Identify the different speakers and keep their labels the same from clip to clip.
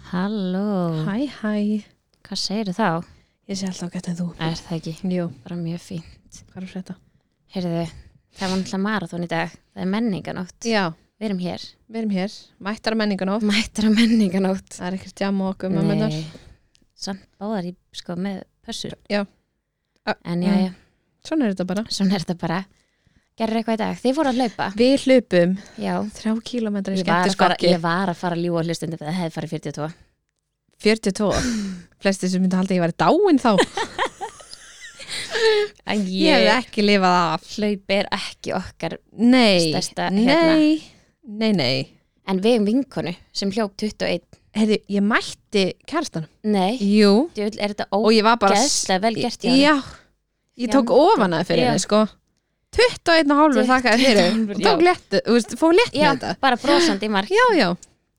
Speaker 1: Halló,
Speaker 2: Hæ, hæ.
Speaker 1: hvað segir þá?
Speaker 2: Ég sé alltaf gett en þú.
Speaker 1: Er það ekki,
Speaker 2: Jú,
Speaker 1: bara mjög fín.
Speaker 2: hvað er að frétta?
Speaker 1: Heyrðu, það var náttúrulega marathón í dag, það er menninganótt.
Speaker 2: Já,
Speaker 1: Við erum hér,
Speaker 2: við erum hér. Mættar að menninganótt.
Speaker 1: mættir á menninganótt.
Speaker 2: Það er ekkert jam og okkur mömmunar.
Speaker 1: samt báðar í, sko, með pössur.
Speaker 2: Já. Ö,
Speaker 1: En já,
Speaker 2: mm.
Speaker 1: já,
Speaker 2: Svona er þetta bara.
Speaker 1: svona er þetta bara. Gerður eitthvað í dag, þið voru að hlaupa.
Speaker 2: Við hlupum
Speaker 1: Já,
Speaker 2: þrjá kílometra í
Speaker 1: ég var, að fara,
Speaker 2: skemmtiskokki.
Speaker 1: ég var að fara að ljúa hlustundi þegar það hefði farið 42.
Speaker 2: 42. Flesti sem myndi halda að ég væri dáin þá.
Speaker 1: En
Speaker 2: Ég hef ekki lifað af.
Speaker 1: hlaup er ekki okkar.
Speaker 2: Nei,
Speaker 1: Stærsta,
Speaker 2: nei,
Speaker 1: hérna.
Speaker 2: nei, nei.
Speaker 1: En við um vinkonu sem hljóp 21.
Speaker 2: Herri, ég mætti kærastanum.
Speaker 1: Nei,
Speaker 2: Jú.
Speaker 1: djöfull, er þetta ó
Speaker 2: Og ég var bara...
Speaker 1: Gæðslega vel gert hjá henni.
Speaker 2: Já. Ég tók ofan að fyrir
Speaker 1: Já.
Speaker 2: henni, sko. 21 hálfur
Speaker 1: 21
Speaker 2: þakkaði fyrir.
Speaker 1: hálfur,
Speaker 2: Og
Speaker 1: já.
Speaker 2: tók létt, þú veist, fór létt með
Speaker 1: Já,
Speaker 2: þetta.
Speaker 1: bara brosandi í mark
Speaker 2: Já, já.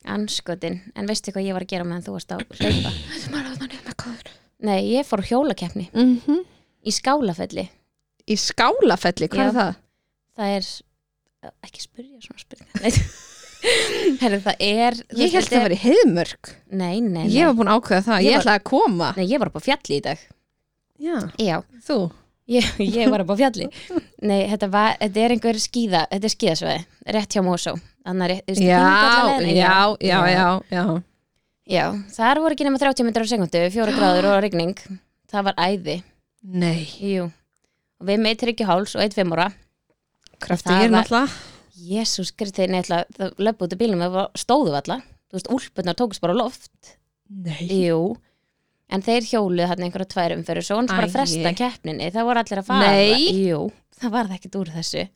Speaker 1: Anskotin, en veistu hvað ég var að gera meðan þú varst á hlaupa?
Speaker 2: Mm
Speaker 1: Nei, ég fór á hjólakeppni Mhm.
Speaker 2: -hmm.
Speaker 1: í skálafelli
Speaker 2: Í skálafelli, hvað
Speaker 1: Já.
Speaker 2: er það?
Speaker 1: Það er, eh, ekki spyrja svona spurninga Nei, Herru, það er þú
Speaker 2: Ég
Speaker 1: veist,
Speaker 2: held
Speaker 1: þetta
Speaker 2: það var í heiðmörk
Speaker 1: er- Nei, nei, nei
Speaker 2: Ég var búin að ákveða það,
Speaker 1: Ég
Speaker 2: ég,
Speaker 1: var-
Speaker 2: ætlaði að koma
Speaker 1: Nei, ég var upp á fjalli í dag
Speaker 2: Já,
Speaker 1: Já,
Speaker 2: þú
Speaker 1: ég, ég var upp á fjalli Nei, þetta, var, þetta er einhver skíða Þetta er skíðasvæði, rétt hjá Mosó Þannig að,
Speaker 2: Já, já, já, já, já
Speaker 1: Já, þar voru ekki nema 30 metrar á sekundu, fjóra gráður og rigning Það var æði
Speaker 2: Nei,
Speaker 1: Jú, og við meitir ekki háls og eitt fimmúra
Speaker 2: krafti
Speaker 1: Það
Speaker 2: ég er
Speaker 1: var-
Speaker 2: náttúrulega
Speaker 1: Jésús skriði neitla, það löp út í bílum og stóðu alla Þú veist, úlpunar tókust bara á loft
Speaker 2: Nei,
Speaker 1: Jú, en þeir hjóluðu hann einhverja tvær umferður Svo hans bara
Speaker 2: Æi.
Speaker 1: að fresta keppninni, það voru allir að fara
Speaker 2: Nei.
Speaker 1: Jú, það varð ekkert úr þessu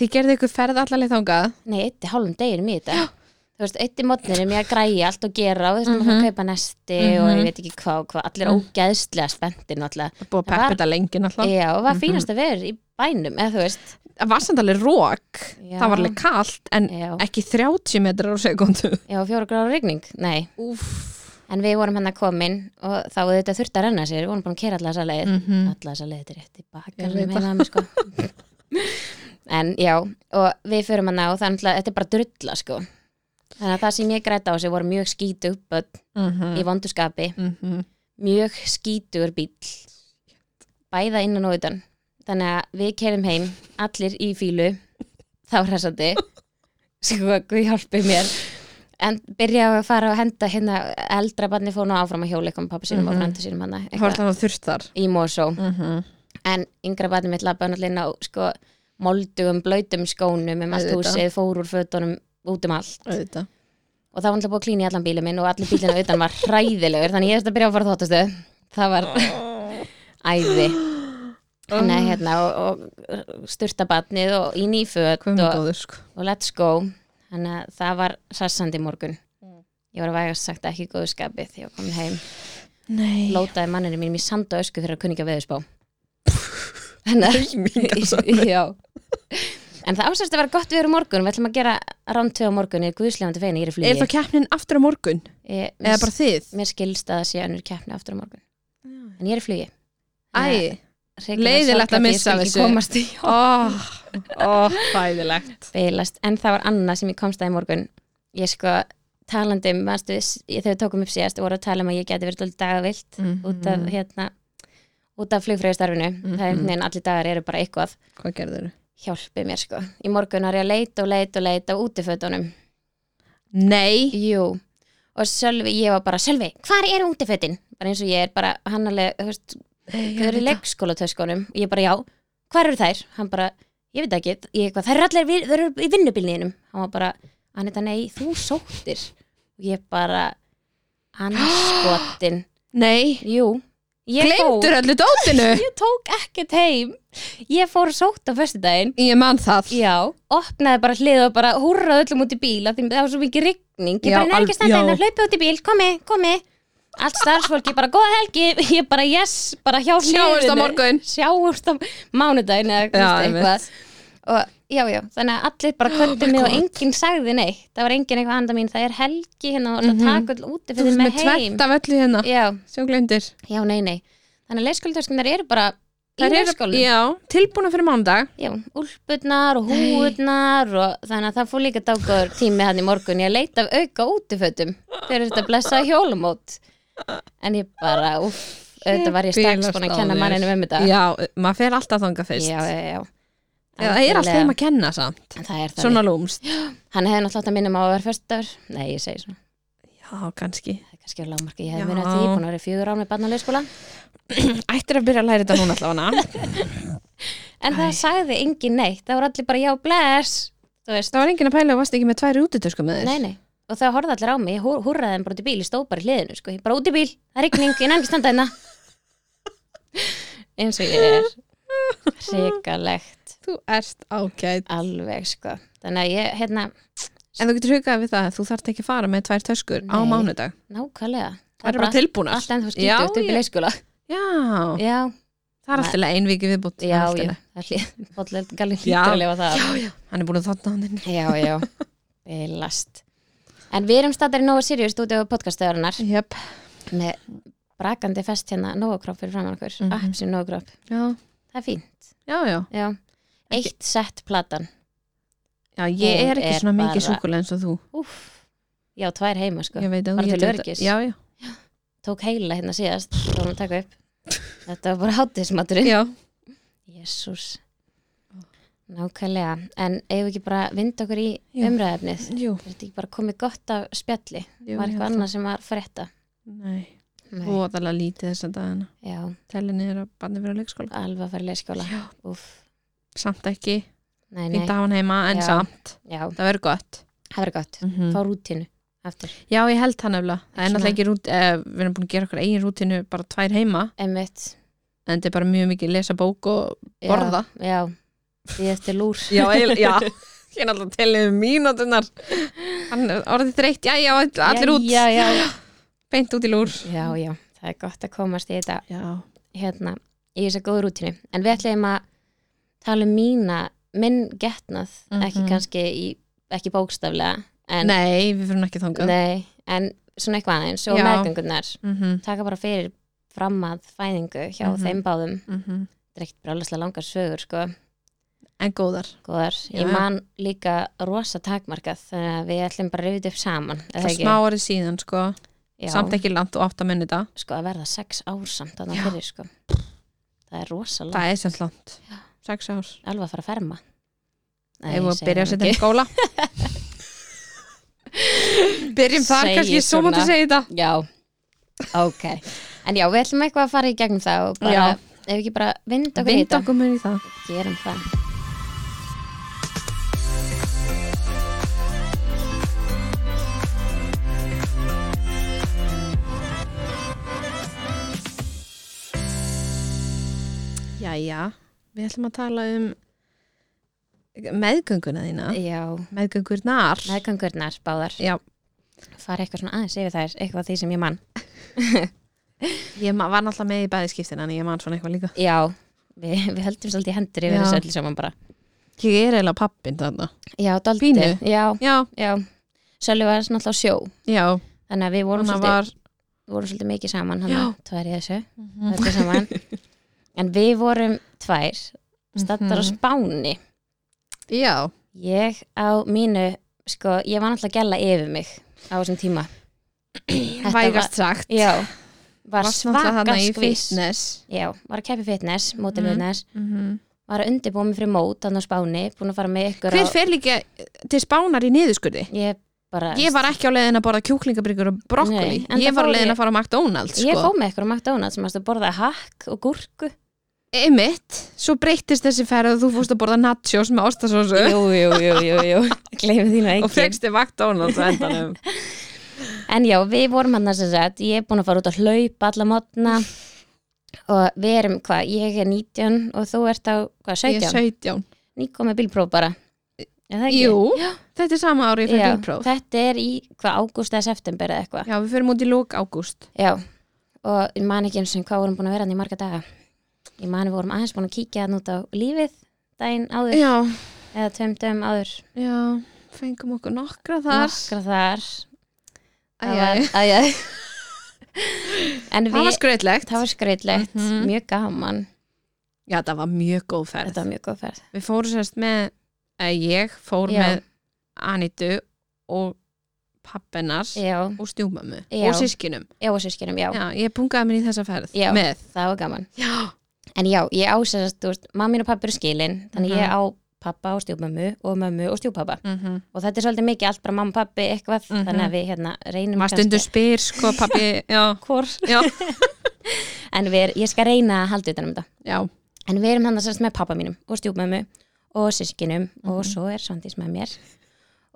Speaker 2: þið gerðu ykkur ferð allaleg þangað
Speaker 1: Nei, eitt í hálfum deginum í þetta Þú veist, eitt í mótnirum ég að græja allt og gera og þess að mm að kaupa nesti og ég
Speaker 2: Mhm.
Speaker 1: veit ekki hvað og hvað, allir ógeðslega spenntir náttúrulega.
Speaker 2: Það er Búið að
Speaker 1: Það
Speaker 2: peppa
Speaker 1: var-
Speaker 2: þetta lengi náttúrulega
Speaker 1: Já, og var fínast að vera í bænum, eða þú veist.
Speaker 2: Það var samt alveg rók,
Speaker 1: Já.
Speaker 2: það var alveg kalt En
Speaker 1: Já.
Speaker 2: ekki 30 metrar á sekundu
Speaker 1: Já, fjóra gráður rigning, nei
Speaker 2: Úff
Speaker 1: En við vorum hann að komin og þá þetta þurfti að renna sér Við vorum búin að kera alla þessa leið
Speaker 2: Mhm.
Speaker 1: Alla þessa leið, þetta er rétt í
Speaker 2: Ég veit
Speaker 1: bakar með, sko. En já, og við förum hann á og það er náttúrulega, þetta er bara drulla sko Þannig að það sem ég græta á sig voru mjög skítug börn í
Speaker 2: Mhm.
Speaker 1: vonduskapi
Speaker 2: Mhm.
Speaker 1: Mjög skítugur bíll Bæða innan og utan Þannig að við kerum heim, allir í fílu Þá hressandi Sko, guð hjálpi mér En byrjaði að fara að henda hérna eldra barni fór nú áfram að hjóla eitthvað með pappa sínum og
Speaker 2: Mhm.
Speaker 1: frænda sínum hana
Speaker 2: Það var
Speaker 1: eitthvað
Speaker 2: alltaf þurft þar
Speaker 1: í Mosó
Speaker 2: Mhm.
Speaker 1: en yngra barni mitt lappa náttúrulega inn á sko moldugum, blöytum skónum um allt
Speaker 2: Auðvitað.
Speaker 1: húsið, fór úr fötunum út um allt
Speaker 2: Auðvitað
Speaker 1: og það var náttúrulega búið að klína í allan bílum minn og allir bílina utan var hræðilegur þannig ég þurfti að byrja að fara þóttastu það var
Speaker 2: Ah.
Speaker 1: æði Nei, hérna, og, og styrta barnið og í nýföt
Speaker 2: Hvað með
Speaker 1: og,
Speaker 2: góður sko
Speaker 1: og let's go þannig að það var sassandi morgun
Speaker 2: Mm.
Speaker 1: ég var að vægast sagt ekki í góðu skapi þegar ég var komin heim
Speaker 2: Nei
Speaker 1: lótaði manninu mínum í sand og ösku fyrir að kunninga veðusbá þannig að Já. en það ásast að vera gott við erum morgun við ætlum að gera ránd tvö á morgun ég er guðslefandi fegin, að ég er í flugi
Speaker 2: Er þá keppnin aftur á morgun?
Speaker 1: ég,
Speaker 2: Eða
Speaker 1: mér,
Speaker 2: bara þið?
Speaker 1: mér skilst að það sé önnur keppni aftur á morgun en ég er í flugi
Speaker 2: Æ,
Speaker 1: Hrikalega sorglegt,
Speaker 2: leiðilegt að
Speaker 1: ég
Speaker 2: missa
Speaker 1: skal
Speaker 2: af
Speaker 1: ekki
Speaker 2: þessu. Ah,
Speaker 1: komast í
Speaker 2: ó, ó, fæðilegt
Speaker 1: beilast en það var annað sem ég komst að í morgun ég sko talandi um manstu, ég, þegar við tókum upp síðast voru að tala um að ég geti verið dálítið dagavilt
Speaker 2: Mhm.
Speaker 1: út af hérna út af flugfræðistarfinu
Speaker 2: Mhm.
Speaker 1: það er einhvern veginn allir dagar eru bara eitthvað
Speaker 2: Hvað gerður þau?
Speaker 1: hjálpi mér sko í morgun var ég að leita og leita og leita á útifötunum
Speaker 2: Nei
Speaker 1: jú og Sölvi, ég var bara Sölvi, hvar er útifötin? bara eins og ég er bara hann alveg, þú veist, þau eru í leikskólatöskunum og ég bara já, hvar eru þær? hann bara, ég veit ekki, ég eitthvað þær eru allir, við- þær eru í vinnubilniðinum hann var bara, hann þetta nei, þú sóttir og ég bara hann skotin,
Speaker 2: Nei
Speaker 1: jú ég
Speaker 2: Gleimtur
Speaker 1: fór,
Speaker 2: öllu dótinu
Speaker 1: ég tók ekkert heim ég fór og sótt á föstudaginn
Speaker 2: Ég man það
Speaker 1: já, opnaði bara hlið og bara húrraði öllum út í bíl af því það var svo mikið rigning ég
Speaker 2: Já,
Speaker 1: bara nefnir ekki að standa
Speaker 2: al- já.
Speaker 1: hérna, hlaupið út í bíl, komi, komi allt starfsfólki, bara góða helgi ég bara yes, bara hjá
Speaker 2: Sjáumst á
Speaker 1: hliðinu.
Speaker 2: morgun.
Speaker 1: sjáumst á mánudaginn eða
Speaker 2: Já,
Speaker 1: já,
Speaker 2: einmitt.
Speaker 1: eitthvað og já, já, þannig að allir bara kvöldu mig og enginn sagði neitt það var enginn eitthvað handa mín, það er helgi hérna og mm -hmm. taka all úti
Speaker 2: Mhm. Þú
Speaker 1: fyrir
Speaker 2: veist
Speaker 1: mig
Speaker 2: með
Speaker 1: heim
Speaker 2: tvert af öllu hérna
Speaker 1: já,
Speaker 2: Sjó gleimtir
Speaker 1: já, nei, nei þannig að leikskóldöskunar eru bara í í
Speaker 2: Þær eru-
Speaker 1: leikskólanum.
Speaker 2: Já, tilbúna fyrir mándag
Speaker 1: Já, úlpurnar og húurnar og þannig að það fór líka dágóður tími hann í morgun ég að leita af auka útifötum þegar þetta blessa hjólumót en ég bara, uff, auðvitað var ég strax búin að kenna manninu um þetta
Speaker 2: Já, maður fer alltaf þanga fyrst
Speaker 1: já, já, já.
Speaker 2: Já, Það er alltaf
Speaker 1: Algjörlega.
Speaker 2: þeim að kenna samt
Speaker 1: En það er það
Speaker 2: Svona lúmst
Speaker 1: Hann hefði náttúrulega átt að minna mig á að vera föstudagur Nei, ég segi svona,
Speaker 2: Já, kannski
Speaker 1: það er kannski á lágmarki Ég hefði
Speaker 2: Já.
Speaker 1: minna því, búin að vera í fjögur án með barnalegskóla
Speaker 2: Ættir að byrja að læra þetta núna allavega
Speaker 1: En það sagði engin neitt, það voru allir bara já, bless Þú veist,
Speaker 2: Það var enginn að pæla og varst ekki með tvær útitösku með þér
Speaker 1: nei, nei Og það horfði allir á mig, ég hú- húrraði þeim bara út í bíl Ég stóð bara í hliðinu, sko, ég bara út í bíl Það er rigning, ég nefnir standa hérna Eins og ég er Hrikalegt,
Speaker 2: Þú ert ágætt
Speaker 1: alveg, sko Þannig að ég, hérna,
Speaker 2: En þú getur hugað við það að þú þarft ekki að fara með tvær töskur á
Speaker 1: Nei.
Speaker 2: mánudag
Speaker 1: nákvæmlega
Speaker 2: Það eru bara tilbúnar
Speaker 1: Allt en þú
Speaker 2: Já,
Speaker 1: skýttu upp í
Speaker 2: ég-
Speaker 1: leikskóla
Speaker 2: Já,
Speaker 1: Já,
Speaker 2: það er alltaf ein vikið viðbútt
Speaker 1: já, já Það hlýð, bolleld, galinn
Speaker 2: Já.
Speaker 1: hlýttur að lifa það af.
Speaker 2: Hann er búin að þarna á henni
Speaker 1: Já, já, bilast En við erum staðar í Nova Sirius út á podcastöðurinnar
Speaker 2: Jöp,
Speaker 1: með brakandi fest hérna Nova Crop fyrir framann okkur, mm
Speaker 2: Mhm.
Speaker 1: -hmm. Apsin Nova Crop
Speaker 2: já,
Speaker 1: Það er fínt,
Speaker 2: já, já
Speaker 1: já Eitt sett platan,
Speaker 2: Já, ég
Speaker 1: Hún
Speaker 2: er ekki
Speaker 1: er
Speaker 2: svona
Speaker 1: bara-
Speaker 2: mikið súkulega eins og þú
Speaker 1: úff Já, tvær heima sko,
Speaker 2: Ég veit að
Speaker 1: Bara
Speaker 2: þú
Speaker 1: til
Speaker 2: getur þetta-
Speaker 1: öryggis.
Speaker 2: Já, já,
Speaker 1: tók heila hérna síðast Það var hún að taka upp Þetta var bara hátismaturinn
Speaker 2: já
Speaker 1: Jésús Nákvæmlega, en eigum við ekki bara að vinda okkur í
Speaker 2: Jú.
Speaker 1: umræðefnið
Speaker 2: Jú,
Speaker 1: Er þetta ekki bara komið gott af spjalli?
Speaker 2: jú
Speaker 1: var
Speaker 2: ég
Speaker 1: eitthvað
Speaker 2: held
Speaker 1: annað sem var frétta?
Speaker 2: það. Nei,
Speaker 1: Nei.
Speaker 2: óðalega lítið þess að dagana
Speaker 1: Já,
Speaker 2: Telli niður að barni fyrir á leikskóla
Speaker 1: alveg að fara í leikskóla
Speaker 2: Já,
Speaker 1: Úff,
Speaker 2: samt ekki
Speaker 1: nei, nei
Speaker 2: Fínt að hafa hann heima, en
Speaker 1: Já. Mhm.
Speaker 2: samt
Speaker 1: Já,
Speaker 2: Það verður gott
Speaker 1: það verður gott.
Speaker 2: Mm.
Speaker 1: Fá rútinu aftur.
Speaker 2: Já, ég held það nefnilega Það er
Speaker 1: Svona-
Speaker 2: náttúrulega ekki rút, eh, við erum búin að gera okkur eigin rútinu bara tvær heima,
Speaker 1: Einmitt.
Speaker 2: en þetta er bara mjög mikið lesa bók og
Speaker 1: Já,
Speaker 2: borða
Speaker 1: Já, því eftir lúr.
Speaker 2: Já, eil, já Ég er náttúrulega telið mínútunar Hann er orðið þreytt, já, já, allir út
Speaker 1: Já, já, já.
Speaker 2: Beint út í lúr
Speaker 1: Já, já, það er gott að komast í þetta,
Speaker 2: Já,
Speaker 1: hérna, í þessa góðu rútinu. En við ætlum að tala um mína, minn getnað, ekki
Speaker 2: Mhm.
Speaker 1: kannski í, ekki bókstaflega, en
Speaker 2: Nei, við fyrir ekki þangað
Speaker 1: nei, en svona eitthvað aðeins og
Speaker 2: Já.
Speaker 1: meðgöngunar.
Speaker 2: Mhm,
Speaker 1: Taka bara fyrir fram að fæðingu hjá
Speaker 2: Mhm.
Speaker 1: þeim báðum.
Speaker 2: mhm.
Speaker 1: Dreikt brjálislega langar sögur, sko.
Speaker 2: En góðar
Speaker 1: góðar,
Speaker 2: Já.
Speaker 1: ég man líka rosa takmarkað þannig að við ætlum bara að rifið upp saman
Speaker 2: Það er smá orðið síðan, sko
Speaker 1: já,
Speaker 2: Samt ekki langt og átta minnuta
Speaker 1: sko að verða sex ár samt þannig
Speaker 2: Já.
Speaker 1: fyrir sko það er rosa langt,
Speaker 2: Það er sem langt Sex árs
Speaker 1: alveg að fara að ferma Nei,
Speaker 2: Ef
Speaker 1: ég
Speaker 2: við
Speaker 1: segi
Speaker 2: byrja að
Speaker 1: það
Speaker 2: setja í
Speaker 1: ekki.
Speaker 2: skóla Byrjum þar
Speaker 1: Segi
Speaker 2: kannski, svo máttu
Speaker 1: svona.
Speaker 2: segja þetta
Speaker 1: já, ok en já, við ætlum eitthvað að fara í gegnum það og bara,
Speaker 2: Já.
Speaker 1: ef ekki bara vind okkur í
Speaker 2: Vind
Speaker 1: þetta
Speaker 2: okkur mér í það
Speaker 1: gerum það
Speaker 2: Jæja, við ætlum að tala um meðgönguna þína
Speaker 1: já,
Speaker 2: Meðgöngurnar
Speaker 1: meðgangurnar báðar
Speaker 2: Já,
Speaker 1: fara eitthvað svona aðeins yfir þær, eitthvað af því sem ég man
Speaker 2: ég ma- var náttúrulega með í bæðiskiptin en ég man svona eitthvað líka
Speaker 1: já, við, við höldum svolítið hendur yfir
Speaker 2: Já.
Speaker 1: þessu öllu saman bara
Speaker 2: Ég er eiginlega pappin þarna
Speaker 1: já,
Speaker 2: Pínu.
Speaker 1: daldið, já,
Speaker 2: Já,
Speaker 1: já Sölvi var náttúrulega á sjó
Speaker 2: já,
Speaker 1: þannig að við vorum,
Speaker 2: hana
Speaker 1: svolítið,
Speaker 2: var
Speaker 1: vorum svolítið mikið saman hann
Speaker 2: Já. Mhm.
Speaker 1: tvær í þessu öllu saman en við vorum tvær staddar á
Speaker 2: Mhm.
Speaker 1: spáni
Speaker 2: Já,
Speaker 1: ég á mínu sko, ég var náttúrulega að gæla yfir mig á þessum tíma Þetta
Speaker 2: vægast sagt
Speaker 1: já, var
Speaker 2: Varst náttúrulega
Speaker 1: svaka
Speaker 2: þarna í
Speaker 1: skvís
Speaker 2: fitness
Speaker 1: já, var að keppi fitness, mótil
Speaker 2: Mhm.
Speaker 1: fitness
Speaker 2: Mhm.
Speaker 1: var að undirbúa mig fyrir mót þannig á spáni, búin að fara með ykkur
Speaker 2: Hver
Speaker 1: á
Speaker 2: fer líka til spánar í niðurskurði?
Speaker 1: ég bara,
Speaker 2: Ég var ekki á leiðin að borða kjúklingabryggur og brokkoli
Speaker 1: Nei, enda
Speaker 2: Ég var á
Speaker 1: fór
Speaker 2: leiðin
Speaker 1: ég-
Speaker 2: að fara á McDonalds
Speaker 1: ég
Speaker 2: sko.
Speaker 1: fó með ykkur á McDonalds sem varstu að borða hakk og gúrku
Speaker 2: Einmitt, svo breyttist þessi ferð og þú fórst að borða nachos með ostasósu
Speaker 1: jú, jú, jú, jú, jú. gleymi þínu engin
Speaker 2: og fegst þið McDonalds á endanum
Speaker 1: En já, við vorum hann þess að sett, ég er búin að fara út að hlaupa alla mótna og við erum, hvað, ég er 19 og þú ert á, hvað,
Speaker 2: Ég
Speaker 1: 17?
Speaker 2: 17
Speaker 1: Nýko með bílpróf bara. Er það ekki?
Speaker 2: Jú, þetta er sama ári ég fyrir
Speaker 1: Já,
Speaker 2: bílpróf
Speaker 1: þetta er í, hvað, ágúst eða september eða eitthvað.
Speaker 2: Já, við fyrir mútið lók ágúst
Speaker 1: Já, og ég man ekki eins og hvað vorum búin að vera hann í marga daga. Ég man við vorum aðeins búin að kíkja hann út á lífið daginn áður
Speaker 2: Já,
Speaker 1: eða tveim dögum áður.
Speaker 2: já, fengum okkur nokkra þar
Speaker 1: Nokkra þar.
Speaker 2: Æ, æ, æ.
Speaker 1: æj, æj. En
Speaker 2: Það
Speaker 1: við,
Speaker 2: var skreitlegt
Speaker 1: það var skreitlegt,
Speaker 2: Mhm.
Speaker 1: mjög gaman.
Speaker 2: Já, þetta var mjög góð ferð.
Speaker 1: þetta var mjög góð ferð
Speaker 2: Við fórum sérst með, eða ég fór
Speaker 1: Já.
Speaker 2: með Anitu og pappennar
Speaker 1: já,
Speaker 2: og stjúmömmu
Speaker 1: Já.
Speaker 2: og sískinum.
Speaker 1: já og sískinum, já,
Speaker 2: Já, ég pungaði mér í þessa ferð
Speaker 1: Já.
Speaker 2: með.
Speaker 1: það var gaman
Speaker 2: Já.
Speaker 1: en já, ég á sérst, þú veist, mamma mín og pappi eru skilin þannig ég
Speaker 2: Mhm.
Speaker 1: á pappa og stjúpmömmu og mömmu og stjúpappa
Speaker 2: Mm
Speaker 1: og þetta er svolítið mikið allt bara mamma, pappi, eitthvað
Speaker 2: Mhm.
Speaker 1: þannig að við hérna reynum
Speaker 2: Maður stundur spyr, sko, pappi, já.
Speaker 1: hvor
Speaker 2: Já.
Speaker 1: en við, er- ég skal reyna að halda utanum þetta
Speaker 2: Já.
Speaker 1: en við erum hann að sérst með pappa mínum og stjúpmömmu og sískinum og svo er Svandís með mér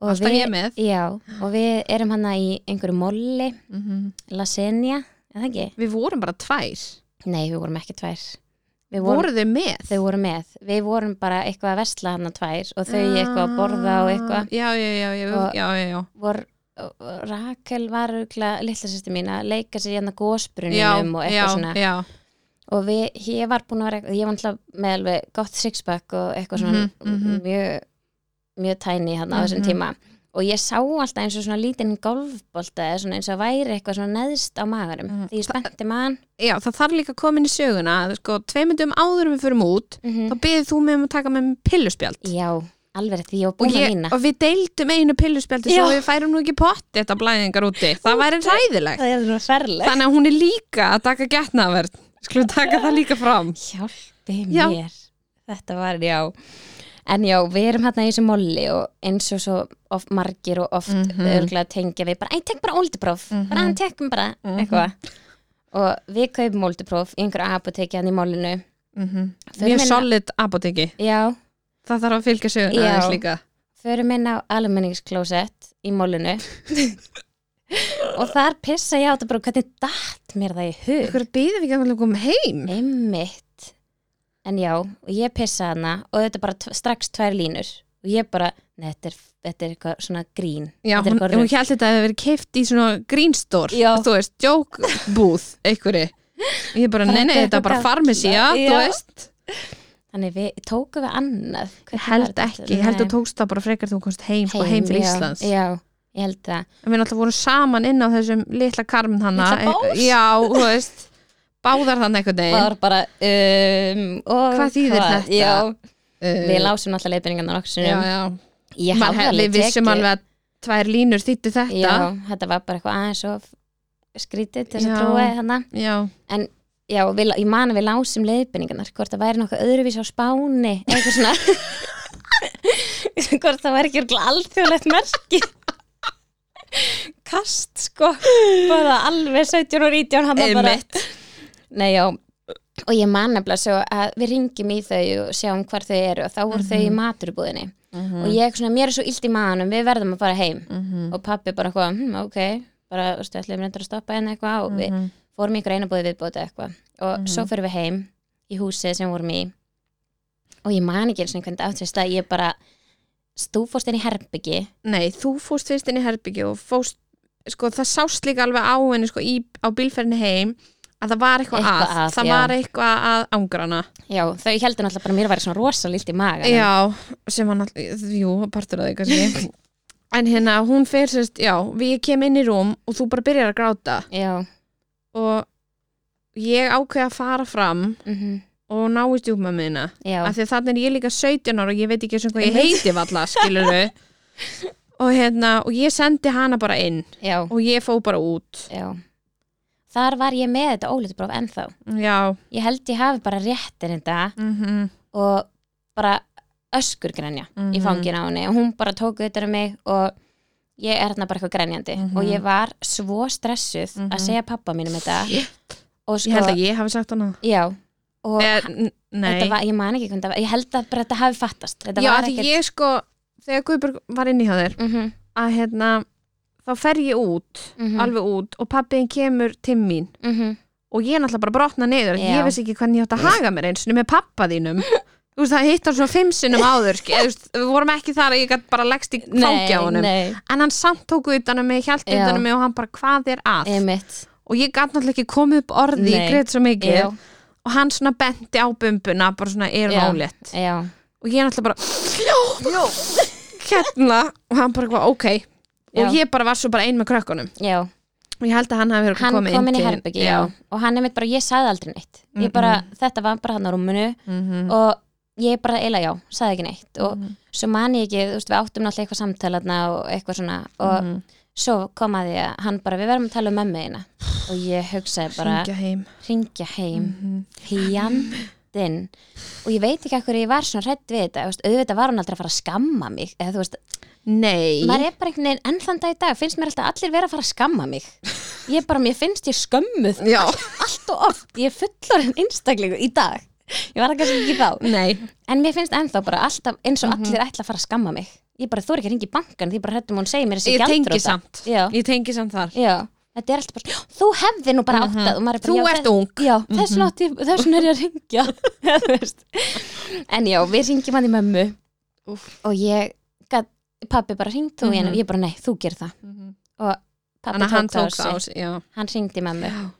Speaker 1: og
Speaker 2: Alltaf Mhm. ég með.
Speaker 1: já, og við erum hann í einhverju molli
Speaker 2: Mm
Speaker 1: lasagna, eða ekki?
Speaker 2: Við vorum bara tvær.
Speaker 1: Nei, við vorum ekki tvær Við vorum,
Speaker 2: Voru þau með?
Speaker 1: þau voru með Við vorum bara eitthvað að vesla hann tvær og þau
Speaker 2: Ah.
Speaker 1: eitthvað að borða og eitthvað
Speaker 2: Já, já, já, já,
Speaker 1: Og-
Speaker 2: já, já, já.
Speaker 1: vor, Rakel var örugglega litla sýsti mín að leika sér hérna
Speaker 2: Já,
Speaker 1: gósbrunninum og eitthvað
Speaker 2: já,
Speaker 1: svona
Speaker 2: já,
Speaker 1: og við, ég var búin að vera eitthvað ég var náttúrulega með alveg gott sixpack og eitthvað svona
Speaker 2: Mhm, mhm.
Speaker 1: mjög mjög tæni hann á þessum
Speaker 2: Mhm.
Speaker 1: tíma og ég sá alltaf eins og svona lítinn golfbolta eða svona eins og væri eitthvað svona neðst á maðurum
Speaker 2: Mhm.
Speaker 1: því ég spennti maðan
Speaker 2: já, það þarf líka komin í söguna að, sko, tveimundum áður en við förum út
Speaker 1: mm
Speaker 2: þá byggði þú mig um að taka með mér pilluspjald
Speaker 1: Já, alveg rétt, því ég var
Speaker 2: og,
Speaker 1: búin að
Speaker 2: ég,
Speaker 1: mína
Speaker 2: og við deildum einu pilluspjaldi svo
Speaker 1: Já.
Speaker 2: við færum nú ekki pott þetta blæðingar úti, það væri ræðilegt
Speaker 1: Það er svona ferleg
Speaker 2: þannig að hún er líka að taka getnaverð skulum taka það líka fram
Speaker 1: Hjálpi
Speaker 2: Já.
Speaker 1: mér Þetta var, já En já, við erum hérna í þessu molli og eins og svo of, margir og oft mm
Speaker 2: Mhm.
Speaker 1: tengja við bara, æ, tek bara oldupróf
Speaker 2: Mhm.
Speaker 1: bara hann tekum bara
Speaker 2: Mhm.
Speaker 1: eitthvað og við kaupum oldupróf í einhverju apoteki hann í mollinu
Speaker 2: mm
Speaker 1: Förum
Speaker 2: mjög
Speaker 1: inn á-
Speaker 2: solid apoteki
Speaker 1: Já,
Speaker 2: það þarf að fylgja söguna
Speaker 1: Já.
Speaker 2: aðeins líka
Speaker 1: förum inn á almenningsklósett í mollinu og þar pissa ég á þetta bara hvernig datt mér það í hug
Speaker 2: ykkur byggðum við ekki að koma heim
Speaker 1: Einmitt En já, og ég pissa hana og þetta er bara tv- strax tvær línur og ég bara, nei, þetta er, þetta er eitthvað svona grín þetta er
Speaker 2: Já, hún,
Speaker 1: eitthvað
Speaker 2: hún
Speaker 1: rugl.
Speaker 2: held þetta að vera keift í svona grínstór,
Speaker 1: Já.
Speaker 2: þú veist, jókbúð einhverju. Ég bara, nei, nei,
Speaker 1: Þetta er
Speaker 2: þetta er bara
Speaker 1: eitthvað
Speaker 2: farmesía,
Speaker 1: gallað,
Speaker 2: þú
Speaker 1: já.
Speaker 2: veist.
Speaker 1: Þannig við tókum við annað Hvernig
Speaker 2: Ég
Speaker 1: var
Speaker 2: held
Speaker 1: þetta?
Speaker 2: ekki, ég held að
Speaker 1: Nei.
Speaker 2: tókst það bara frekar þú komst heim, sko, heim til
Speaker 1: já,
Speaker 2: Íslands.
Speaker 1: Já, ég held það
Speaker 2: En við náttúrulega vorum saman inn á þessum litla karmin hana.
Speaker 1: Litla bás?
Speaker 2: Já, þú veist, báðar þann einhvern veginn.
Speaker 1: var bara, um, og
Speaker 2: Eh. Hvað þýðir þetta?
Speaker 1: Já,
Speaker 2: Uh,
Speaker 1: við lásum alltaf leiðbyrningarnar okkur
Speaker 2: já,
Speaker 1: sinum
Speaker 2: já.
Speaker 1: Ég
Speaker 2: Man,
Speaker 1: hafði alveg
Speaker 2: við vissum alveg að tvær línur þýttu þetta.
Speaker 1: Já, þetta var bara eitthvað aðeins og skrítið til þess
Speaker 2: Já.
Speaker 1: að trúa hana
Speaker 2: já.
Speaker 1: Já, við, ég man að við lásum leiðbendingarnar hvort það væri nokkuð öðruvísi á spáni eitthvað svona hvort það væri ekki örugglega alþjóðlegt merki kast sko bara alveg 17 og 19 hann bara Nei, já, og ég man nefnilega svo að við ringjum í þau og sjáum hvar þau eru og þá voru þau í maturbúðinni og ég svona, mér er svo illt í maðanum við verðum að fara heim
Speaker 2: Mhm.
Speaker 1: og pappi bara eitthvað, hm, ok bara, þú veist, ætlum reyndar að stoppa henni eitthvað og við
Speaker 2: Mhm.
Speaker 1: fórum í einhver einabúði viðbóti eitthvað og svo fyrir við heim í húsið sem við vorum í og ég man ekki eins og hvernig átt sér stað ég bara, þú fórst inn í herbyggi
Speaker 2: Nei, þú fóst fyrst inn í herbyggi og fóst, sko, það sást líka alveg á henni, sko, í, á bílferðinni heim að það var eitthvað,
Speaker 1: Eitthvað
Speaker 2: að,
Speaker 1: að,
Speaker 2: það
Speaker 1: já.
Speaker 2: var eitthvað að ángrana
Speaker 1: já, þau heldur náttúrulega bara að mér væri svona rosa lilt í maga
Speaker 2: Já, sem hann alltaf, jú, partur að það kannski En hérna, hún fer sérst, já, við ég kem inn í rúm og þú bara byrjar að gráta
Speaker 1: já,
Speaker 2: og ég ákveð að fara fram
Speaker 1: mm
Speaker 2: og ná í stjúpa minna
Speaker 1: já,
Speaker 2: af því að þannig er ég líka 17 ára og ég veit ekki sem hvað ég heiti valla, skilur og hérna, og ég sendi hana bara inn
Speaker 1: já,
Speaker 2: og ég fó bara út
Speaker 1: já þar var ég með þetta ólítubróf ennþá
Speaker 2: já,
Speaker 1: ég held ég hafi bara réttin þetta
Speaker 2: mhm,
Speaker 1: og bara öskur grenja í
Speaker 2: Mhm.
Speaker 1: fangin á henni og hún bara tók þetta um mig og ég er hérna bara eitthvað grenjandi
Speaker 2: Mhm.
Speaker 1: og ég var svo stressuð að segja pappa mínum þetta
Speaker 2: Shit.
Speaker 1: og sko,
Speaker 2: ég held að ég hafi sagt hana
Speaker 1: já og
Speaker 2: eh, n-
Speaker 1: þetta
Speaker 2: nei,
Speaker 1: var, ég man ekki hvernig þetta var ég held að bara þetta hafi fattast þetta
Speaker 2: já,
Speaker 1: var
Speaker 2: af því
Speaker 1: ekkert
Speaker 2: ég sko þegar Guðbjörg var inn í hjá þér
Speaker 1: mm -hmm,
Speaker 2: að hérna, þá fer ég út
Speaker 1: mm
Speaker 2: alveg út og pappiðin kemur til mín
Speaker 1: mhm.
Speaker 2: og ég er náttúrulega bara brotna neyður
Speaker 1: Já.
Speaker 2: ég veist ekki hvernig ég átt að haga mér eins og með pappa þínum þú veist, það hittar svona fimm sinnum áður sk- eða, þú veist, við vorum ekki þar að ég gætt bara leggst í fangja á honum
Speaker 1: nei,
Speaker 2: en hann samt tók utan um mig, hjælt
Speaker 1: Já.
Speaker 2: utan um mig og hann bara hvað er að
Speaker 1: einmitt
Speaker 2: og ég gætt náttúrulega ekki komið upp orði
Speaker 1: Nei.
Speaker 2: ég greit svo mikið
Speaker 1: já,
Speaker 2: og hann svona benti á bumbuna bara svona er
Speaker 1: Já.
Speaker 2: hún álétt
Speaker 1: já,
Speaker 2: og ég er náttúrulega bara já, hérna og hann bara eitthvað ok
Speaker 1: Já.
Speaker 2: og ég bara var svo bara ein með krökkunum
Speaker 1: já
Speaker 2: ég held að hann hafi verið
Speaker 1: hann
Speaker 2: komið
Speaker 1: kom inn í
Speaker 2: til-
Speaker 1: herbyggi já. og hann er mitt bara, ég sagði aldrei neitt ég bara, þetta var bara hann á rúmunu
Speaker 2: Mhm.
Speaker 1: og ég bara, eila já, sagði ekki neitt og
Speaker 2: Mhm.
Speaker 1: svo man ég ekki, þú veist, við áttum náttúrulega eitthvað samtalaðna og eitthvað svona og
Speaker 2: Mhm.
Speaker 1: svo kom að því að hann bara, við verðum að tala um mömmu þína og ég hugsaði bara,
Speaker 2: Hringja heim
Speaker 1: ringja heim
Speaker 2: Mhm.
Speaker 1: Mm-hmm. fjandinn og ég veit ekki að hverju ég var svona hrætt við þetta þú veist, auðvitað var hún aldrei að fara að skamma mig eða þú veist,
Speaker 2: Nei
Speaker 1: maður er bara einhvern veginn enn þann dag í dag, finnst mér alltaf allir vera að fara að skamma mig ég bara, mér finnst ég skömmuð
Speaker 2: Já
Speaker 1: allt og oft, ég er fullorinn einstaklingu í dag, ég var það kannski ekki þá
Speaker 2: Nei
Speaker 1: en mér finnst ennþá bara alltaf eins og allir
Speaker 2: Mhm.
Speaker 1: ætla að fara að skamma mig ég bara, þú er ekki að ringa í bankan, því ég bara hrættum hún segir mér þessi
Speaker 2: Ég tengi
Speaker 1: gjaldþrota.
Speaker 2: samt
Speaker 1: Já.
Speaker 2: Ég tengi samt þar
Speaker 1: Já, þetta er alltaf bara, "Já, þú hefði nú bara áttað og maður er bara,
Speaker 2: Mhm. Þú
Speaker 1: já,
Speaker 2: ert
Speaker 1: þess-
Speaker 2: ung. Mhm.
Speaker 1: Já, þess mm þessum er ég að ringja Þú veist. En já, við ringjum hann í mömmu
Speaker 2: Úff.
Speaker 1: og ég, gat, pabbi bara ringt þú mm
Speaker 2: Mhm.
Speaker 1: ég bara, nei, þú ger það og pabbi
Speaker 2: Þannig að hann
Speaker 1: það á
Speaker 2: tók það á sig Já
Speaker 1: hann ringdi mömmu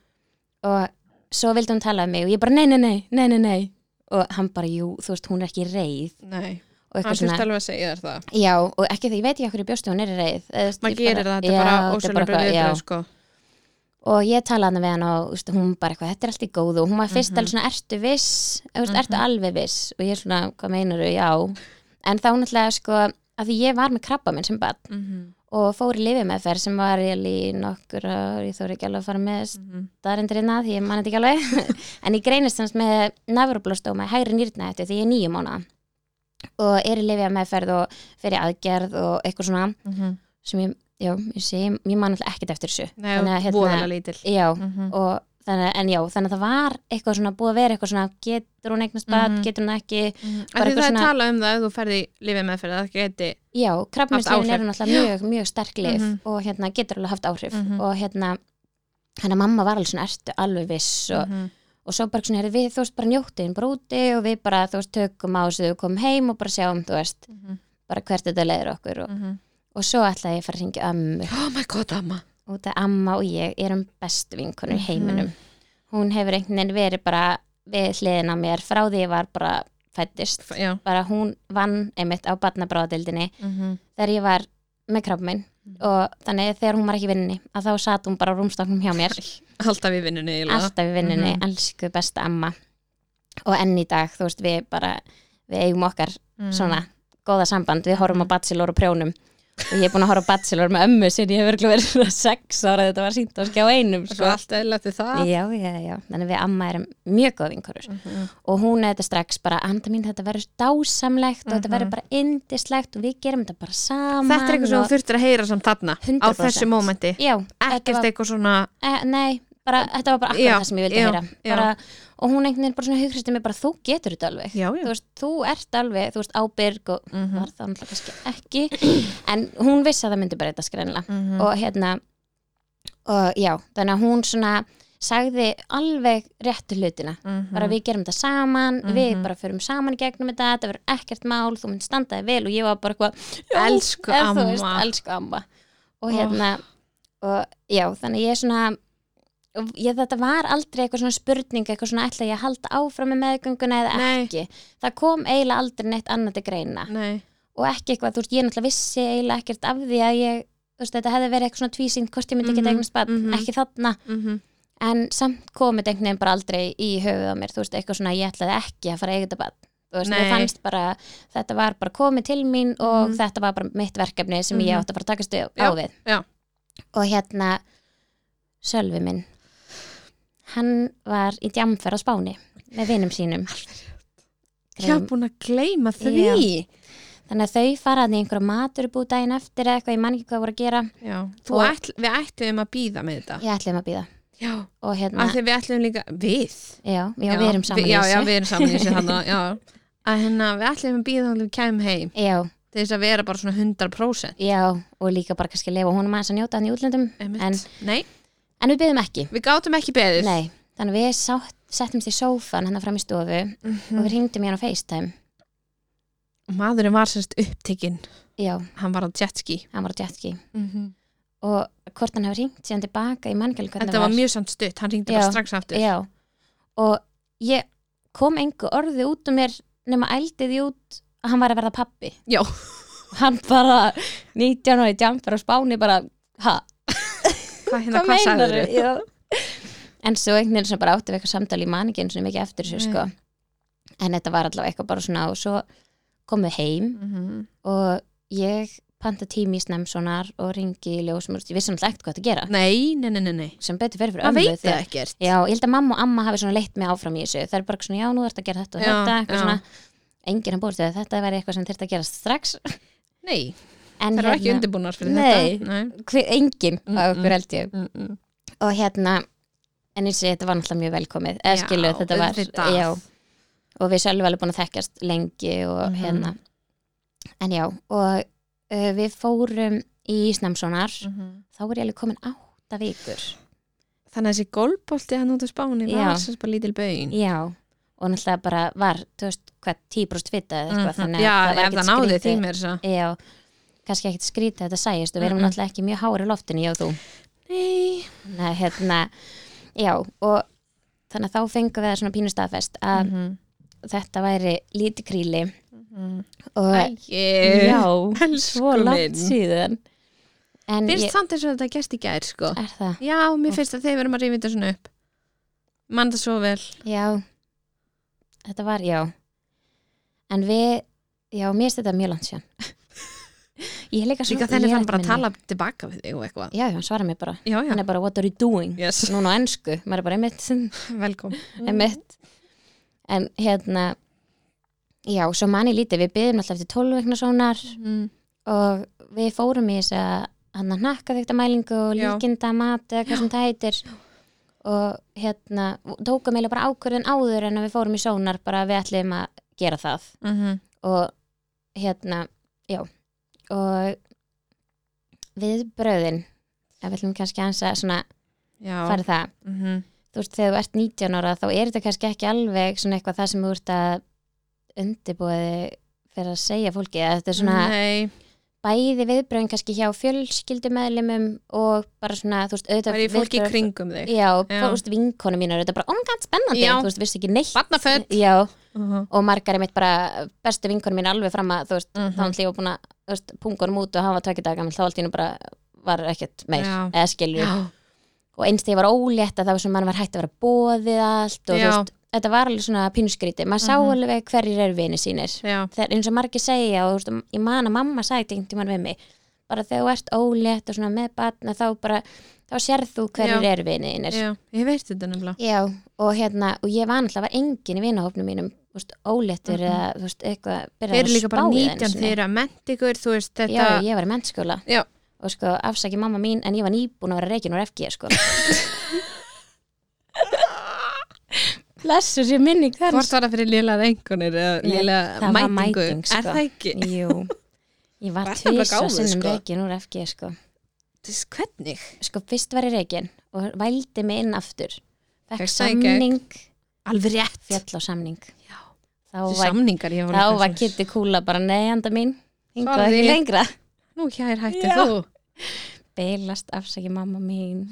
Speaker 1: og svo vildi hún tala um mig og ég bara, nei, nei, nei, nei, nei, nei og hann bara, jú, þú veist, hún er ekki reið
Speaker 2: Nei
Speaker 1: og eitthvað
Speaker 2: Hann þurfti
Speaker 1: svona,
Speaker 2: alveg að segja þér það
Speaker 1: já, og ekki það, ég veit ekki okkur í bjóstu hún er í reið Eða, þú veist,
Speaker 2: Maður
Speaker 1: ég
Speaker 2: gerir það Þetta er bara
Speaker 1: já, þetta
Speaker 2: ósvölu
Speaker 1: eitthvað, já.
Speaker 2: bröðið sko
Speaker 1: og ég talaði hann við hann og úst, hún bara eitthvað, þetta er allt í góðu og hún var
Speaker 2: Mhm.
Speaker 1: fyrst alveg svona, ertu viss úst, ertu alveg viss og ég er svona, hvað meinar þau, já en þá náttúrulega sko að því ég var með krabba minn sem bad og fór í lifið meðferð sem var ég í nokkur ár, ég þóri ekki alveg að fara með
Speaker 2: Mhm.
Speaker 1: staðarindir hérna því ég mann þetta ekki alveg en ég greinist hans með nefrublóstóma hægri nýrna eftir því ég er nýjum mánu og er í lifið meðferð og fyrir aðgerð og eitthvað svona
Speaker 2: Mhm.
Speaker 1: sem ég, já, ég sé, ég, ég man alltaf ekkert eftir þessu
Speaker 2: Nei,
Speaker 1: Þannig að, hérna,
Speaker 2: voðalega lítil
Speaker 1: já,
Speaker 2: Mhm.
Speaker 1: og þannig, en já, þannig að það var eitthvað svona búið að vera eitthvað svona getur hún eignast bad,
Speaker 2: Mhm.
Speaker 1: getur hún það ekki
Speaker 2: Af
Speaker 1: bara
Speaker 2: því
Speaker 1: eitthvað
Speaker 2: Það er
Speaker 1: svona-
Speaker 2: talað um það ef þú ferði lífið meðferð að það geti
Speaker 1: já, krabbmyndslegin
Speaker 2: áhrif.
Speaker 1: eru náttúrulega mjög, mjög sterk lif
Speaker 2: Mhm.
Speaker 1: og hérna getur alveg haft áhrif
Speaker 2: Mhm.
Speaker 1: og hérna hann að mamma var alveg svona ertu alveg viss og,
Speaker 2: Mhm.
Speaker 1: og svo bara svona, heyrðu, við þú veist bara njóttiðin bara úti og við bara þú veist tökum á þessu þegar við komum heim og bara sjáum þú veist
Speaker 2: Mhm.
Speaker 1: bara hvert þetta leiðir okkur og,
Speaker 2: Mhm.
Speaker 1: og svo ætlaði ég að fara að hringja í ömmu
Speaker 2: Oh my god, amma
Speaker 1: út að amma og ég erum bestu vinkunum í heiminum hún hefur einhvern veginn verið bara við hliðin á mér frá því ég var bara fættist
Speaker 2: F- Já
Speaker 1: bara hún vann einmitt á barnabráðadildinni
Speaker 2: Mhm.
Speaker 1: þegar ég var með krabba minn og þannig að þegar hún var ekki í vinninni að þá satt hún bara á rúmstoknum hjá mér
Speaker 2: Alltaf í vinnunni eiginlega.
Speaker 1: alltaf í vinninni,
Speaker 2: Mhm.
Speaker 1: elsku besta amma og enn í dag, þú veist, við bara við eigum okkar
Speaker 2: Mhm.
Speaker 1: svona góða samband, við horfum á Bachelor og prjónum og ég er búin að horfa á Bachelor með ömmu sinni, ég hef örugglega verið svona sex ára þetta var sínt á skjá einum sko.
Speaker 2: Svo allt eðla til það
Speaker 1: já, já, já, þannig við amma erum mjög góð vinkurur
Speaker 2: Mhm.
Speaker 1: og hún er þetta strax bara, anda mín þetta verður dásamlegt og þetta verður bara indislegt og við gerum þetta bara saman
Speaker 2: Mhm. Þetta er eitthvað sem
Speaker 1: og...
Speaker 2: þú þurftir að heyra samt þarna á
Speaker 1: 100%.
Speaker 2: þessu mómenti
Speaker 1: já, þetta
Speaker 2: ekkert
Speaker 1: var,
Speaker 2: eitthvað svona
Speaker 1: e, nei, bara, þetta var bara akkur
Speaker 2: Já,
Speaker 1: það sem ég vildi
Speaker 2: já,
Speaker 1: heyra
Speaker 2: já.
Speaker 1: bara, og hún einhvern veginn bara svona hugristi mig bara, þú getur þetta alveg
Speaker 2: Já, já. Mhm.
Speaker 1: þú veist, þú ert alveg, þú veist, ábyrg og var það náttúrulega kannski ekki en hún vissi að það myndi bara þetta skrænlega
Speaker 2: Mhm.
Speaker 1: og hérna og já, þannig að hún svona sagði alveg réttu hlutina
Speaker 2: Mhm.
Speaker 1: bara við gerum þetta saman við bara förum saman í gegnum þetta þetta verður ekkert mál, þú mynd standaði vel og ég var bara eitthvað, já,
Speaker 2: Elsku
Speaker 1: eða þú
Speaker 2: amma.
Speaker 1: elsku amma og hérna og já, þannig ég er svona ég, þetta var aldrei eitthvað svona spurning eitthvað svona ætla ég að halda áfram með meðgönguna eða
Speaker 2: Nei.
Speaker 1: ekki það kom eiginlega aldrei neitt annað til greina
Speaker 2: Nei,
Speaker 1: og ekki eitthvað, þú veist, ég náttúrulega vissi eiginlega ekkert af því að ég, þú veist, þetta hefði verið eitthvað svona tvísing, hvort ég myndi ekki
Speaker 2: Mhm,
Speaker 1: eignast bann,
Speaker 2: mhm.
Speaker 1: ekki þarna,
Speaker 2: mhm,
Speaker 1: en samt komið einhvern veginn bara aldrei í höfuð á mér, þú veist, eitthvað svona, ég ætlaði ekki að fara að eiga þetta bann, þú veist,
Speaker 2: Nei.
Speaker 1: ég fannst bara, þetta var bara komið til mín og
Speaker 2: Mhm.
Speaker 1: þetta var bara mitt verkefni sem ég
Speaker 2: Mhm.
Speaker 1: átti að fara að takast á
Speaker 2: Já,
Speaker 1: við.
Speaker 2: já.
Speaker 1: Og hérna, Sölvi minn, hann var í djamfer á Spáni með vinum sínum.
Speaker 2: ég hef búin að gleyma því
Speaker 1: Já. Þannig að þau faraði í einhverja maturubú daginn eftir eða eitthvað, ég man ekki hvað voru að gera
Speaker 2: Já. Þú
Speaker 1: Og-
Speaker 2: Ætl, Við ætluðum að býða með þetta
Speaker 1: ég ætlaði maður að býða
Speaker 2: Já,
Speaker 1: og hérna,
Speaker 2: af því við ætluðum líka Við?
Speaker 1: já, já, við erum saman
Speaker 2: við, já,
Speaker 1: í
Speaker 2: já,
Speaker 1: þessu
Speaker 2: við erum saman í þessu þarna Já að hérna, við ætlum að býða þannig við kæmum heim
Speaker 1: já,
Speaker 2: til þess að vera bara svona 100%
Speaker 1: já, og líka bara kannski leifa honum aðeins að njóta hann í útlöndum en,
Speaker 2: Einmitt. Nei,
Speaker 1: en við byðum ekki
Speaker 2: við gátum ekki beðið
Speaker 1: Nei, þannig að við sátt, settumst í sófan hann fram í stofu
Speaker 2: Mhm.
Speaker 1: og
Speaker 2: Mm.
Speaker 1: við hringdum í hann á FaceTime
Speaker 2: Maðurinn var sérst upptekinn
Speaker 1: já,
Speaker 2: Hann var á jetski
Speaker 1: hann var á jetski
Speaker 2: mm -hmm.
Speaker 1: og hvort hann hafi hringt síðan tilbaka í mannkjölu
Speaker 2: En það var mjög samt stutt, hann ringdi bara
Speaker 1: Já.
Speaker 2: strax aftur
Speaker 1: já, og ég kom engu orði út um mér nema ældi því út að hann var að verða pappi
Speaker 2: Já.
Speaker 1: hann bara 19 ára í jumper á Spáni bara, ha
Speaker 2: Hvað hérna, hvað sagður þau?
Speaker 1: Já. en svo einhvern veginn sem bara áttum við eitthvað samtali í maningin sem ekki eftir þessu sko.
Speaker 2: Mm.
Speaker 1: en þetta var allavega eitthvað bara svona og svo komum við heim
Speaker 2: Mhm.
Speaker 1: og ég panta tími í snemsonar og ringi í ljósmurst ég vissi alltaf ekkert hvað það gera
Speaker 2: Nei, nei, nei, nei, nei.
Speaker 1: sem betur fyrir fyrir
Speaker 2: Það
Speaker 1: ömmu
Speaker 2: veit það ekkert.
Speaker 1: já, ég held að mamma og amma hafi svona leitt mig áfram í þessu það er bara svona, já, nú þarf að gera þetta og
Speaker 2: Já,
Speaker 1: þetta eitthvað
Speaker 2: já.
Speaker 1: svona, enginn að búist við að þetta væri eitthvað sem þurft að gera strax
Speaker 2: Nei,
Speaker 1: en hérna-
Speaker 2: það eru ekki undirbúnar fyrir
Speaker 1: Nei.
Speaker 2: þetta. Nei.
Speaker 1: hver, enginn
Speaker 2: Mm,
Speaker 1: af
Speaker 2: mm.
Speaker 1: okkur held ég
Speaker 2: Mm -mm.
Speaker 1: og hérna, en eins og ég, þetta var náttúrulega mjög velkomið eða skilu, þetta var
Speaker 2: auðvitað.
Speaker 1: já, og við sjálf alveg búin að þekkjast lengi og
Speaker 2: Mhm.
Speaker 1: hérna en já, og uh, við fórum í Snemsonar
Speaker 2: Mhm.
Speaker 1: þá er ég alveg komin átta vikur
Speaker 2: Þannig að þessi golfbólti hann út á spáni var
Speaker 1: Já.
Speaker 2: sem sagt bara lítil bögin.
Speaker 1: já, og náttúrulega bara var, þú veist, hvað, 10 brúst vita eða eitthvað, þannig að
Speaker 2: Mhm. Já,
Speaker 1: var
Speaker 2: ef
Speaker 1: ekkert
Speaker 2: það náði því
Speaker 1: skrítið-
Speaker 2: mér þess að
Speaker 1: já, kannski ekkert skrítið að þetta sæjist og við erum
Speaker 2: Mm-mm.
Speaker 1: náttúrulega ekki mjög hári loftinu, ég og þú
Speaker 2: Nei,
Speaker 1: Nei, hérna, já og þannig að þá fengum við það svona pínu staðfest að
Speaker 2: Mhm.
Speaker 1: þetta væri lítið kríli
Speaker 2: Mhm.
Speaker 1: og
Speaker 2: Æi.
Speaker 1: já,
Speaker 2: elsku
Speaker 1: svo langt
Speaker 2: minn.
Speaker 1: síðan en
Speaker 2: Fyrst
Speaker 1: ég,
Speaker 2: samt eins og þetta gerst í gær sko
Speaker 1: er það,
Speaker 2: Já, mér finnst að þeir verðum að rífa þetta svona upp Mann það svo vel
Speaker 1: já þetta var, já en við, já, mér finnst þetta mjög langt síðan ég er líka
Speaker 2: Líka
Speaker 1: svona
Speaker 2: þannig
Speaker 1: ég er
Speaker 2: hann bara að
Speaker 1: ekki minni.
Speaker 2: tala tilbaka við þig og eitthvað
Speaker 1: já, já, hann svarar mér bara,
Speaker 2: Já, já,
Speaker 1: hann er bara what are you doing
Speaker 2: yes,
Speaker 1: núna á ennsku, maður er bara einmitt
Speaker 2: velkom
Speaker 1: einmitt en hérna já, svo manni lítið, við byggjum alltaf eftir 12 vegna svonar
Speaker 2: mm.
Speaker 1: og við fórum í þess að hann að nakka þetta mælingu og
Speaker 2: Já.
Speaker 1: líkinda mat eða hvað sem það heitir og hérna, tókum eiginlega bara ákvörðin áður en að við fórum í sónar bara að við ætlum að gera það
Speaker 2: mm -hmm.
Speaker 1: og hérna, já og við bröðin að við ætlum kannski aðeins að svona
Speaker 2: Já
Speaker 1: fara í það
Speaker 2: mm -hmm.
Speaker 1: þú veist, þegar þú ert 19 ára þá er þetta kannski ekki alveg svona eitthvað það sem þú ert að undirbúiði fyrir að segja fólki að þetta er svona
Speaker 2: Nei,
Speaker 1: bæði viðbröðin kannski hjá fjölskyldumeðlimum og bara svona, þú veist, auðvitað
Speaker 2: það er í fólki í
Speaker 1: viðbrögð-
Speaker 2: kringum þig
Speaker 1: Já,
Speaker 2: Já.
Speaker 1: þú veist, vinkonu mínar, þetta er bara omgænt spennandi,
Speaker 2: Já.
Speaker 1: þú veist, vissi ekki neitt
Speaker 2: Barnaföld
Speaker 1: Já,
Speaker 2: uh -huh.
Speaker 1: og margar er mitt bara bestu vinkonu mín alveg fram að, þú veist,
Speaker 2: Mhm.
Speaker 1: þá hann lífa búin að, þú veist, pungunum út og hann var tökja dagamil, þá allt í nú bara var ekkert meir,
Speaker 2: Já.
Speaker 1: eða skilur
Speaker 2: Já,
Speaker 1: og eins þegar ég var ólétt að það var svona mann var hægt að vera bóðið allt og
Speaker 2: Já.
Speaker 1: þú veist, þetta var alveg svona pínskríti maður sá
Speaker 2: Mhm.
Speaker 1: alveg hverjir eru vini sínir
Speaker 2: já,
Speaker 1: þegar eins og margir segja og þú veist, ég man að mamma sagði einhvern tímann við mig bara þegar þú ert ólétt og svona með batna þá bara, þá sérð þú hverjir
Speaker 2: Já.
Speaker 1: eru vini þínir
Speaker 2: já Ég veit þetta nefnilega
Speaker 1: Já, og hérna, og ég var náttúrulega var engin í vinahópnum mínum, þú veist, óléttur
Speaker 2: Mhm.
Speaker 1: eða, þú veist, eitthvað,
Speaker 2: Þeir
Speaker 1: byrjaði
Speaker 2: eru líka bara
Speaker 1: í það einu
Speaker 2: 19
Speaker 1: sinni.
Speaker 2: þeir eru að menta ykkur Þú veist þetta
Speaker 1: Já, ég var í mennskóla
Speaker 2: Já.
Speaker 1: og sko, afsaki mamma mín, en ég var nýbúin að vera reikin úr FG, sko Blessu sér minning
Speaker 2: Hvort var það fyrir lélega einhvernir eða
Speaker 1: Nei,
Speaker 2: lélega
Speaker 1: það var
Speaker 2: mætingu?
Speaker 1: mæting, sko.
Speaker 2: Er það ekki?
Speaker 1: Jú, ég var
Speaker 2: Var það bara
Speaker 1: tvisa
Speaker 2: gáfuð,
Speaker 1: sinnum
Speaker 2: sko?
Speaker 1: reikin úr FG, sko
Speaker 2: Þess, Hvernig?
Speaker 1: sko fyrst var ég reikin og vældi mig inn aftur fekk
Speaker 2: Fékkst það í gegn?
Speaker 1: samning,
Speaker 2: Alveg rétt
Speaker 1: fjall á samning
Speaker 2: Já.
Speaker 1: þá
Speaker 2: Þessi
Speaker 1: var,
Speaker 2: samningar ég var
Speaker 1: þá
Speaker 2: líka
Speaker 1: var
Speaker 2: svona,
Speaker 1: Kitty Kúla bara neðjanda mín hingað
Speaker 2: Sorry.
Speaker 1: ekki lengra
Speaker 2: Nú hér hætti
Speaker 1: Já.
Speaker 2: þú
Speaker 1: beilast afsaki mamma mín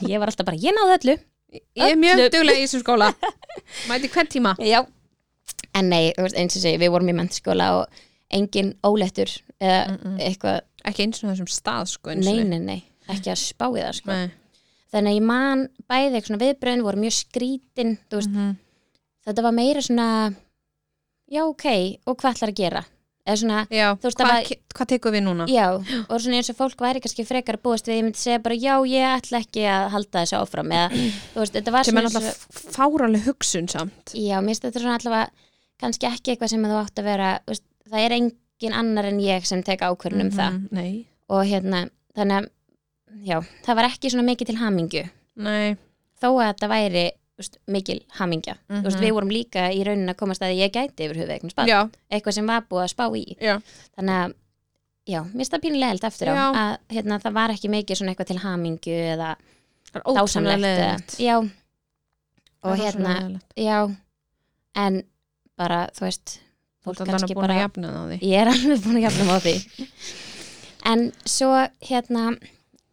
Speaker 1: ég var alltaf bara, ég náði öllu
Speaker 2: Ég er mjög
Speaker 1: Öllu.
Speaker 2: duglega í þessum skóla Mæti hvern tíma
Speaker 1: Já. en nei, þú veist, eins og segi, við vorum í mentaskóla og engin ólettur eða eitthvað,
Speaker 2: Ekki eins og þessum stað sko einu
Speaker 1: nei,
Speaker 2: sinni.
Speaker 1: nei, nei ekki að spá í það sko.
Speaker 2: Nei.
Speaker 1: þannig að ég man bæði eitthvað svona viðbröðin voru mjög skrítin, þú veist
Speaker 2: Mhm.
Speaker 1: þetta var meira svona já ok, og hvað ætlar að gera eða svona,
Speaker 2: Já,
Speaker 1: Þú veist,
Speaker 2: hvað,
Speaker 1: það var-
Speaker 2: var... hvað tekum við núna?
Speaker 1: já, og svona eins og fólk væri kannski frekar að búast við, ég myndi segja bara já, ég ætla ekki að halda þessu áfram eða, þú veist, þetta var
Speaker 2: Sem er
Speaker 1: eins og-
Speaker 2: náttúrulega f- fáraleg hugsun samt
Speaker 1: já, mér finnst þetta svona allavega kannski ekki eitthvað sem þú átt að vera þú veist, það er engin annar en ég sem tek ákvörðun um það
Speaker 2: Mhm, Nei,
Speaker 1: og hérna, þannig að já, það var ekki svona mikið til hamingju
Speaker 2: nei
Speaker 1: þó að þetta væri þú veist, mikil hamingja mm veist,
Speaker 2: Mhm.
Speaker 1: við vorum líka í raunin að komast að því að ég gæti yfir höfu eignast
Speaker 2: Já,
Speaker 1: eitthvað sem var búið að spá í
Speaker 2: já
Speaker 1: þannig að já, mér finnst það pínulega held eftir á
Speaker 2: Já.
Speaker 1: að hérna, það var ekki mikið svona eitthvað til hamingju eða
Speaker 2: Það er
Speaker 1: dásamlegt
Speaker 2: ótrúlega
Speaker 1: eða-
Speaker 2: leiðinlegt.
Speaker 1: já,
Speaker 2: Það
Speaker 1: og
Speaker 2: er
Speaker 1: hérna
Speaker 2: ótrúlega leiðinlegt.
Speaker 1: já, en bara þú veist,
Speaker 2: Þú ert
Speaker 1: fólk
Speaker 2: allan að
Speaker 1: kannski
Speaker 2: búin
Speaker 1: bara
Speaker 2: að jafna það á því
Speaker 1: ég er alveg búin að jafna á því en svo hérna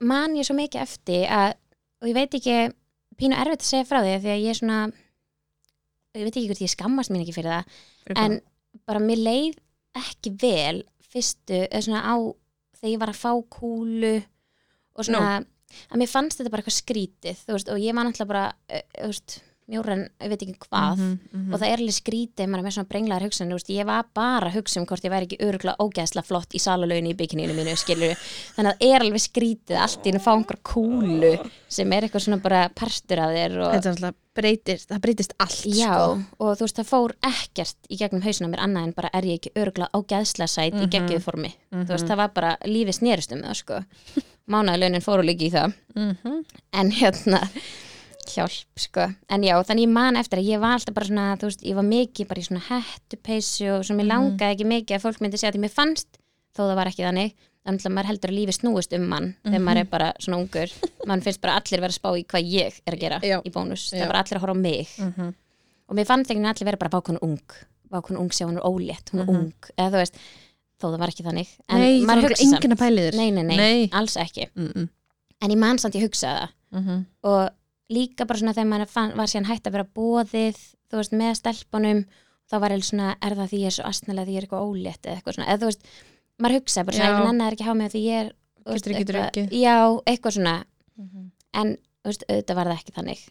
Speaker 1: man ég svo mikið eftir að, og ég veit ekki pínu erfitt að segja frá því af því að ég er svona ég veit ekki hvort ég skammast mín ekki fyrir það en bara mér leið ekki vel fyrstu, eða svona á þegar ég var að fá kúlu og svona, að mér fannst þetta bara eitthvað skrítið þú veist, og ég man alltaf bara eh, þú veist, mjóren, ég veit ekki hvað
Speaker 2: Mhm, Mm-hmm.
Speaker 1: og það er alveg skrítið, ef maður er með svona brenglaðar hugsan veist, ég var bara að hugsa um hvort ég væri ekki öruglega ógæðsla flott í salalöginu í bikininu mínu skilur, þannig að það er alveg skrítið allt í henni fá einhver kúlu sem er eitthvað svona bara partur af þér og,
Speaker 2: Þetta er alltaf breytist, það breytist allt
Speaker 1: já,
Speaker 2: sko.
Speaker 1: og þú veist, það fór ekkert í gegnum hausina mér annað en bara er ég ekki öruglega ógæðsla sæt
Speaker 2: Mhm.
Speaker 1: í geggjuð formi þú veist, það var bara lífið snerist um það sko. mánæðlaunin fóru líki í það
Speaker 2: Mhm.
Speaker 1: en hérna hjálp sko, en já, þannig ég man eftir að ég var alltaf bara svona, þú veist, ég var mikið bara í svona hættupeysu og svona, mér
Speaker 2: Mhm.
Speaker 1: langaði ekki mikið að fólk myndi segja að mér fannst þó það var ekki þannig, þannig að maður heldur að lífi snúist um mann,
Speaker 2: Mhm.
Speaker 1: þegar maður er bara svona ungur mann finnst bara allir vera að spá í hvað ég er að gera
Speaker 2: Já.
Speaker 1: í bónus, það
Speaker 2: Já.
Speaker 1: er bara allir að horfa á mig
Speaker 2: Mhm.
Speaker 1: og mér fannst ekki allir vera bara bákonu ung bákonu ung sé hún er ólétt, hún er ung eða þú veist, þó það var ekki þannig en
Speaker 2: Mhm. Nei, það
Speaker 1: maður
Speaker 2: er
Speaker 1: hugsa
Speaker 2: ekki
Speaker 1: samt,
Speaker 2: enginn að pæli þér
Speaker 1: nei, nei, nei,
Speaker 2: Nei.
Speaker 1: alls ekki
Speaker 2: Mm -mm.
Speaker 1: en ég man samt ég hugsaði það
Speaker 2: Mhm.
Speaker 1: og líka bara svona þegar maður fann, var síðan hægt að vera bóðið þú veist, með stelpunum þá var eða svona, er það því ég er svo astnalega því ég er eitthvað ólétt eða eitthvað svona, eða þú veist maður hugsaði bara svona,
Speaker 2: Já.
Speaker 1: ef nennar ekki hafa mig því ég er þú veist,
Speaker 2: Getur ekki
Speaker 1: eitthvað-
Speaker 2: drukkið.
Speaker 1: já, eitthvað svona,
Speaker 2: Mhm.
Speaker 1: en þú veist, auðvitað var það ekki þannig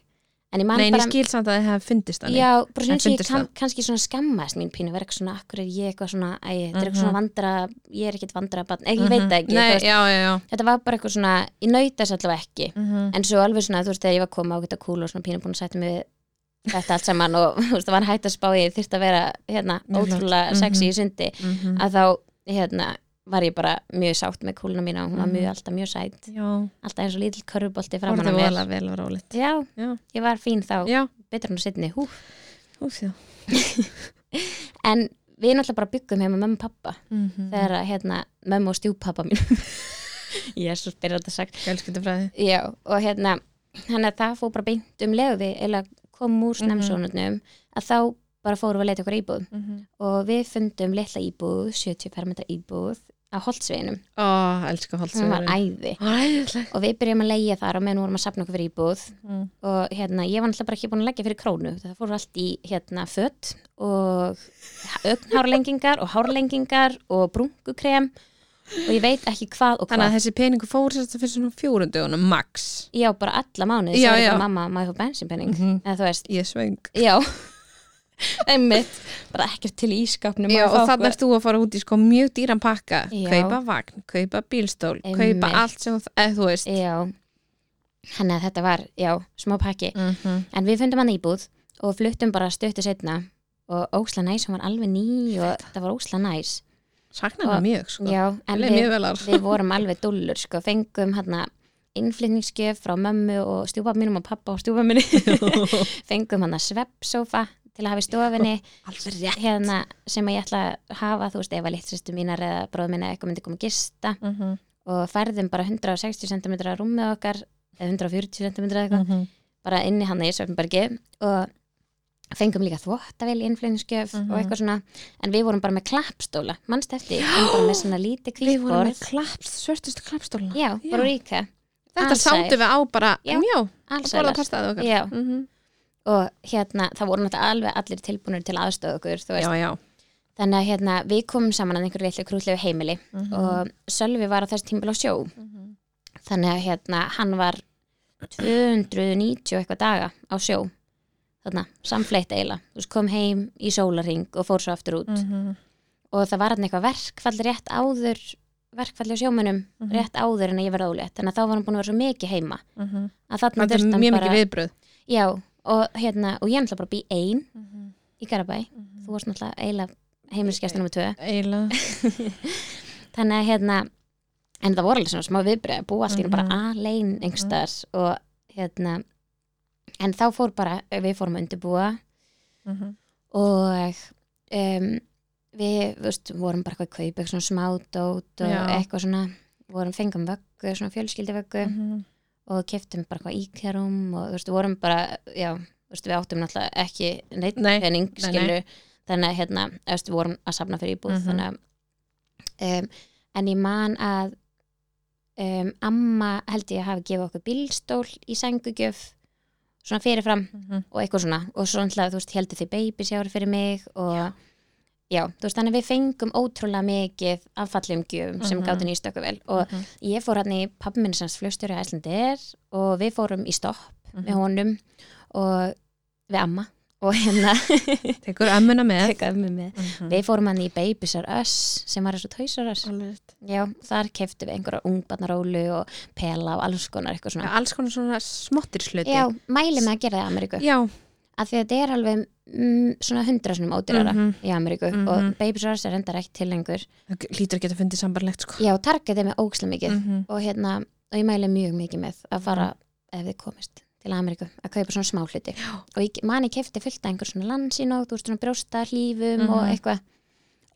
Speaker 1: en ég man
Speaker 2: Nei, en ég
Speaker 1: bara,
Speaker 2: skil samt að það hefði fundist þannig
Speaker 1: já, bara
Speaker 2: En
Speaker 1: svona eins og ég
Speaker 2: fyndist
Speaker 1: kann, kannski svona skammaðist mín pínu, verið svona, akkur er ég eitthvað svona æ, þetta er eitthvað svona vandra, ég er ekkit vandra ég
Speaker 2: Mhm.
Speaker 1: veit það ekki,
Speaker 2: Nei,
Speaker 1: þú veist,
Speaker 2: já, já, já
Speaker 1: þetta var bara eitthvað svona, ég naut þess allavega ekki
Speaker 2: Mhm.
Speaker 1: en svo alveg svona, þú veist, þegar ég var að koma á geta kúl og svona pínu búin að setja mig við þetta allt saman og þú veist, það var hægt að spá ég þyrst að vera, hérna,
Speaker 2: Mjög flott.
Speaker 1: ótrúlega sexy í sundi,
Speaker 2: Mhm.
Speaker 1: að þá hérna, var ég bara mjög sátt með kúluna mína og hún var mjög, alltaf mjög sætt
Speaker 2: Já,
Speaker 1: alltaf eins og lítill körfubolti framan á
Speaker 2: Mhm. orðið
Speaker 1: mér
Speaker 2: vola vel og rólegt
Speaker 1: já,
Speaker 2: Já,
Speaker 1: ég var fín þá,
Speaker 2: já,
Speaker 1: betur en að setni hú.
Speaker 2: hús, já
Speaker 1: en við náttúrulega bara byggum heima með mömmu og pappa
Speaker 2: Mhm.
Speaker 1: þegar að, hérna, mömmu og stjúpappa mín ég er svo spyrir þetta sagt
Speaker 2: Fjölskyldufræði
Speaker 1: Já, og hérna þannig að það fór bara beint um leiðu við eða komum úr snemmsónunum að þá bara fórum við að leita okkur íbúð
Speaker 2: Mhm.
Speaker 1: og við fundum litla íbúð 70 fermetra íbúð á Holtsveginum,
Speaker 2: Ó, elska
Speaker 1: sem var
Speaker 2: holdsvegur
Speaker 1: æði
Speaker 2: Æðislega
Speaker 1: og við byrjum að leigja þar og meðan vorum að sapna okkur fyrir íbúð
Speaker 2: Mhm.
Speaker 1: og hérna, ég var náttúrulega bara ekki búin að leggja fyrir krónu það fór allt í hérna fött og ögnhárlengingar og hárlengingar og brungukrem og ég veit ekki hvað og hvað
Speaker 2: Þannig að þessi peningu fór sérst að fyrir svona fjórundugunum, max
Speaker 1: Já, bara alla mánuði,
Speaker 2: Já,
Speaker 1: svo er
Speaker 2: já.
Speaker 1: bara mamma, má ég fá bensinpenning
Speaker 2: Mhm.
Speaker 1: eða þú veist,
Speaker 2: Ég svöng
Speaker 1: já einmitt, bara ekkert til ískapnum
Speaker 2: Já, og þannig ert þú að fara út í sko mjög dýran pakka
Speaker 1: Já.
Speaker 2: Kaupa vagn, kaupa bílstól Kaupa
Speaker 1: Einmitt.
Speaker 2: allt sem þú- eh, þú veist
Speaker 1: Já, hann að þetta var, já, smá pakki
Speaker 2: Mhm.
Speaker 1: en við fundum hann íbúð og fluttum bara stuttu setna og ósla næs, hún var alveg ný og það var ósla næs
Speaker 2: Saknar það
Speaker 1: Og-
Speaker 2: mjög, sko
Speaker 1: Já, en
Speaker 2: Leið mjög
Speaker 1: við,
Speaker 2: vel ár
Speaker 1: við vorum alveg dullur sko, fengum hann innflytningsgjöf frá mömmu og stjúpa mínum og pappa og stjúpa minni fengum hann að sveppsófa til að hafa í stofinni
Speaker 2: Alveg rétt
Speaker 1: hérna, sem að ég ætla að hafa þú veist, ef að litlistu mínar eða bróð minna eitthvað myndi koma að gista
Speaker 2: Mhm.
Speaker 1: og færðum bara 160 cm rúmið okkar eða 140 cm eða eitthvað
Speaker 2: Mhm.
Speaker 1: bara inni hann í Svefnbergi og fengum líka þvottavél í innflýningsgjöf og eitthvað svona, en við vorum bara með klappstóla, mannst eftir, við vorum bara með svona lítið
Speaker 2: Við
Speaker 1: kvítborð,
Speaker 2: vorum með klapp, svörtustu klappstólna
Speaker 1: já, bara ríka
Speaker 2: Þetta sáttu við á bara,
Speaker 1: Já.
Speaker 2: já, já og borða
Speaker 1: allsælar,
Speaker 2: pastaði okkar
Speaker 1: já,
Speaker 2: Mhm.
Speaker 1: og hérna það voru náttúrulega alveg allir tilbúinur til aðstofa okkur, þú veist,
Speaker 2: Já, já
Speaker 1: þannig að hérna, við komum saman að einhverju litlu krúllegu heimili
Speaker 2: Mhm.
Speaker 1: og Sölvi var á þessu tímbil á sjó Mhm. þannig að hérna, hann var 290 og eitthvað daga á sjó þarna, samfleitt eiginlega þú veist, kom heim í sólaring og fór svo aftur út
Speaker 2: Mm.
Speaker 1: og það var hann eitthvað verkfall rétt áður verkfall á sjómunum rétt áður en að ég verði ólétt þannig að þá var hann búin að vera svo mikið heima að þarna
Speaker 2: Þetta er
Speaker 1: Mhm. þurfti hann
Speaker 2: mjög
Speaker 1: bara
Speaker 2: mikið viðbröð
Speaker 1: já, og, hérna, og ég er náttúrulega bara að bý ein í Garabæ, þú varst náttúrulega eiginlega heimilisgæstu nummer 2
Speaker 2: Eiginlega
Speaker 1: þannig að hérna en það voru alveg svona smá viðbrið að búa allt í einu bara alein einhverstaðar og hérna en þá fór bara, við fórum að undirbúa Mhm. og um, við þú veist, vorum bara eitthvað að kaupa eitthvað svona smádót og
Speaker 2: Já. Mhm.
Speaker 1: eitthvað svona vorum fengum vöggu, svona fjölskyldivöggu og keftum bara eitthvað íkjarum og þú veist, vorum bara, já þú veist, við áttum náttúrulega ekki neitt
Speaker 2: Nei,
Speaker 1: pening
Speaker 2: nei, nei.
Speaker 1: skilur, þannig að hérna þú veist, við vorum að safna fyrir íbúð
Speaker 2: Mhm.
Speaker 1: þannig að um, en ég man að um, amma held ég að hafa gefið okkur bílstól í sængugjöf Mhm. svona fyrirfram og eitthvað svona og svo náttúrulega þú veist heldur því baby sjáur fyrir mig og já, þú veist, þannig að við fengum ótrúlega mikið af fallegum gjöfum sem
Speaker 2: Mhm.
Speaker 1: gátu nýst okkur vel og
Speaker 2: Mhm.
Speaker 1: ég fór hann í pappi minn sem flugstjóri að Æslandir og við fórum í stopp með
Speaker 2: Mhm.
Speaker 1: honum og við amma og hérna
Speaker 2: Tekur ömmuna með
Speaker 1: Tekur ömmu með.
Speaker 2: Mhm.
Speaker 1: við fórum hann í Babysar Us sem var eins og Toysar Us já, þar keftum við einhverja ungbarnarólu og pela og alls konar eitthvað
Speaker 2: Já,
Speaker 1: svona
Speaker 2: alls konar svona smottir sluti
Speaker 1: já, mæli með að gera það í Ameríku
Speaker 2: já.
Speaker 1: að því að þetta er alveg mm, svona hundrasunum ódýrara
Speaker 2: Mhm.
Speaker 1: í Ameríku
Speaker 2: Mhm.
Speaker 1: og Babys R Us er endar ekki til lengur
Speaker 2: Það lítur að geta fundið sambarlegt sko
Speaker 1: já, targetið er með ógsla mikið
Speaker 2: Mhm.
Speaker 1: og hérna, og ég mæli mjög mikið með að fara ef þið komist til Ameríku að kaupa svona smá hluti já. og ég, mani kefti fullt af einhver svona landsín og þú veist svona brjósta hlífum og
Speaker 2: Mhm.
Speaker 1: eitthvað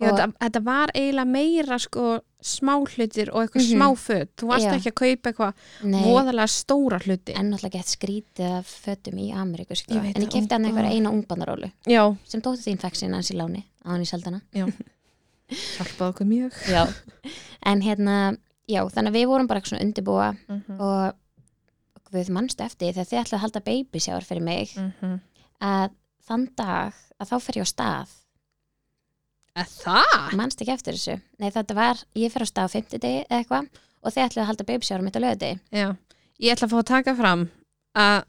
Speaker 2: Já,
Speaker 1: og,
Speaker 2: þetta, þetta var eiginlega meira sko smá hlutir og eitthvað
Speaker 1: Mhm.
Speaker 2: smá föt Þú varst
Speaker 1: Já.
Speaker 2: ekki að kaupa eitthvað
Speaker 1: nei,
Speaker 2: voðalega stóra hluti
Speaker 1: en náttúrulega gett skrítið af fötum í Ameríku sko.
Speaker 2: Ég veit
Speaker 1: en ég
Speaker 2: það, Oh
Speaker 1: kefti hann
Speaker 2: ó.
Speaker 1: einhver eina ungbannarólu
Speaker 2: Já,
Speaker 1: sem dóttu þín fekk sinna hans í láni á hann í seldana
Speaker 2: hjálpaði okkur mjög
Speaker 1: já. en hérna, já, þannig að við vorum bara eitthvað svona að undirbúa
Speaker 2: Mhm.
Speaker 1: og við mannstu eftir þegar þið ætlaði að halda babysjáður fyrir mig
Speaker 2: Mhm.
Speaker 1: að þann dag að þá fer ég á stað
Speaker 2: Er Það?
Speaker 1: mannstu ekki eftir þessu nei þetta var, ég fer á stað á 50 degi eða eitthvað og þið ætlaði að halda babysjáður mitt á löði
Speaker 2: Já, ég ætla að fá að taka fram að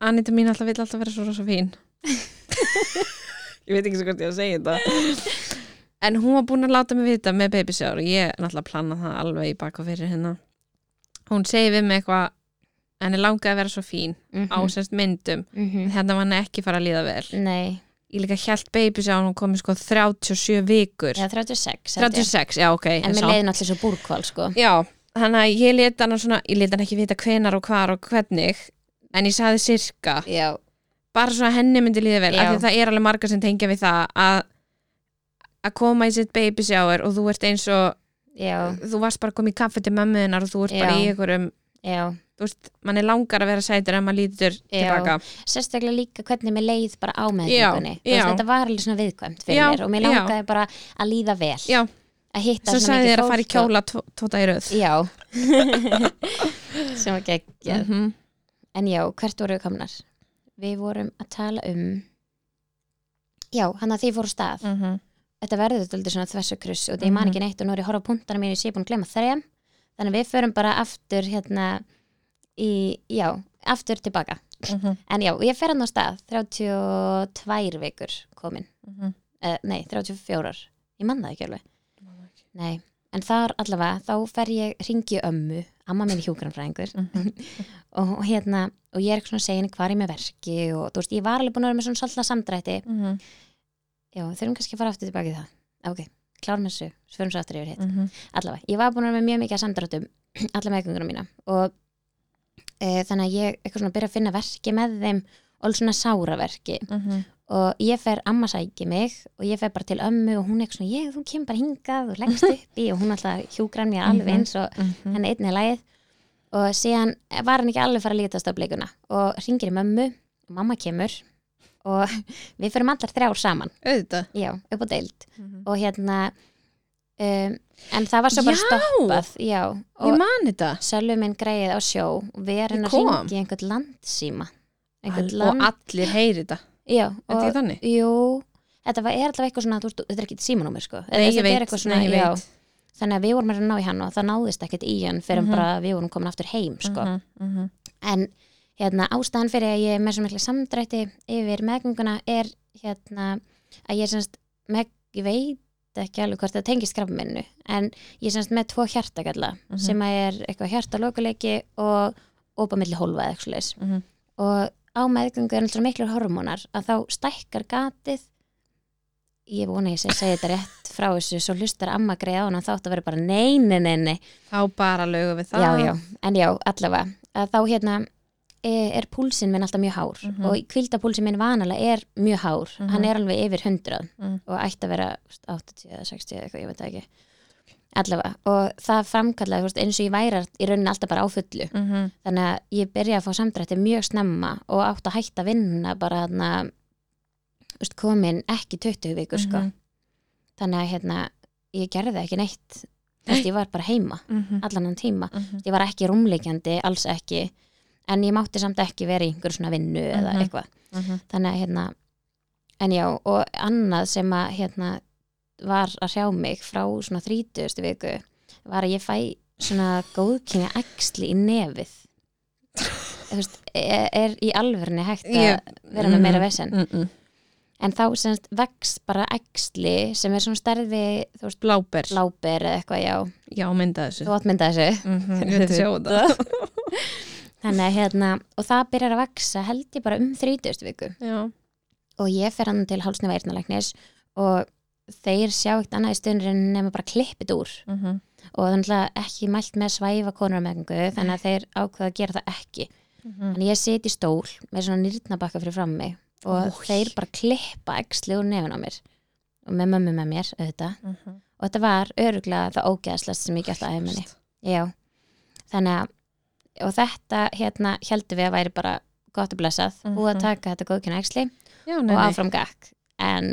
Speaker 2: Anita mín alltaf vill alltaf vera svo rosa fín Ég veit ekki svo hvort ég á að segja þetta En hún var búin að láta mig vita með babysjár og ég náttúrulega plana það alveg í bak og fyrir hérna Hún segir við mig eitthvað henni langaði að vera svo fín
Speaker 1: mm
Speaker 2: á sérst myndum
Speaker 1: -hmm.
Speaker 2: hérna var henni ekki fara að líða vel
Speaker 1: nei,
Speaker 2: Ég líka hjælt babysjár hún komið sko 37 vikur
Speaker 1: eða 36 held ég.
Speaker 2: 36, já ok
Speaker 1: en mér
Speaker 2: samt.
Speaker 1: leiði náttúrulega svo búrkval sko
Speaker 2: Já, þannig að ég leta hann svona, ég leta hann ekki vita hvenar og hvar og hvernig, en ég saði sirka,
Speaker 1: já,
Speaker 2: bara svona henni myndi líða vel,
Speaker 1: Já.
Speaker 2: af því að það er alveg margar sem tengja við það að að koma í sitt baby shower og þú ert eins og
Speaker 1: já,
Speaker 2: þú varst bara að koma í kaffi til mömmu hennar og þú ert bara
Speaker 1: Já.
Speaker 2: í einhverjum
Speaker 1: já
Speaker 2: þú veist, mann er langar að vera sætur en maður lítur tilbaka
Speaker 1: sérstaklega líka hvernig mér leið bara á
Speaker 2: Já,
Speaker 1: meðgöngunni Þú
Speaker 2: já.
Speaker 1: veist, þetta var alveg svona viðkvæmt fyrir
Speaker 2: Já,
Speaker 1: mér og mér
Speaker 2: já.
Speaker 1: langaði bara að líða vel
Speaker 2: Já.
Speaker 1: að hitta
Speaker 2: svo
Speaker 1: svona
Speaker 2: sagði þér
Speaker 1: mikið
Speaker 2: að fara í
Speaker 1: fólk og-
Speaker 2: kjóla tvo- tóta í röð
Speaker 1: Já sem var geggjað
Speaker 2: Mhm.
Speaker 1: En já, hvert vorum við komnar? Við vorum að tala um Já, hann að því fóru stað
Speaker 2: Mhm.
Speaker 1: Þetta verður þetta svona þvers og kruss og því ég man
Speaker 2: Mhm.
Speaker 1: ekki neitt og nú er ég að horfa á punktana mínu ég sé búin að glemma þrem Þannig að við förum bara aftur hérna í, já, aftur tilbaka
Speaker 2: Mhm.
Speaker 1: En já, ég fer hann á stað 32 vikur komin
Speaker 2: Mhm.
Speaker 1: uh, Nei, 34 Ég man það ekki alveg Nei, en þar allavega þá fer ég ringi ömmu, amma mín hjúkranfræðingur
Speaker 2: Mhm.
Speaker 1: og og hérna, og ég er svona að segja henni hvar ég er með verki og þú veist, ég var alveg búin að vera með svona svolítið samdrætti
Speaker 2: Mhm.
Speaker 1: já, þurfum kannski að fara aftur tilbaki í það Ah, ok, klárum þessu, svo förum svo aftur yfir hitt
Speaker 2: Mhm.
Speaker 1: allavega, ég var búin að vera með mjög mikið að samdráttum alla meðgönguna mína og e, þannig að ég eitthvað svona byrja að finna verki með þeim og alveg svona sáraverki
Speaker 2: Mhm.
Speaker 1: og ég fer amma sæki mig og ég fer bara til ömmu og hún er eitthvað svona ég, þú kemur bara hingað og leggst upp í og hún alltaf hjúgrar mér alveg
Speaker 2: Mhm.
Speaker 1: eins og
Speaker 2: Mhm.
Speaker 1: henni einnig lægið og síðan var hann ekki alveg fara að lítast á bleikuna og ringir í mömmu og mamma kemur og við förum allar þrjár saman
Speaker 2: auðvitað
Speaker 1: já, upp á deild
Speaker 2: Mhm.
Speaker 1: og hérna um, en það var svo bara
Speaker 2: Já!
Speaker 1: stoppað já,
Speaker 2: ég
Speaker 1: og
Speaker 2: man þetta
Speaker 1: Sölvi minn greið á sjó og við erum
Speaker 2: Ég
Speaker 1: að
Speaker 2: kom.
Speaker 1: ringi einhvern landsíma
Speaker 2: Al-
Speaker 1: einhvern
Speaker 2: og
Speaker 1: land
Speaker 2: allir heyri þetta
Speaker 1: já,
Speaker 2: Er þetta
Speaker 1: og,
Speaker 2: ekki þannig?
Speaker 1: jú, þetta var, er alltaf eitthvað svona þú, veist, þetta er ekki símanúmer sko Eða
Speaker 2: Nei,
Speaker 1: þetta
Speaker 2: ég
Speaker 1: er
Speaker 2: veit,
Speaker 1: eitthvað
Speaker 2: nei, ég
Speaker 1: já.
Speaker 2: veit
Speaker 1: þannig að við vorum að ná í hann og það náðist ekkert í hann fyrir
Speaker 2: Mhm.
Speaker 1: bara við vorum komin aftur heim sko
Speaker 2: Mhm, mhm.
Speaker 1: en hérna, ástæðan fyrir að ég er með svo miklu samdrætti yfir meðgönguna er hérna, að ég semst með, ég veit ekki alveg hvort það tengist krafminnu en ég semst með tvo hjartakalla
Speaker 2: Mhm.
Speaker 1: sem að er eitthvað hjartalokuleiki og opamilli hólfa eða eitthvað leis
Speaker 2: Mhm.
Speaker 1: og á meðgöngu er náttúrulega miklu hormónar að þá stækkar gatið ég vona að ég sé að segja þetta rétt frá þessu svo hlustar amma greið á hana þátt að vera bara nei, nei, nei, nei
Speaker 2: þá bara lögum við það
Speaker 1: já, já, en já, allavega að þá hérna eh, er púlsinn minn alltaf mjög hár
Speaker 2: Mhm.
Speaker 1: og kvildapúlsinn minn vanalega er mjög hár
Speaker 2: Mhm.
Speaker 1: hann er alveg yfir 100
Speaker 2: Mm.
Speaker 1: og ætti að vera þú veist, 80 eða 60 eða eitthvað, ég veit það ekki allavega, og það framkallaði þú veist, eins og ég væri í rauninni alltaf bara á fullu
Speaker 2: Mhm,
Speaker 1: þannig að ég byrja að fá samdrætti mjög snemma og átt að hætta að vinna bara þarna þú veist, komin ekki 20 vikur sko
Speaker 2: mhm,
Speaker 1: þannig að hérna, ég gerði ekki neitt þú veist, ég var bara heima
Speaker 2: mhm,
Speaker 1: allan hann tíma
Speaker 2: mhm.
Speaker 1: ég var ekki rúmleikjandi, alls ekki en ég mátti samt ekki vera í einhver svona vinnu eða
Speaker 2: Mhm.
Speaker 1: eitthvað, þannig að hérna en já, og annað sem að hérna var að hrjá mig frá svona 30. viku var að ég fæ svona góðkynja æxli í nefið Þú veist, er, er í alvörni hægt að
Speaker 2: Ég-
Speaker 1: vera með meira vesen
Speaker 2: mm -mm.
Speaker 1: en þá semst vex bara æxli sem er svona stærði þú veist,
Speaker 2: Bláber,
Speaker 1: bláber eða eitthvað, já
Speaker 2: já, mynda þessu
Speaker 1: þú átmynda þessu
Speaker 2: mm Ég veit að sjá þetta
Speaker 1: Þannig að hérna, og það byrjar að vaksa held ég bara um 30. viku
Speaker 2: Já,
Speaker 1: og ég fer hann til hálsnefa eyrnalæknis og þeir sjá ekkert annað í stundurinn nema bara klippið úr
Speaker 2: mhm
Speaker 1: og það er náttúrulega ekki mælt með að svæfa konurmeðingu þannig að þeir ákveða að gera það ekki
Speaker 2: Mhm.
Speaker 1: þannig að ég sit í stól með svona nýrnabakka fyrir fram mig og
Speaker 2: Ói.
Speaker 1: þeir bara klippa eksli úr nefn á mér og með mömmu með mér auðvitað
Speaker 2: mhm.
Speaker 1: og þetta var öruglega það ógeðslast sem ég gætt að heiminni Já, þannig að og þetta hérna heldum við að væri bara gott og blessað,
Speaker 2: Mhm.
Speaker 1: búið að taka þetta góðkynna æxli
Speaker 2: Já,
Speaker 1: og
Speaker 2: nei, nei.
Speaker 1: áfram gakk en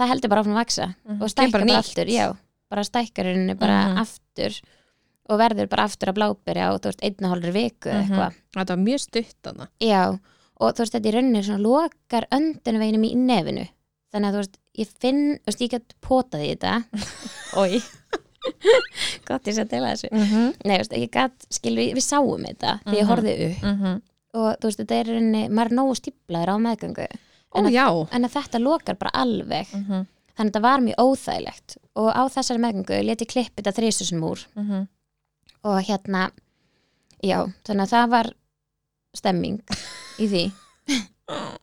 Speaker 1: það heldur bara áfram að vaksa
Speaker 2: Mhm.
Speaker 1: og
Speaker 2: Kemur
Speaker 1: stækkar bara
Speaker 2: nýtt.
Speaker 1: aftur já, bara stækkarinu bara
Speaker 2: Mhm.
Speaker 1: aftur og verður bara aftur að blábyrja og þú veist, einn og hálfur viku eða
Speaker 2: Mhm.
Speaker 1: eitthvað
Speaker 2: Þetta var mjög stutt hana
Speaker 1: já, og þú veist, þetta í rauninni svona lokar öndunveginum í nefinu þannig að þú veist, ég finn, þú veist, ég get potað í þetta oi gott ég sé að deila þessu Nei, þú veist, ég gat, skilur, við, við sáum þetta því ég
Speaker 2: Mhm.
Speaker 1: horfði upp og þú veist, þetta er í rauninni, maður er nógu stíplaður á meðgöngu
Speaker 2: Ó, já
Speaker 1: en að þetta lokar bara alveg
Speaker 2: Mhm,
Speaker 1: þannig að þetta var mjög óþægilegt og á þessari meðgöngu let ég klippi þetta þrísusum úr
Speaker 2: mhm.
Speaker 1: og hérna já, þannig að það var stemming í því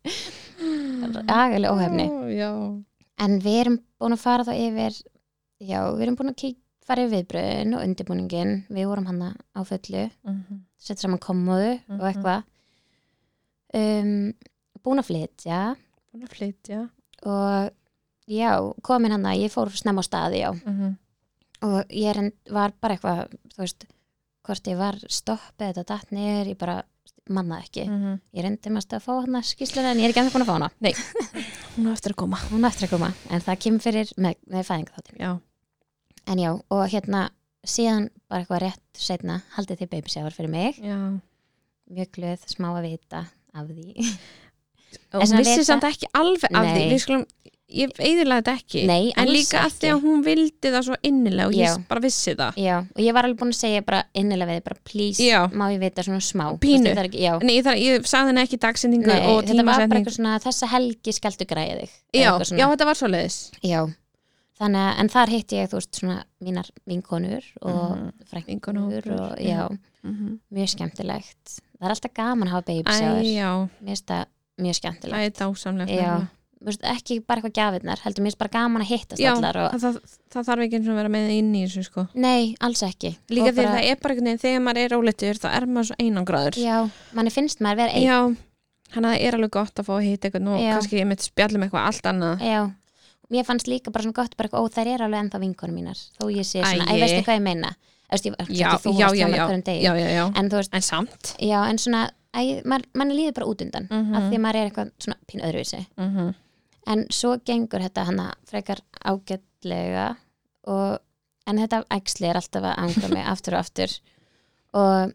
Speaker 2: Mm.
Speaker 1: agalega óhefni
Speaker 2: Mhm. Ó, Já
Speaker 1: en við erum búin að fara þá yfir já, við erum búin að kík, fara yfir viðbröðin og undirbúningin við vorum hana á fullu
Speaker 2: Mhm,
Speaker 1: setja saman komoðu og
Speaker 2: Mhm.
Speaker 1: eitthvað um, búin að flytja
Speaker 2: Búin að flytja
Speaker 1: og já, komin hann að ég fór snemma á staði já
Speaker 2: Mhm,
Speaker 1: og ég er, var bara eitthvað þú veist, hvort ég var stoppið þetta datt niður, ég bara manna ekki,
Speaker 2: mhm.
Speaker 1: ég reyndi mest að fá hana skýsluna en ég er ekki ennþá búin að fá hana
Speaker 2: Hún á eftir að koma
Speaker 1: hún á eftir að koma, en það kemur fyrir með, með fæðingaþáttin,
Speaker 2: Já,
Speaker 1: en já, og hérna síðan bara eitthvað rétt setna haldið þið baby shower fyrir mig,
Speaker 2: já
Speaker 1: mjög glöð smá að vita af því En
Speaker 2: og hún
Speaker 1: svona
Speaker 2: vissi
Speaker 1: vita-
Speaker 2: samt ekki alveg af því
Speaker 1: Nei.
Speaker 2: við skulum, ég eiðurlega þetta ekki
Speaker 1: Nei,
Speaker 2: en
Speaker 1: alls
Speaker 2: líka af því
Speaker 1: ekki.
Speaker 2: að hún vildi það svo innilega og ég
Speaker 1: Já.
Speaker 2: s- bara vissi það
Speaker 1: Já, og ég var alveg búin að segja bara innilega við þig, bara please,
Speaker 2: Já.
Speaker 1: má ég vita svona smá Þú
Speaker 2: Pínu.
Speaker 1: veist, þetta er ekki, Já,
Speaker 2: en ég, þar, ég sagði henni ekki dagsendingu
Speaker 1: nei,
Speaker 2: og
Speaker 1: þetta var bara
Speaker 2: tímasetning
Speaker 1: eitthvað svona þessa helgi skaltu græja þig
Speaker 2: já,
Speaker 1: Eitthvað
Speaker 2: já,
Speaker 1: svona.
Speaker 2: þetta var svoleiðis
Speaker 1: já Þannig að, en þar hitti ég, þú veist, svona mínar vinkonur og mm,
Speaker 2: Mhm.
Speaker 1: frængur
Speaker 2: Vinkonhópur,
Speaker 1: og,
Speaker 2: já.
Speaker 1: já, mjög skemmtilegt Það er alltaf gaman að hafa
Speaker 2: Æ,
Speaker 1: babysjáður Mér
Speaker 2: já,
Speaker 1: finnst það mjög skemmtilegt
Speaker 2: það er
Speaker 1: Já,
Speaker 2: dásamlegt nefnilega.
Speaker 1: Mér finnst ekki bara eitthvað gjafinnar, heldur mér finnst bara gaman að hittast
Speaker 2: já
Speaker 1: allar og,
Speaker 2: það, það, það þarf ekki eins og að vera með inn í þessu sko
Speaker 1: nei, alls ekki
Speaker 2: líka
Speaker 1: Og
Speaker 2: því
Speaker 1: bara-
Speaker 2: það er bara einhvern veginn þegar maður er óleittur þá er maður svo einangraður
Speaker 1: Já, manni finnst maður vera ein
Speaker 2: já hann að það er alveg gott að fá að hitta eitthvað og
Speaker 1: Já.
Speaker 2: kannski ég mitt spjallum eitthvað allt annað
Speaker 1: Já, mér fannst líka bara svona gott bara eitthvað, ó þær eru alveg ennþá vinkonum mínar þó ég sé svona,
Speaker 2: Æi.
Speaker 1: ég veistu hvað ég meina Æst, ég,
Speaker 2: já,
Speaker 1: þú
Speaker 2: já,
Speaker 1: varst
Speaker 2: já,
Speaker 1: hjá mér
Speaker 2: já,
Speaker 1: hverjum degi
Speaker 2: já, já, já.
Speaker 1: en þú veist,
Speaker 2: en samt
Speaker 1: já, en svona æ, maður, manni líður bara út undan
Speaker 2: Mhm.
Speaker 1: af því maður er eitthvað svona pín öðruvísi
Speaker 2: Mhm.
Speaker 1: en svo gengur þetta hana frekar ágætlega og, en þetta æxli er alltaf að anga mig aftur og aftur og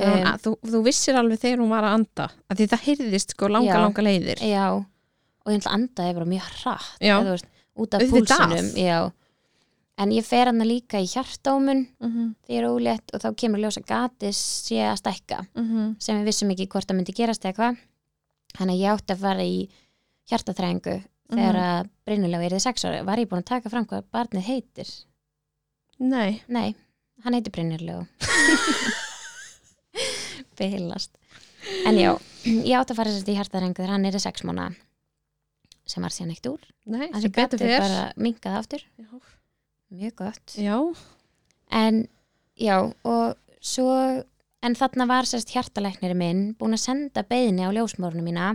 Speaker 2: Hún-
Speaker 1: um,
Speaker 2: að þú, þú vissir alveg þegar hún var að anda að því það heyrðist sko langa,
Speaker 1: Já.
Speaker 2: langa leiðir
Speaker 1: Já, og ég ætla að andaði bara mjög hratt
Speaker 2: Já.
Speaker 1: eða þú veist, út af
Speaker 2: Auðvitað.
Speaker 1: púlsunum já. en ég fer hann líka í hjartómun
Speaker 2: Mhm,
Speaker 1: því ég er ólétt og þá kemur ljósa gatis sé að stækka
Speaker 2: mhm,
Speaker 1: sem við vissum ekki hvort það myndi gerast eða hvað þannig að ég átti að fara í hjartatræðingu þegar
Speaker 2: Mhm.
Speaker 1: að brinnulega er þið sex ára var ég búin að taka fram hvað barnið heitir
Speaker 2: Nei,
Speaker 1: nei, hann heitir brinnulega behillast en já, ég átti að fara sérst í hjartatræðingu þegar hann er í sex mánu sem var síðan eitt úr
Speaker 2: nei,
Speaker 1: Að
Speaker 2: sem
Speaker 1: því gatið
Speaker 2: betur fer
Speaker 1: bara minkaði aftur,
Speaker 2: Já.
Speaker 1: mjög gott
Speaker 2: Já,
Speaker 1: en já og svo en þarna var sérst hjartalæknir minn búin að senda beðni á ljósmórnum mína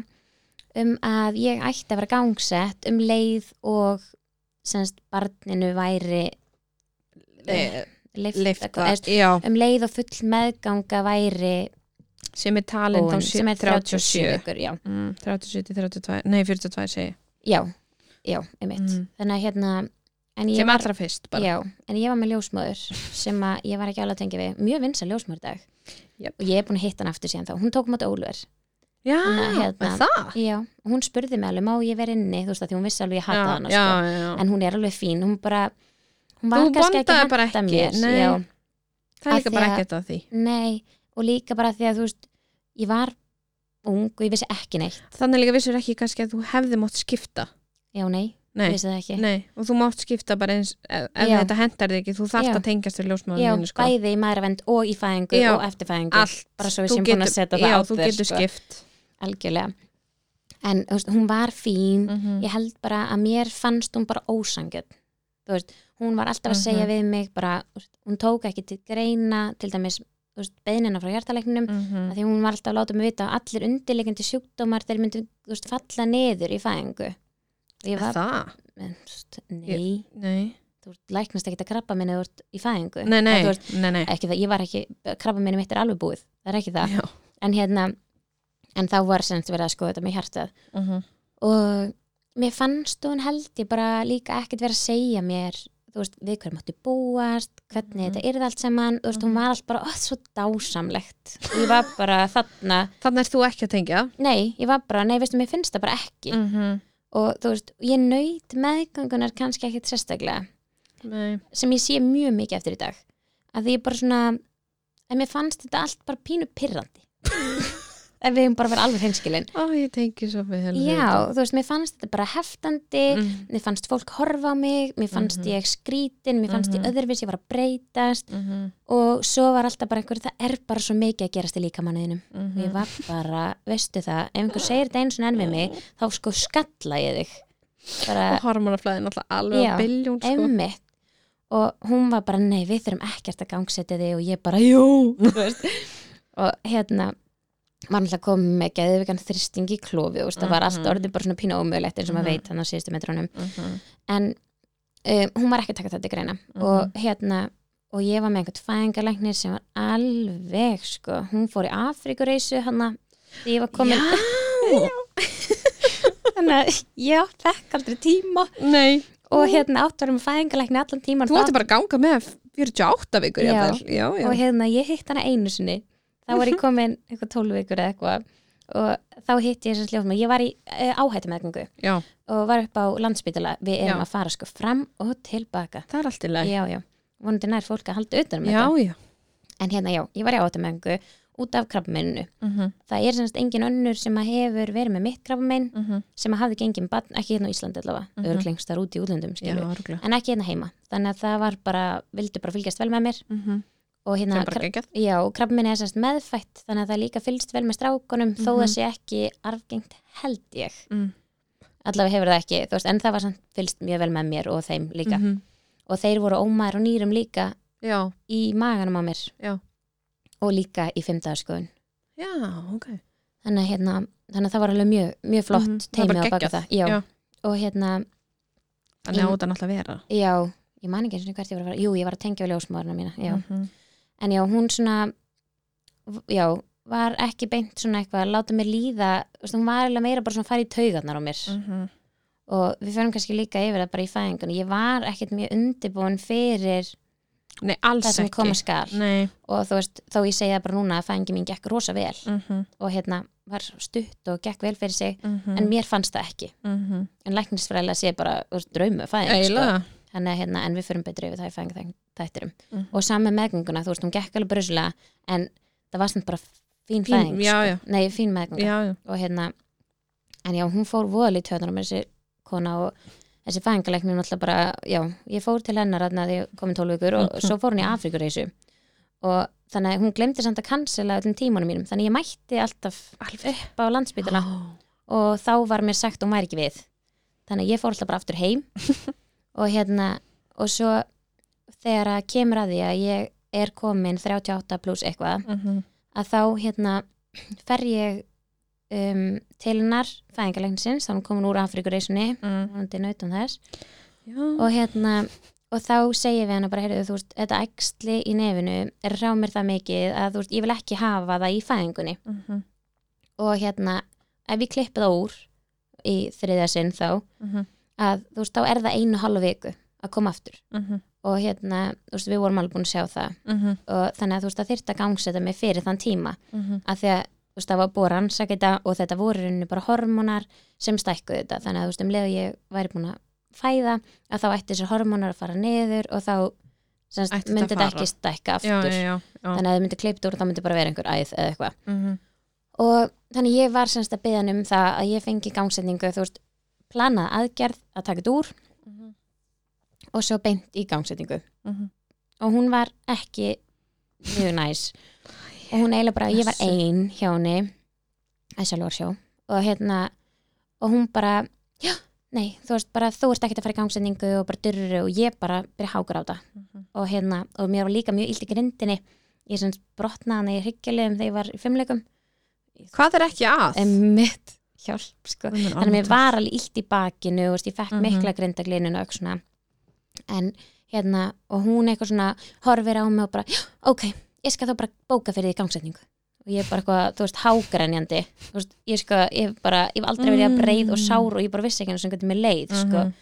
Speaker 1: um að ég ætti að vera gangsett um leið og semst barninu væri
Speaker 2: Le-
Speaker 1: leift,
Speaker 2: leifta
Speaker 1: eitthvað, eða,
Speaker 2: eh, Já,
Speaker 1: um leið og full meðganga væri
Speaker 2: sem er talin þá
Speaker 1: búin,
Speaker 2: sé-
Speaker 1: sem er 37
Speaker 2: 37
Speaker 1: vikur, já,
Speaker 2: Mm, 37 til 32, nei 42 segi ég.
Speaker 1: já, já einmitt,
Speaker 2: Mm.
Speaker 1: þannig að hérna en ég
Speaker 2: sem
Speaker 1: var-
Speaker 2: allra fyrst bara
Speaker 1: Já, en ég var með ljósmóður sem að ég var ekki alveg að tengja við, mjög vinsa ljósmóður dag
Speaker 2: Jöp.
Speaker 1: og ég er búin að hitta hann aftur síðan þá, hún tók mátt Ólver
Speaker 2: Já,
Speaker 1: Þannig að, hérna,
Speaker 2: er það?
Speaker 1: Já, og hún spurði mig alveg, má ég vera inni þú veist að því hún vissi alveg ég hata hana
Speaker 2: já,
Speaker 1: sko.
Speaker 2: já, já.
Speaker 1: en hún er alveg fín, hún bara hún var
Speaker 2: Þú
Speaker 1: kannski ekki
Speaker 2: bondaði
Speaker 1: að
Speaker 2: bara
Speaker 1: henta
Speaker 2: ekki,
Speaker 1: mér
Speaker 2: nei.
Speaker 1: já,
Speaker 2: það er
Speaker 1: af
Speaker 2: líka
Speaker 1: því
Speaker 2: bara
Speaker 1: að-
Speaker 2: ekkert að því.
Speaker 1: nei, og líka bara því að þú veist ég var ung og ég vissi ekki neitt
Speaker 2: Þannig líka vissur ekki kannski að þú hefði mátt skipta.
Speaker 1: já, nei,
Speaker 2: Nei,
Speaker 1: ég vissi það ekki
Speaker 2: nei, og þú mátt skipta bara eins, ef, ef
Speaker 1: Já.
Speaker 2: þetta hendar þig ekki, þú þarft
Speaker 1: Já.
Speaker 2: að tengjast við
Speaker 1: já,
Speaker 2: ljósmaðurinn, sko.
Speaker 1: bæði í maðuravend og í fæðingu
Speaker 2: Já,
Speaker 1: og eftirfæðingu
Speaker 2: Allt.
Speaker 1: bara svo við
Speaker 2: Þú
Speaker 1: séum búin að
Speaker 2: getur-
Speaker 1: setja það
Speaker 2: Já,
Speaker 1: á
Speaker 2: þú
Speaker 1: þér,
Speaker 2: getur
Speaker 1: sko.
Speaker 2: skipt.
Speaker 1: algjörlega en þú veist, hún var fín
Speaker 2: Mhm.
Speaker 1: ég held bara að mér fannst hún bara ósangjöld þú veist, hún var alltaf að segja
Speaker 2: Mhm.
Speaker 1: við mig bara, þú veist, hún tók ekki til greina til dæmis, þú veist, beinina frá hjartaleiknum
Speaker 2: Mhm.
Speaker 1: mm. því hún var alltaf að láta mig vita að allir undirleikandi sjúkdómar þeir myndu, þú veist, falla niður í fæðingu og ég var,
Speaker 2: Það?
Speaker 1: en, þú veist, nei
Speaker 2: Nei.
Speaker 1: þú veist, læknast ekki að krabba minni þú ert í fæðingu
Speaker 2: Nei, nei,
Speaker 1: Eða, þú veist,
Speaker 2: nei, nei.
Speaker 1: ekki það, ég var ekki, krabba minni mitt er alveg búið það er ekki það,
Speaker 2: Já.
Speaker 1: en hérna en þá var sem sagt verið að skoða þetta með hjartað
Speaker 2: Mhm.
Speaker 1: og mér fannst hún held ég bara líka ekkert vera að segja mér þú veist, við hverjum áttu búast hvernig
Speaker 2: Mhm.
Speaker 1: þetta yrði allt saman þú veist, hún var allt bara, ó, svo dásamlegt og Mhm. ég var bara þarna,
Speaker 2: Þannig er þú ekki að tengja.
Speaker 1: nei, ég var bara nei, veistu, mér finnst það bara ekki
Speaker 2: -hmm.
Speaker 1: og þú veist, ég nöyt meðgangunar kannski ekkert sérstaklega
Speaker 2: Nei.
Speaker 1: sem ég sé mjög mikið eftir í dag að því ég bara svona að mér fannst þetta allt bara pínu pirrandi ef við hefum bara verið alveg hreinskilin
Speaker 2: Ó, ég tengi svo vel.
Speaker 1: já, þú veist, mér fannst þetta bara heftandi
Speaker 2: Mm
Speaker 1: mér fannst fólk horfa á mig, mér fannst
Speaker 2: Mhm.
Speaker 1: ég skrítin, mér fannst
Speaker 2: Mhm.
Speaker 1: ég öðruvis, ég var að breytast
Speaker 2: -hmm.
Speaker 1: og svo var alltaf bara einhver, það er bara svo mikið að gerast í líkamanniðinum.
Speaker 2: Mm
Speaker 1: Mhm. Ég var bara, veistu það, ef einhver segir þetta eins og enn við mig, þá sko skalla ég þig. Bara,
Speaker 2: Og hormonaflæðin alltaf alveg
Speaker 1: Já,
Speaker 2: á biljón, sko.
Speaker 1: emmitt. Og hún var bara, nei, við þurfum ekkert að gangsetja þig og ég bara, jú, þú veist. og hérna, var alltaf komið með geðvikan þristing í klófi, þú veist, það var allt
Speaker 2: Mhm.
Speaker 1: orðið bara svona pínu ómögulegt eins og maður
Speaker 2: Mhm.
Speaker 1: veit hann á síðustu metrónum
Speaker 2: Mhm.
Speaker 1: en um, hún var ekki að taka þetta til greina og hérna og ég var með einhvern fæðingarlæknir sem var alveg sko, hún fór í Afrikureysu hann því ég var komin
Speaker 2: Já.
Speaker 1: þannig að ég fekk aldrei tíma
Speaker 2: Nei.
Speaker 1: og hérna áttu að vera með fæðingarlækni allan tíman
Speaker 2: Mm. Þú ætti bara að ganga með 48 vikur,
Speaker 1: Já.
Speaker 2: jafnvel. Já, já.
Speaker 1: og hérna ég hitt hana einu sinni þá var ég komin eitthvað 12 vikur eða eitthvað og þá hitti ég þess að ljófum ég var í uh, áhættu meðgöngu
Speaker 2: já.
Speaker 1: og var upp á landsbytala við erum
Speaker 2: Já.
Speaker 1: að fara sko fram og tilbaka
Speaker 2: Það er allt í lagi.
Speaker 1: já, já, vonandi nær fólk að halda utan um
Speaker 2: Já,
Speaker 1: þetta
Speaker 2: já.
Speaker 1: en hérna já, ég var í áttamengu út af krabbamenninu
Speaker 2: Mhm,
Speaker 1: það er semst engin önnur sem að hefur verið með mitt krabbamenn
Speaker 2: mhm.
Speaker 1: sem að hafði gengið bann, ekki hérna á Íslandi allavega mm
Speaker 2: Mhm.
Speaker 1: -hmm. örglengstar út í útlöndum
Speaker 2: Já,
Speaker 1: skilur,
Speaker 2: örgulega.
Speaker 1: en ekki hérna heima þannig að það var bara, vildu bara fylgjast vel með mér og
Speaker 2: Mhm, Það
Speaker 1: hérna,
Speaker 2: er bara geggjað.
Speaker 1: krab- já, krabbamenn er semst meðfætt þannig að það líka fylgst vel með strákunum þó
Speaker 2: Mhm.
Speaker 1: það sé ekki arfgengt held ég
Speaker 2: Mm.
Speaker 1: allavega hefur það ekki, þú veist, en það var samt fylgst mjög vel með mér og þeim líka
Speaker 2: Mhm.
Speaker 1: og þeir voru ómaður og nýrum líka
Speaker 2: Já,
Speaker 1: í maganum á mér
Speaker 2: Já.
Speaker 1: og líka í sko. fimmdagarskoðun
Speaker 2: já, ok.
Speaker 1: þannig að, hérna, þannig að það var alveg mjög, mjög flott
Speaker 2: Mhm.
Speaker 1: mm,
Speaker 2: Það er
Speaker 1: teimi
Speaker 2: bara
Speaker 1: á baka
Speaker 2: geggjað.
Speaker 1: það já.
Speaker 2: Já.
Speaker 1: og hérna,
Speaker 2: Þannig á þetta náttúrulega að vera.
Speaker 1: já, ég man ekki einu sinni hvert ég var að fara, jú, ég var að tengja við ljósmáðurna mína já.
Speaker 2: Mhm.
Speaker 1: en já, hún svona v- já, var ekki beint svona eitthvað að láta mér líða, þú veist, hún var alveg meira bara svona að fara í taugarnar á mér
Speaker 2: Mhm.
Speaker 1: og við förum kannski líka yfir það bara í fæðingunni ég var ekkert mjög undirbúin fyrir
Speaker 2: Nei, alls
Speaker 1: það sem
Speaker 2: ekki.
Speaker 1: koma skal
Speaker 2: Nei.
Speaker 1: og þú veist, þó ég segi það bara núna að fæðingi mín gekk rosa vel
Speaker 2: Mhm,
Speaker 1: og hérna var stutt og gekk vel fyrir sig
Speaker 2: mhm,
Speaker 1: en mér fannst það ekki
Speaker 2: mhm.
Speaker 1: en læknisfræðilega sé bara þú veist, draumu fæðing sko.
Speaker 2: Eiginlega.
Speaker 1: Þannig að, hérna, en við förum betur yfir það í fæðing þættirum
Speaker 2: Mhm.
Speaker 1: og saman með meðgönguna, þú veist, hún gekk alveg bruslega en það var samt bara fín,
Speaker 2: Fín-
Speaker 1: fæðing
Speaker 2: já,
Speaker 1: sko.
Speaker 2: já.
Speaker 1: nei, fín meðgönga
Speaker 2: Já, já.
Speaker 1: og hérna, en já, hún fór voðalí tjóðanum með þessi kona og þessi fæðingalæknir náttúrulega bara, já, ég fór til hennar þarna þegar ég kom í 12 vikur
Speaker 2: Mhm.
Speaker 1: og svo fór hún í Afrikureysu og þannig að hún glemdi samt að cancela öllum tímanum mínum, þannig að ég mætti alltaf
Speaker 2: Alveg.
Speaker 1: upp á landsbytala og þá var mér sagt hún væri ekki við þannig að ég fór alltaf bara aftur heim og hérna og svo þegar að kemur að því að ég er komin 38 pluss eitthvað
Speaker 2: Mhm.
Speaker 1: að þá hérna fer ég um, til hennar fæðingarlegnsins, þá er hún komin úr Afrikureysunni
Speaker 2: Mm.
Speaker 1: hún er nautum þess
Speaker 2: Já.
Speaker 1: og hérna og þá segir við hennar bara, heyrðu, þú veist, þetta æxli í nefinu er rá mér það mikið að þú veist, ég vil ekki hafa það í fæðingunni
Speaker 2: Mhm,
Speaker 1: og hérna, ef ég klippi það úr í þriðja sinn þá
Speaker 2: mhm,
Speaker 1: að þú veist, þá er það einu halva viku að koma aftur
Speaker 2: mhm,
Speaker 1: og hérna, þú veist, við vorum alveg búin að sjá það
Speaker 2: mhm,
Speaker 1: og þannig að þú veist, það þyrfti að gangseta mig fyrir þann tíma
Speaker 2: mhm.
Speaker 1: að því að þú veist, það var búið að rannsaka þetta og þetta voru í rauninni bara hormónar sem stækkuðu þetta þannig að þú veist, um leið og ég væri búin að fæða að þá ætti þessar hormónar að fara niður og þá
Speaker 2: Ætti
Speaker 1: semst,
Speaker 2: þetta
Speaker 1: myndi
Speaker 2: að
Speaker 1: þetta
Speaker 2: fara.
Speaker 1: ekki stækka aftur
Speaker 2: já, já, já, já.
Speaker 1: þannig að þau myndi kleipt úr og þá myndi bara vera einhver æð eða eitthvað
Speaker 2: Mm -hmm.
Speaker 1: og þannig ég var semst að byggja um það að ég fengi gangsetningu þú veist, planað aðgerð að taka þetta úr og svo beint í gangsetningu
Speaker 2: mhm,
Speaker 1: og hún var ekki mjög næs og hún eiginlega bara, ég var
Speaker 2: Blessuð.
Speaker 1: ein hjá henni að sjálfur sjó og hérna, og hún bara já, nei, þú veist bara þú ert ekkert að fara í gangsetningu og bara dyrru og ég bara byrja hákur á það
Speaker 2: Mhm.
Speaker 1: og hérna, og mér var líka mjög illt í grindinni ég sem brotnaði hana í hryggjulegum þegar ég var í fimmleikum
Speaker 2: Hvað er ekki að?
Speaker 1: emmitt hjálp, sko
Speaker 2: Guð minn
Speaker 1: þannig að mér
Speaker 2: almáttugur.
Speaker 1: var alveg illt í bakinu og veist, ég fekk
Speaker 2: Mhm.
Speaker 1: mikla grindaglinu og svona en hérna, og hún eitthvað svona horfir á mig og bara, "Já, ok, ég skal þá bara bóka fyrir því gangsetningu og ég er bara eitthvað, þú veist, hágrenjandi þú veist, ég sko, ég hef bara, ég hef aldrei verið að breið og
Speaker 2: Mm.
Speaker 1: sár og ég bara vissi ekki hvernig mér leið, sko
Speaker 2: Mhm.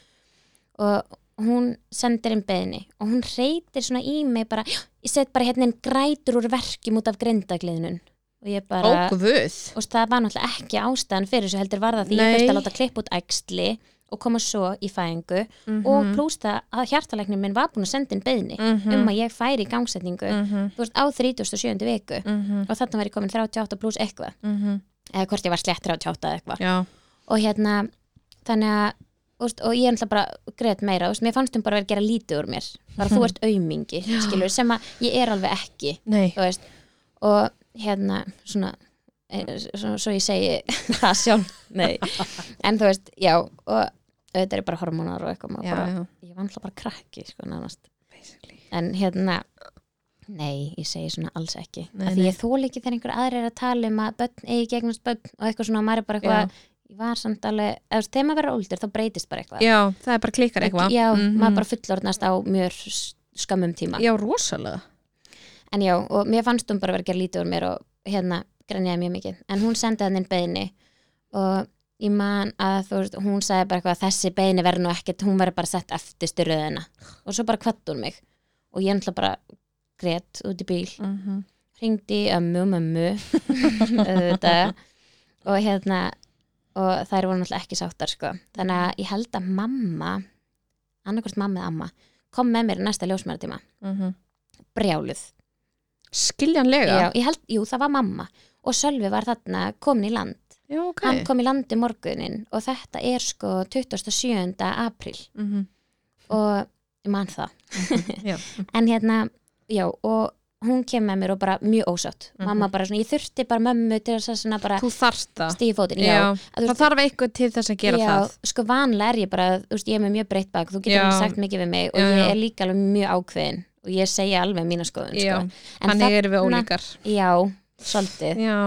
Speaker 1: og hún sendir inn beðinni og hún reytir svona í mig bara, "Já, ég set bara hérna inn grætur úr verkjum út af grindagliðnun og ég bara
Speaker 2: Ó, guð
Speaker 1: og það var náttúrulega ekki ástæðan fyrir þessu heldur var það því ég
Speaker 2: Nei.
Speaker 1: þurfti að láta klipp út æxli og koma svo í fæðingu og
Speaker 2: Mhm.
Speaker 1: plús það að hjartalæknir minn var búin að senda inn beðni
Speaker 2: Mm-hmm.
Speaker 1: um að ég færi í gangsetningu þú veist á 37. viku
Speaker 2: Mm-hmm.
Speaker 1: og þarna var ég komin 38 pluss eitthvað eða hvort ég var slett 38 eða eitthvað
Speaker 2: Já,
Speaker 1: og hérna þannig að þú veist, og ég er náttúrulega bara greið meira, þú veist, mér fannst um bara að vera að gera lítið úr mér bara þú ert aumingi, skilur, sem að ég er alveg ekki
Speaker 2: nei
Speaker 1: þú veist, og hérna svona, eh, svona svo ég segi það sjálf, nei en þú veist, já, og þetta er bara hormónar og eitthvað, maður
Speaker 2: Já,
Speaker 1: bara,
Speaker 2: já.
Speaker 1: ég var alltaf bara krakki, sko, nánast en hérna, nei, ég segi svona alls ekki,
Speaker 2: Nei,
Speaker 1: af því
Speaker 2: nei.
Speaker 1: ég þóla ekki þegar einhver aðri er að tala um að börn eigi gegnast börn og eitthvað svona, og maður er bara eitthvað ég var samt alveg, eða þú veist, þegar maður verður óldur þá breytist bara eitthvað,
Speaker 2: Já, það er bara klikkar eitthvað
Speaker 1: já,
Speaker 2: Mhm.
Speaker 1: maður bara fullorðnast á mjög s- skömmum tíma
Speaker 2: Já, rosalega
Speaker 1: En já, og mér fannst hún bara vera að gera lítið úr mér og hérna grenjaði mjög mikið. En hún sendi hann inn beðinni og ég man að þú veist, hún sagði bara eitthvað að þessi beðinni verður nú ekkert, hún verður bara sett eftir styrruðina. Og svo bara kvatt hún mig. Og ég ætla bara grét út í bíl,
Speaker 2: Mm-hmm.
Speaker 1: ringdi ömmu, mömmu, auðvitað. Og hérna, og þær voru náttúrulega ekki sáttar, sko. Þannig að ég held að mamma, annarkvort mamma eða amma, kom með mér í næsta ljósmæratíma, brjáluð.
Speaker 2: Mm-hmm. Skiljanlega
Speaker 1: Já, ég held, jú, það var mamma og Sölvi var þarna komin í land
Speaker 2: Já, ok
Speaker 1: hann kom í landi morgunin og þetta er sko 27. april
Speaker 2: Mhm.
Speaker 1: og ég man það
Speaker 2: Já.
Speaker 1: en hérna, já, og hún kem með mér og bara mjög ósátt
Speaker 2: Mhm.
Speaker 1: mamma bara svona, ég þurfti bara mömmu til þess að svona bara
Speaker 2: Þú þarft það
Speaker 1: stíði fótinn, já,
Speaker 2: Já,
Speaker 1: Að þú
Speaker 2: það
Speaker 1: veist-
Speaker 2: þarf eitthvað til þess að gera
Speaker 1: já,
Speaker 2: það
Speaker 1: sko vanlega er ég bara, þú veist, ég er með mjög breytt bak þú getur
Speaker 2: Já.
Speaker 1: alveg sagt mikið við mig og
Speaker 2: Já,
Speaker 1: ég
Speaker 2: já.
Speaker 1: er líka alveg mjög ákveðin og ég segja alveg mína skoðun,
Speaker 2: Já,
Speaker 1: sko En
Speaker 2: þannig
Speaker 1: þarna-
Speaker 2: erum við ólíkar
Speaker 1: já, svolítið
Speaker 2: Já,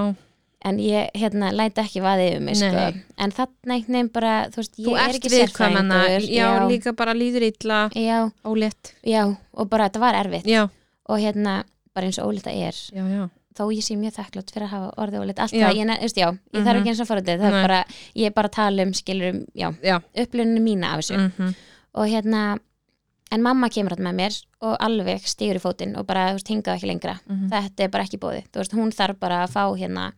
Speaker 1: en ég hérna læti ekki vaðið yfir mig sko.
Speaker 2: Nei.
Speaker 1: en þannig einhvern veginn bara þú veist, ég
Speaker 2: þú
Speaker 1: er
Speaker 2: ert
Speaker 1: ekki
Speaker 2: viðkvæmana
Speaker 1: sérfræðingur
Speaker 2: Já, líka bara líður illa
Speaker 1: já,
Speaker 2: Ólétt
Speaker 1: já, og bara þetta var erfitt
Speaker 2: Já, Mm-hmm.
Speaker 1: og hérna, bara eins og ólita er
Speaker 2: já, já
Speaker 1: þó ég sé mjög þakklátt fyrir að hafa orðið ólita allt
Speaker 2: Já. Mhm.
Speaker 1: það, ég, ne- þú veist, já, ég þarf ekki eins og fórhaldið það
Speaker 2: Nei.
Speaker 1: er bara, ég er bara að tala um skilurum, já,
Speaker 2: Já,
Speaker 1: uppluninu mína af þessu
Speaker 2: mhm.
Speaker 1: og hérna, en mamma kemur hann með mér og alveg stígur í fótinn og bara, þú veist, hingað ekki lengra
Speaker 2: Mhm.
Speaker 1: þetta er bara ekki bóði, þú veist, hún þarf bara að fá hérna,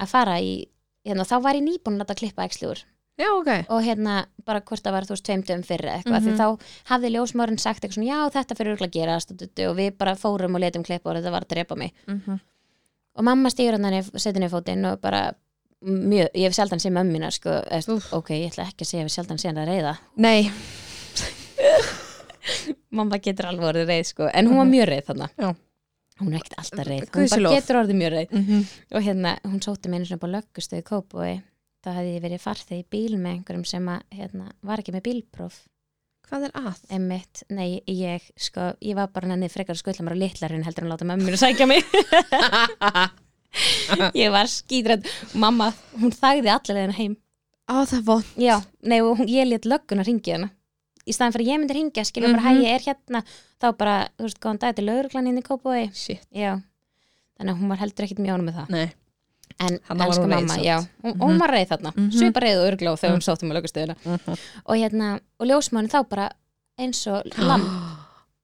Speaker 1: að fara í hérna, þá var ég nýbúin að láta klippa æxljúr
Speaker 2: já, ok
Speaker 1: og hérna bara hvort það var þú veist tveimtum fyrir eitthvað
Speaker 2: Mhm.
Speaker 1: því þá hafði ljósmórin sagt eitthvað svona já þetta fyrir örugglega að gera stundut, og við bara fórum og letum klipp og þetta var að drepa mig
Speaker 2: Mhm.
Speaker 1: og mamma stýr hann þannig setinni fótinn og bara mjög, ég hef sjaldan séð mömmina sko, eða, þú veist, ok, ég ætla ekki að segja ég hef sjaldan séð hann að reyða
Speaker 2: Nei,
Speaker 1: mamma getur alveg orðið reyð sko en hún var mjög reyð þarna
Speaker 2: Já.
Speaker 1: hún er ekkert alltaf reyð, hún
Speaker 2: Guði sé
Speaker 1: bara
Speaker 2: lof.
Speaker 1: getur orðið mjög reyð
Speaker 2: Mhm.
Speaker 1: og hérna, hún sótti mér einu svona bara löggustöðu kópói þá hefði ég verið farþið í bíl með einhverjum sem að, hérna, var ekki með bílpróf
Speaker 2: hvað er að?
Speaker 1: Emmitt, nei, ég sko, ég var bara nennið frekar að skvilla mér á litlarinn heldur en láta mömmu mér að sækja mig ég var skítrætt, mamma hún þagði allir leðina heim
Speaker 2: Á, það er vond
Speaker 1: já, nei, og hún, ég let lögguna ringja hana í staðan fyrir að ég myndi ringja, skilja bara hæ,
Speaker 2: Mhm.
Speaker 1: ég er hérna, þá bara, þú veist, góðan dag til lauruglan inn hérna í Kópói,
Speaker 2: Shit,
Speaker 1: já þannig að hún var heldur ekkit mjög ánum með það
Speaker 2: nei
Speaker 1: en
Speaker 2: Þarna var
Speaker 1: elsku
Speaker 2: hún reið
Speaker 1: mamma,
Speaker 2: samt.
Speaker 1: já, hún, hún var reið þarna mm
Speaker 2: Mhm.
Speaker 1: -hmm. svipa reið og örglá þegar hún sóttum að lögustöðuna
Speaker 2: Mhm.
Speaker 1: og hérna, og ljósmann þá bara eins og lamb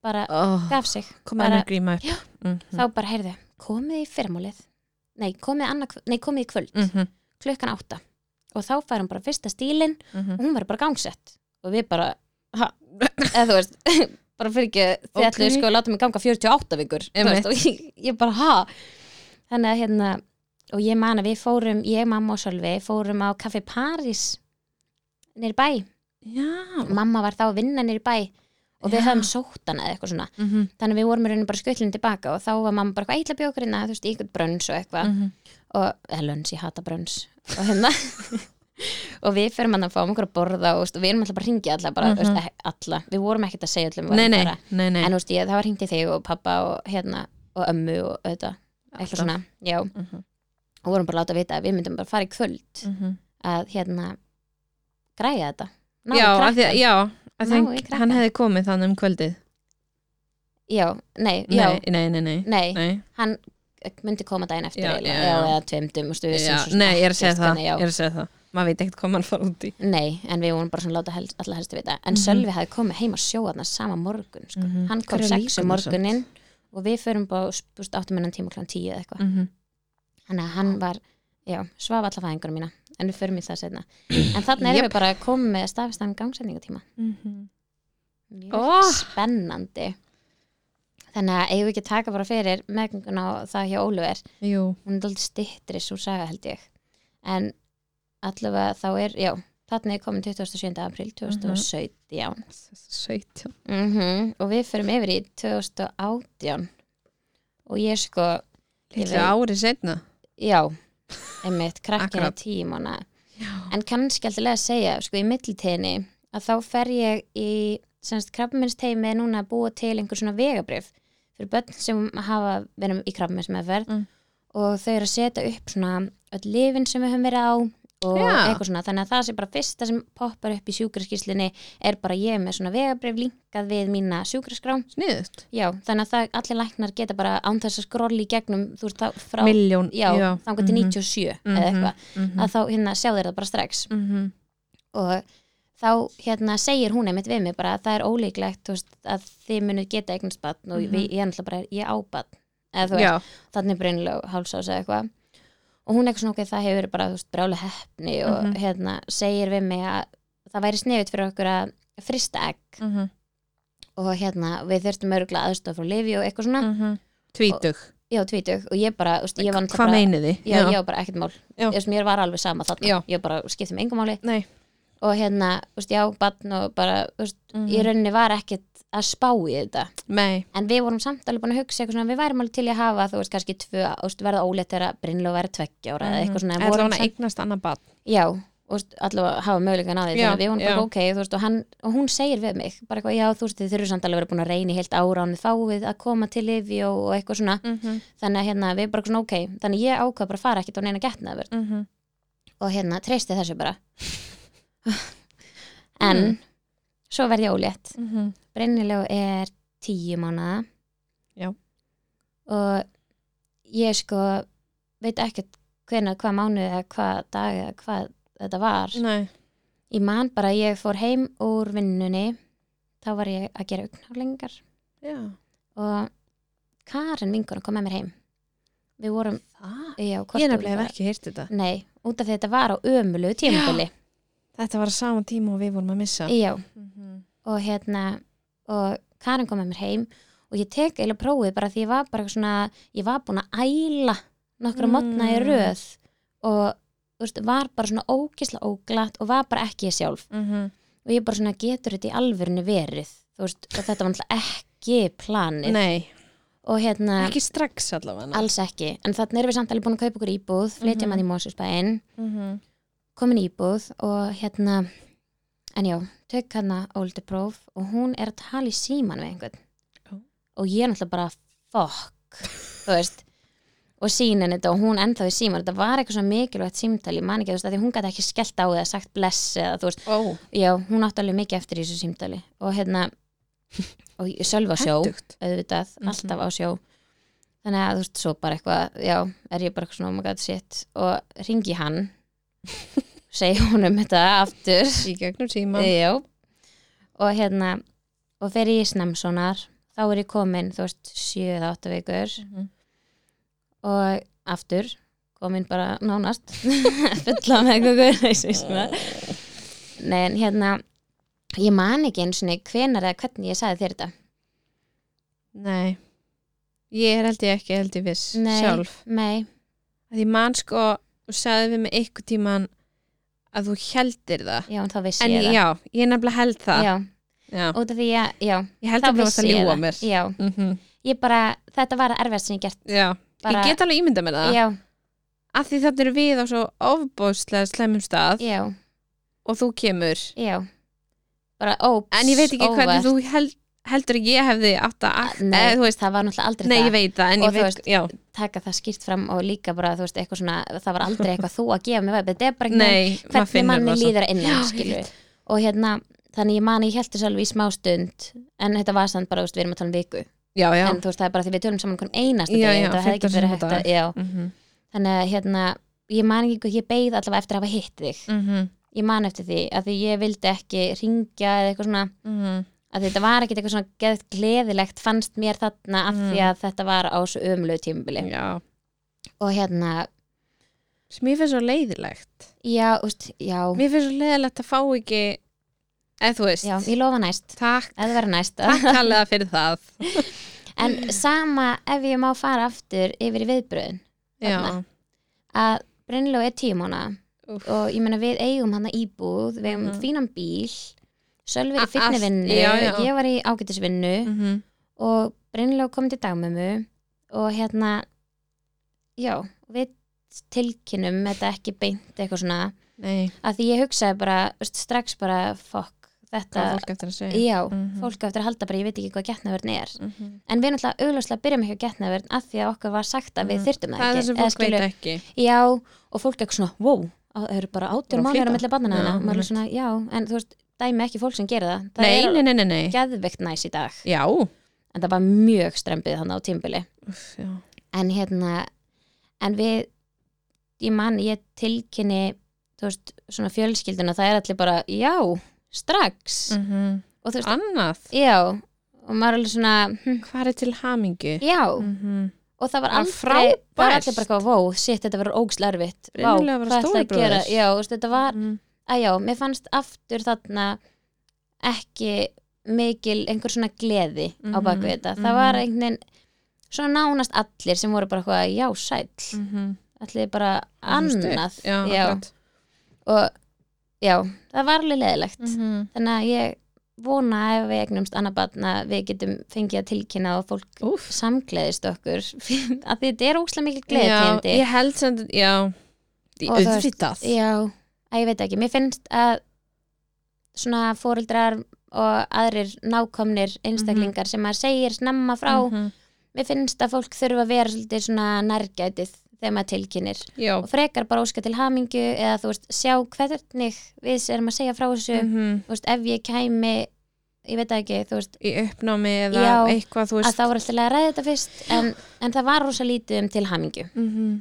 Speaker 1: bara
Speaker 2: oh, Mm.
Speaker 1: gaf sig
Speaker 2: kom
Speaker 1: bara-
Speaker 2: enn að gríma upp Mhm.
Speaker 1: þá bara, heyrðu, komið í fyrramálið nei, komið, anna, nei, komið í kvöld
Speaker 2: mm -hmm.
Speaker 1: klukkan átta og þá fær hann bara fyrsta stílinn
Speaker 2: Mm
Speaker 1: og hún var bara gangsett og við bara, ha, eða þú veist bara fyrir ekki, þið
Speaker 2: Ok.
Speaker 1: ætluðu sko að láta mig ganga 48 vikur þú
Speaker 2: Einmitt.
Speaker 1: veist, og ég, ég bara, ha þannig að hérna, og ég man að við fórum ég, mamma og Sölvi, fórum á Café Paris nýri bæ
Speaker 2: Já
Speaker 1: mamma var þá að vinna nýri bæ og við
Speaker 2: Já.
Speaker 1: höfum sótt hana eða eitthvað svona
Speaker 2: mm -hmm.
Speaker 1: þannig að við vorum í rauninni bara skutlinn tilbaka og þá var mamma bara eitthvað eitla bjókurina, hérna, þú veist, í ykkur brönns og
Speaker 2: Mhm.
Speaker 1: eitthvað og eða lönns, ég hata brönns og hérna og við fyrir mann að fáum okkur að borða og, þú veist, og við erum alltaf bara að ringja alla, bara, mm
Speaker 2: Mhm.
Speaker 1: veist, e- alla við vorum ekkert að segja öllum við
Speaker 2: Nei,
Speaker 1: vorum
Speaker 2: nei,
Speaker 1: bara-
Speaker 2: nei, nei
Speaker 1: en þú veist, ég, það var hringt í þig og pappa og hérna og ömmu og auðvitað eitthvað svona, já,
Speaker 2: Mhm.
Speaker 1: og vorum bara að láta vita að við myndum bara fara í kvöld
Speaker 2: Mhm.
Speaker 1: að hérna græja þetta Ná,
Speaker 2: Já,
Speaker 1: krakka.
Speaker 2: af því að, já af
Speaker 1: Ná,
Speaker 2: því hann,
Speaker 1: í krakkann.
Speaker 2: hann hefði komið þannig um kvöldið
Speaker 1: já, nei, já,
Speaker 2: Nei, nei, nei, nei,
Speaker 1: nei,
Speaker 2: nei.
Speaker 1: hann myndi koma daginn eftir
Speaker 2: Já,
Speaker 1: já, já,
Speaker 2: já, já.
Speaker 1: eða tveimdum, þú veist, við vissum
Speaker 2: Já,
Speaker 1: svo sem
Speaker 2: nei, ég er að segja
Speaker 1: ekkert
Speaker 2: það,
Speaker 1: hvernig, já.
Speaker 2: ég er að segja það Maður veit ekkert hvað mann fara út í
Speaker 1: Nei, en við vorum bara svona að láta helst, alla helst vita En
Speaker 2: Mhm.
Speaker 1: Sölvi hafði komið heim að sjóa þarna sama morgun sko.
Speaker 2: Mhm.
Speaker 1: Hann kom
Speaker 2: Hver er
Speaker 1: sex um
Speaker 2: líkurnar samt?
Speaker 1: morgunin og við förum bara spúst áttumennan tíma klán tíu eða eitthvað
Speaker 2: mm -hmm.
Speaker 1: Þannig að hann var, já, svafa alla fæðingunum mína En við förum í það setna En þannig erum við bara að koma með stafistan gangsetningatíma
Speaker 2: Mhm.
Speaker 1: Mjög
Speaker 2: Oh.
Speaker 1: spennandi Þannig að eigum við ekki að taka bara fyrir meðgönguna og það hjá Óluver
Speaker 2: Jú,
Speaker 1: hún er alltaf stittri svo saga held ég en allavega þá er, já þarna er komin 27. april 2017 mm
Speaker 2: 17
Speaker 1: Mhm. og við förum yfir í 2018 og ég sko, Ég
Speaker 2: Lítið
Speaker 1: veit.
Speaker 2: árið setna
Speaker 1: já einmitt, krakkinn er
Speaker 2: Akkurat.
Speaker 1: tímana en kannski alltaf leið að segja, sko í mittiltíðinni að þá fer ég í semst krabbaminnsteimi núna að búa til einhver svona vegabrif fyrir börn sem hafa verið í krabbamennsmeðferð
Speaker 2: Mm.
Speaker 1: og þau eru að setja upp svona öll lifin sem við höfum verið á og
Speaker 2: Já.
Speaker 1: eitthvað svona, þannig að það sem bara fyrsta sem poppar upp í sjúkraskíslinni er bara ég er með svona vegabrif linkað við mína sjúkraskrá,
Speaker 2: Sniðust
Speaker 1: já, þannig að það, allir læknar geta bara án þess að skrolli í gegnum þú veist þá frá,
Speaker 2: Miljón
Speaker 1: já, já.
Speaker 2: Mhm.
Speaker 1: þangar til 97 eða eitthvað,
Speaker 2: eitthvað
Speaker 1: að þá hérna sjá þeir það bara strax
Speaker 2: Mhm.
Speaker 1: og þá hérna segir hún einmitt við mig bara að það er ólíklegt þú veist, að þið munu geta eignast batn og
Speaker 2: Mhm.
Speaker 1: við, ég er náttúrulega bara, ég á batn eða þú veist,
Speaker 2: Já,
Speaker 1: þannig brunlega hálsás eða eitthvað og hún eitthvað svona okkur það hefur verið bara þú veist, brjálega heppni og
Speaker 2: Mhm.
Speaker 1: hérna segir við mig að það væri sniðut fyrir okkur að frista egg
Speaker 2: Mhm,
Speaker 1: og hérna við þurftum örgulega aðstof frá Livi og eitthvað svona,
Speaker 2: mhm. Tvítug
Speaker 1: já tvítug og ég bara, þú veist, ég var náttúrulega
Speaker 2: Hvað
Speaker 1: bara-
Speaker 2: meinið þið?
Speaker 1: Já, já, bara ekkert mál,
Speaker 2: Já.
Speaker 1: ég, veist, mér var alveg sama þarna,
Speaker 2: Já.
Speaker 1: ég bara skipti með engum máli
Speaker 2: Nei
Speaker 1: og hérna, þú veist, já, barn og bara, þú veist,
Speaker 2: Mhm.
Speaker 1: í rauninni var ekkert að spá í þetta
Speaker 2: Nei
Speaker 1: en við vorum samt alveg búin að hugsa eitthvað svona við værum alveg til í að hafa þú veist kannski tvö þú veist, verða ólétt þegar að brinnlega verða tveggja ára eða eitthvað svona en
Speaker 2: Mhm. Ætla
Speaker 1: vorum
Speaker 2: hann að
Speaker 1: samt,
Speaker 2: eignast annað bad
Speaker 1: já, og þú veist, allavega hafa möguleikann á því
Speaker 2: Já,
Speaker 1: þannig að við vorum bara
Speaker 2: já.
Speaker 1: ok þú veist, og, hann, og hún segir við mig bara eitthvað já þú veist þið þurfum samt alveg að vera búin að reyna í heilt ára án við fáið að koma til lifi og, og eitthvað svona þannig að hérna við bara svona ok þannig að ég ákvað bara að fara ekkert á neina getnaðverð og hérna treysti þessu bara en
Speaker 2: Mm.
Speaker 1: svo verð ég ólétt Brennilegu er tíu mánuða
Speaker 2: Já.
Speaker 1: og ég sko veit ekkert hvenær, hvað mánuð eða hvað dag eða hvað þetta var
Speaker 2: Nei
Speaker 1: ég man bara að ég fór heim úr vinnunni þá var ég að gera augnhálingar
Speaker 2: Já
Speaker 1: og Karen vingur kom með mér heim við vorum
Speaker 2: Það
Speaker 1: já,
Speaker 2: Ég nefnilega hef ekki heyrt þetta
Speaker 1: nei, út af því þetta var á ömulu tímabili
Speaker 2: Þetta var á sama tíma og við vorum að missa
Speaker 1: já,
Speaker 2: Mhm.
Speaker 1: og hérna og Karin kom með mér heim og ég tek eiginlega prófið bara því ég var bara eitthvað svona, ég var búin að æla nokkra mm.
Speaker 2: Mm.
Speaker 1: í röð og þú veist, var bara svona ókisla óglatt og var bara ekki ég sjálf
Speaker 2: Mhm.
Speaker 1: og ég bara svona getur þetta í alvörinu verið þú veist, og þetta var náttúrulega ekki planið
Speaker 2: Nei
Speaker 1: og hérna,
Speaker 2: Ekki strax allavega
Speaker 1: alls ekki en þannig erum við samt alveg búin að kaupa okkur íbúð flytja
Speaker 2: Mhm.
Speaker 1: maður í Mósusbæinn
Speaker 2: Mhm.
Speaker 1: komin í íbúð og hérna en já, tök hana óldi próf og hún er að tala í síman við einhvern
Speaker 2: Ó.
Speaker 1: og ég er náttúrulega bara fuck, þú veist og sínin þetta og hún ennþá í síman þetta var eitthvað svona mikilvægt símtal ég man ekki, þú veist, að því hún gæti ekki skellt á eða sagt bless eða þú veist,
Speaker 2: Ó,
Speaker 1: já, hún átti alveg mikið eftir í þessu símtali og hérna og ég sölva sjó
Speaker 2: hendugt
Speaker 1: auðvitað,
Speaker 2: Mhm.
Speaker 1: alltaf á sjó þannig að þú veist, svo bara eitthvað já, er ég bara eitthvað svona, oh my god, shit og ringi hann segi honum þetta aftur
Speaker 2: Í gegnum tíma
Speaker 1: já og hérna, og fer ég í snemsonar þá er ég komin, þú veist, sjö eða átta vikur
Speaker 2: Mhm.
Speaker 1: og aftur komin bara nánast fulla með eitthvað Nei, en hérna ég man ekki eins og hvenar eða hvernig ég sagði þér þetta
Speaker 2: Nei Ég er held ég ekki held ég viss
Speaker 1: Nei.
Speaker 2: sjálf
Speaker 1: Nei,
Speaker 2: að Því man sko og sagði við mig eitthvað tíman að þú heldir það
Speaker 1: já, en þá vissi
Speaker 2: En
Speaker 1: ég
Speaker 2: ég, já, ég nefnilega held
Speaker 1: það
Speaker 2: það
Speaker 1: Já,
Speaker 2: Já.
Speaker 1: út af því að, já,
Speaker 2: Ég held
Speaker 1: þá
Speaker 2: að þú varst
Speaker 1: vissi
Speaker 2: að
Speaker 1: ég
Speaker 2: ljúa
Speaker 1: það.
Speaker 2: mér
Speaker 1: Já,
Speaker 2: mm
Speaker 1: ég bara, þetta var erfiðast sem ég gert
Speaker 2: já.
Speaker 1: bara,
Speaker 2: Ég get alveg ímynda með það
Speaker 1: Já,
Speaker 2: að því þannig eru við á svo ofbóðslega slæmum stað
Speaker 1: já,
Speaker 2: og þú kemur
Speaker 1: já bara, óps,
Speaker 2: En ég veit ekki
Speaker 1: óvart.
Speaker 2: hvernig
Speaker 1: Ah,
Speaker 2: þú held, heldur að ég hefði átt að akt,
Speaker 1: Nei,
Speaker 2: eða, þú veist,
Speaker 1: það var náttúrulega aldrei
Speaker 2: nei,
Speaker 1: það
Speaker 2: ég veit það, en
Speaker 1: Og
Speaker 2: ég
Speaker 1: þú
Speaker 2: veit,
Speaker 1: veist,
Speaker 2: já,
Speaker 1: taka það skýrt fram og líka bara, þú veist, eitthvað svona, það var aldrei eitthvað þú að gefa mér vefið, þetta er bara einhvern veginn
Speaker 2: nei, maður
Speaker 1: hvernig
Speaker 2: finnur
Speaker 1: manni
Speaker 2: það
Speaker 1: líður að
Speaker 2: Já,
Speaker 1: innan,
Speaker 2: ég
Speaker 1: skilur við. og hérna, þannig ég mani, ég held þessu alveg í smá stund en þetta var samt bara, þú veist, við erum að tala um viku
Speaker 2: Já, já,
Speaker 1: en þú veist, það er bara því við tölum saman hvern einasta
Speaker 2: Já,
Speaker 1: degi,
Speaker 2: já,
Speaker 1: þetta hefði
Speaker 2: 15
Speaker 1: ekki verið
Speaker 2: sinnum á
Speaker 1: hægt að, já,
Speaker 2: Mhm,
Speaker 1: þannig að hérna ég man ekki hvað ég beið allavega eftir að hafa hitt þig
Speaker 2: Mhm,
Speaker 1: ég man eftir því, af því ég vildi ekki ringja eða eitthvað svona,
Speaker 2: mhm.
Speaker 1: að þetta var ekkit eitthvað svona geðt gleðilegt fannst mér þarna af
Speaker 2: Mm.
Speaker 1: því að þetta var á svo ömlu tímabili
Speaker 2: Já,
Speaker 1: og hérna,
Speaker 2: sem mér finnst svo leiðilegt
Speaker 1: já, úst, já
Speaker 2: Mér finnst svo leiðilegt að fá ekki eða þú veist,
Speaker 1: já, ég lofa næst,
Speaker 2: takk
Speaker 1: eða verið næst
Speaker 2: Takk allega fyrir það
Speaker 1: en sama ef ég má fara aftur yfir í viðbröðin
Speaker 2: Já,
Speaker 1: að Brynló er tímóna
Speaker 2: Úff.
Speaker 1: og ég meina við eigum hann að íbúð við eigum
Speaker 2: Mhm.
Speaker 1: fínan bíl Sölvi
Speaker 2: A-
Speaker 1: í fyrni
Speaker 2: allt,
Speaker 1: vinnu,
Speaker 2: já, já.
Speaker 1: ég var í ágætisvinnu
Speaker 2: mhm,
Speaker 1: og Brynló kom til dagmömmu og hérna já, við tilkynum þetta ekki beint eitthvað svona
Speaker 2: nei,
Speaker 1: að því ég hugsaði bara veist, strax bara, fokk, þetta
Speaker 2: hvað á fólk eftir að segja
Speaker 1: já,
Speaker 2: Mhm.
Speaker 1: fólk á eftir að halda bara, ég veit ekki hvað getnaverðin er
Speaker 2: Mhm.
Speaker 1: en við náttúrulega augljóslega byrjum ekki á getnaverðin af því að okkur var sagt að við
Speaker 2: Mhm.
Speaker 1: þyrtum það,
Speaker 2: Það er það
Speaker 1: ekki
Speaker 2: sem
Speaker 1: eða
Speaker 2: fólk veit ekki
Speaker 1: já, og fólk er eitthvað svona, wow á- það eru bara
Speaker 2: Bara
Speaker 1: átjör
Speaker 2: að
Speaker 1: mánuður á
Speaker 2: flytja.
Speaker 1: milli barnana
Speaker 2: Já,
Speaker 1: þarna, maður er
Speaker 2: einmitt.
Speaker 1: svona, já, en þú veist dæmi ekki fólk sem gera það, það
Speaker 2: Nei,
Speaker 1: er
Speaker 2: nei, nei, nei, nei
Speaker 1: geðveikt næs í dag
Speaker 2: Já,
Speaker 1: en það var mjög strempið hann á tímbili
Speaker 2: Úff, já.
Speaker 1: en hérna en við, ég man, ég tilkynni þú veist, svona fjölskylduna það er allir bara, já, strax
Speaker 2: Mhm.
Speaker 1: og þú veist,
Speaker 2: Annað
Speaker 1: já og maður er alveg svona, hm,
Speaker 2: Hvað er til hamingu?
Speaker 1: já
Speaker 2: Mhm.
Speaker 1: og það var
Speaker 2: Það var
Speaker 1: aldrei,
Speaker 2: frábært.
Speaker 1: það var allir bara eitthvað, vó, shit, þetta verður ógslarfitt vá,
Speaker 2: Brennilega að vera
Speaker 1: hvað ætla að
Speaker 2: stólibróðir.
Speaker 1: gera já, þú veist, þetta var,
Speaker 2: Mhm.
Speaker 1: að já, mér fannst aftur þarna ekki mikil einhver svona gleði á
Speaker 2: Mhm,
Speaker 1: baku þetta, það
Speaker 2: mhm.
Speaker 1: var einhvern veginn svona nánast allir sem voru bara eitthvað, já, sæll
Speaker 2: Mhm.
Speaker 1: allir bara
Speaker 2: Það er svona
Speaker 1: annað
Speaker 2: stutt. Já, akkurat.
Speaker 1: og já, það var alveg leðilegt þannig
Speaker 2: Mhm.
Speaker 1: að ég vona ef við egnumst annað barn að við getum fengið að tilkynna og fólk
Speaker 2: Úff.
Speaker 1: samgleðist okkur að þetta er óslega mikil
Speaker 2: Já,
Speaker 1: gleðitíðindi
Speaker 2: ég held sem já,
Speaker 1: Og þú veist,
Speaker 2: auðvitað
Speaker 1: já, að ég veit ekki, mér finnst að svona fóreldrar og aðrir nákomnir einstaklingar sem maður segir snemma frá,
Speaker 2: Mhm.
Speaker 1: mér finnst að fólk þurfa að vera svolítið svona nærgætið þegar maður tilkynir
Speaker 2: já,
Speaker 1: og frekar bara óska til hamingju eða þú veist, sjá hvernig við erum að segja frá þessu
Speaker 2: mhm.
Speaker 1: þú veist, ef ég kæmi ég veit það ekki, þú veist,
Speaker 2: í uppnámi eða
Speaker 1: Já,
Speaker 2: eitthvað þú
Speaker 1: að
Speaker 2: veist
Speaker 1: þá var alltaf að ræða þetta fyrst en, en það var rosa lítið um til hamingju
Speaker 2: mhm.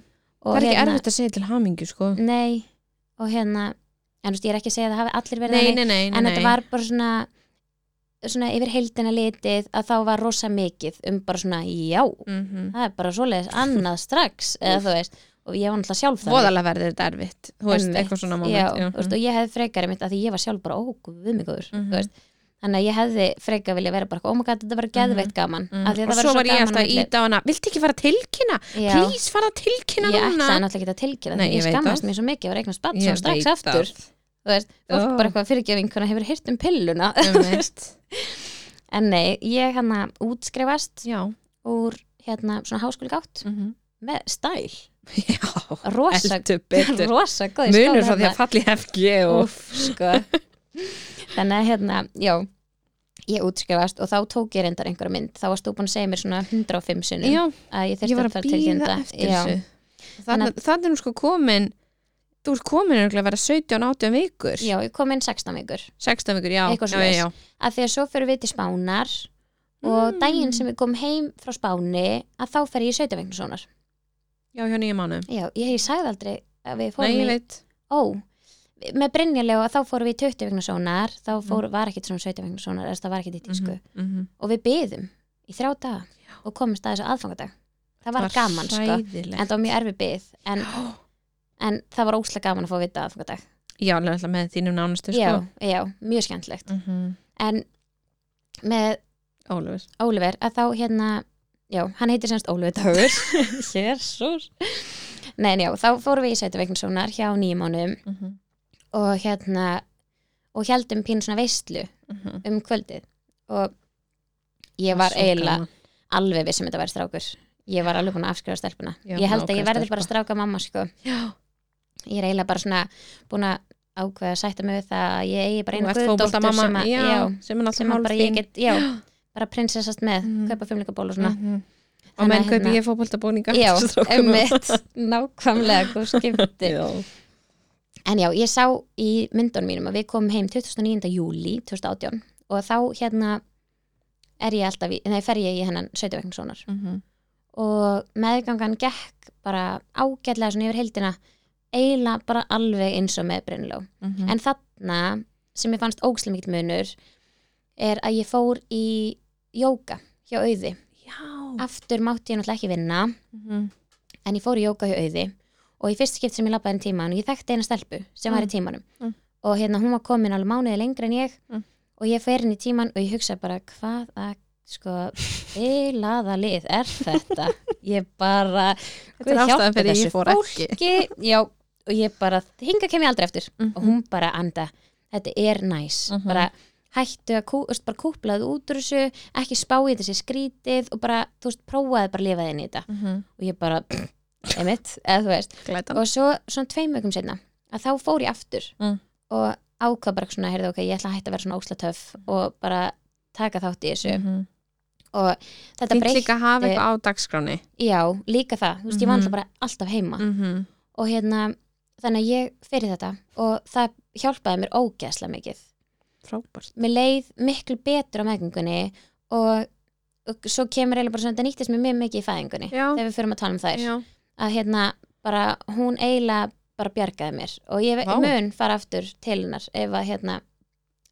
Speaker 1: og hérna-
Speaker 2: það er ekki erfitt að segja til hamingu sko
Speaker 1: nei, og hérna en þú veist, ég er ekki að segja að það hafi allir verið
Speaker 2: nei,
Speaker 1: þannig,
Speaker 2: nei, nei,
Speaker 1: en
Speaker 2: nei.
Speaker 1: þetta var bara svona svona yfir heildina litið að þá var rosa mikið um bara svona, já,
Speaker 2: Mhm.
Speaker 1: það er bara svoleiðis annað strax, eða þú veist og ég var náttúrulega sjálf þannig
Speaker 2: voðalega verður þetta erfitt þú veist,
Speaker 1: Einmitt.
Speaker 2: eitthvað svona
Speaker 1: já,
Speaker 2: moment
Speaker 1: þú veist, og ég hefði frekar einmitt að því ég var sjálf bara óguðmikur mm
Speaker 2: Mhm.
Speaker 1: -hmm. þannig að ég hefði frekar vilja vera bara ómaga þetta var geðveitt gaman mm
Speaker 2: Mhm. og svo var ég alltaf að íta á hana viltu ekki fara að tilkynna,
Speaker 1: Já.
Speaker 2: please fara að tilkynna
Speaker 1: ég
Speaker 2: núna
Speaker 1: ætlaði náttúrulega ekki að tilkynna
Speaker 2: Nei,
Speaker 1: því ég
Speaker 2: ég veit
Speaker 1: skammast
Speaker 2: það.
Speaker 1: mér svo mikið að regna spatt
Speaker 2: Ég
Speaker 1: svo strax
Speaker 2: veit
Speaker 1: aftur
Speaker 2: það.
Speaker 1: þú veist, fólk
Speaker 2: Ó.
Speaker 1: bara eitthvað fyrirgefing hvernig hefur hirt um pilluna
Speaker 2: Einmitt.
Speaker 1: en nei, ég hérna útskrifast
Speaker 2: já,
Speaker 1: úr hérna svona háskóli gátt
Speaker 2: mhm.
Speaker 1: með stæl,
Speaker 2: já
Speaker 1: rosa
Speaker 2: eldu betur
Speaker 1: rosa góði
Speaker 2: munur frá því
Speaker 1: hérna.
Speaker 2: að falli hefki og
Speaker 1: Úff, sko Þannig að hérna, já ég útskrifast og þá tók ég reyndar einhverja mynd þá varst þú búin að segja mér svona 105 sinnum
Speaker 2: já,
Speaker 1: að ég
Speaker 2: ég
Speaker 1: þurfti að
Speaker 2: var að
Speaker 1: fara til
Speaker 2: býða
Speaker 1: þetta
Speaker 2: eftir
Speaker 1: já,
Speaker 2: þessu
Speaker 1: Þannig
Speaker 2: þannig að er nú sko komin þú ert komin örugglega að vera 17-18 vikur
Speaker 1: já, ég kom inn 16 vikur
Speaker 2: 16 vikur, já,
Speaker 1: Eitthvað
Speaker 2: já,
Speaker 1: svoleiðis.
Speaker 2: já,
Speaker 1: að því að svo fyrir við til Spánar og
Speaker 2: Mm.
Speaker 1: daginn sem við komum heim frá Spáni að þá fer ég í 17 vegna svonar
Speaker 2: já, hjá nýja mánu
Speaker 1: já, ég, ég sagði aldrei að við
Speaker 2: nei,
Speaker 1: fórum
Speaker 2: ég
Speaker 1: í
Speaker 2: veit
Speaker 1: ó, með Brynjalegu að þá fórum við í 20 vegna svonar þá
Speaker 2: Mm.
Speaker 1: fór, var ekkit svona 17 vegna svonar það var ekkit í tísku
Speaker 2: Mhm, mhm.
Speaker 1: og við byðum í þrjá daga og komumst að þessu aðfangadag það það var gaman sko en
Speaker 2: Ræðilegt
Speaker 1: það var mjög erfi byð en, en það var óslega gaman að fá að vita að dag
Speaker 2: Já, alveg alltaf með þínum nánustu
Speaker 1: já,
Speaker 2: sko
Speaker 1: já, mjög skemmtilegt
Speaker 2: mm -hmm.
Speaker 1: en með
Speaker 2: Ólefis
Speaker 1: Óliver að þá hérna já, hann heitir semst Óliver Dagur Jésús Nei, en já, þá fórum við í sætuveikinsónar hjá nýjum mánuðum
Speaker 2: mm -hmm.
Speaker 1: og hérna og heldum pínu svona veistlu
Speaker 2: mhm.
Speaker 1: um kvöldið og ég var eiginlega alveg við sem þetta væri strákur ég var alveg búin að afskrifa stelpuna
Speaker 2: Já,
Speaker 1: ég held að
Speaker 2: nákvæmlega
Speaker 1: ég verði
Speaker 2: stelpa.
Speaker 1: bara stráka mamma sko.
Speaker 2: Já,
Speaker 1: ég er eiginlega bara svona búin að ákveða að sætta mig við það að ég eigi bara
Speaker 2: þú
Speaker 1: einu
Speaker 2: ert fótbolta
Speaker 1: guðdóttur sem
Speaker 2: mamma
Speaker 1: að, já,
Speaker 2: sem er
Speaker 1: sem
Speaker 2: náttúrulega
Speaker 1: að
Speaker 2: hálf
Speaker 1: bara
Speaker 2: þín
Speaker 1: ég get já, bara prinsessast með,
Speaker 2: Mhm.
Speaker 1: kaupa fimmleikaból og svona
Speaker 2: -hmm. Og
Speaker 1: Þannig
Speaker 2: menn
Speaker 1: að
Speaker 2: kaupi
Speaker 1: hérna-
Speaker 2: ég fótbolta bóninga
Speaker 1: Já, emmitt, nákvæmlega hvað skipti.
Speaker 2: Já,
Speaker 1: En já, ég sá í myndunum mínum að við komum heim 29. júli 2018 og þá hérna er ég alltaf, í, nei, fer ég í hennan 70 vegna svonar
Speaker 2: Mhm.
Speaker 1: og meðgangan gekk bara ágætlega svona yfir heildina eiginlega bara alveg eins og með Brynló.
Speaker 2: Mhm.
Speaker 1: En þarna sem ég fannst ógslega mikill munur er að ég fór í jóka hjá auði.
Speaker 2: Mm. já
Speaker 1: Aftur mátti ég náttúrulega ekki vinna
Speaker 2: Mhm.
Speaker 1: en ég fór í jóka hjá auði og í fyrst skipt sem ég labbaði en tíman og ég þekkti eina stelpu sem var í tímanum
Speaker 2: Mm.
Speaker 1: og hérna hún var komin alveg mánuði lengra en ég
Speaker 2: Mm.
Speaker 1: og ég fer inn í tíman og ég hugsa bara hvað að sko bilaða lið er þetta ég bara
Speaker 2: Þetta er
Speaker 1: Guð
Speaker 2: ástæðan
Speaker 1: hjálpi
Speaker 2: fyrir ég
Speaker 1: þessu
Speaker 2: fór ekki.
Speaker 1: fólki. já og ég bara hinga kem ég aldrei eftir
Speaker 2: Mhm.
Speaker 1: og hún bara anda þetta er næs
Speaker 2: Mhm.
Speaker 1: bara hættu að kú, þú veist, bara kúplaðu út úr þessu ekki spáið þessi skrítið og bara, þú veist, prófaði bara að lifa inn í þetta
Speaker 2: Mhm.
Speaker 1: og ég bara einmitt, eða þú veist
Speaker 2: Glætan
Speaker 1: og svo svona tveim mögum setna að þá fór ég aftur
Speaker 2: Mm.
Speaker 1: og ákvað bara svona, heyrðu ok, ég ætla að hætta að vera svona ósla töff og bara taka þátt í þessu
Speaker 2: Mhm.
Speaker 1: og þetta
Speaker 2: Mm. Fínt
Speaker 1: breytt, Eh,
Speaker 2: líka að hafa eitthvað á dagskráni
Speaker 1: já, líka það þú veist, ég var
Speaker 2: Mhm.
Speaker 1: alltaf bara alltaf heima
Speaker 2: -hmm.
Speaker 1: og hérna, þannig að ég fyrir þetta og það hjálpaði mér ógeðslega mikið
Speaker 2: Frábært
Speaker 1: mér leið miklu betur á meðgöngunni og, og svo kemur eiginlega bara svona, þetta nýttist mér mjög mikið í fæðingunni
Speaker 2: Já.
Speaker 1: þegar við förum að tala um þær að hérna bara hún eiginlega bara bjargaði mér og ég
Speaker 2: Vá.
Speaker 1: mun fara aftur til hennar ef að hérna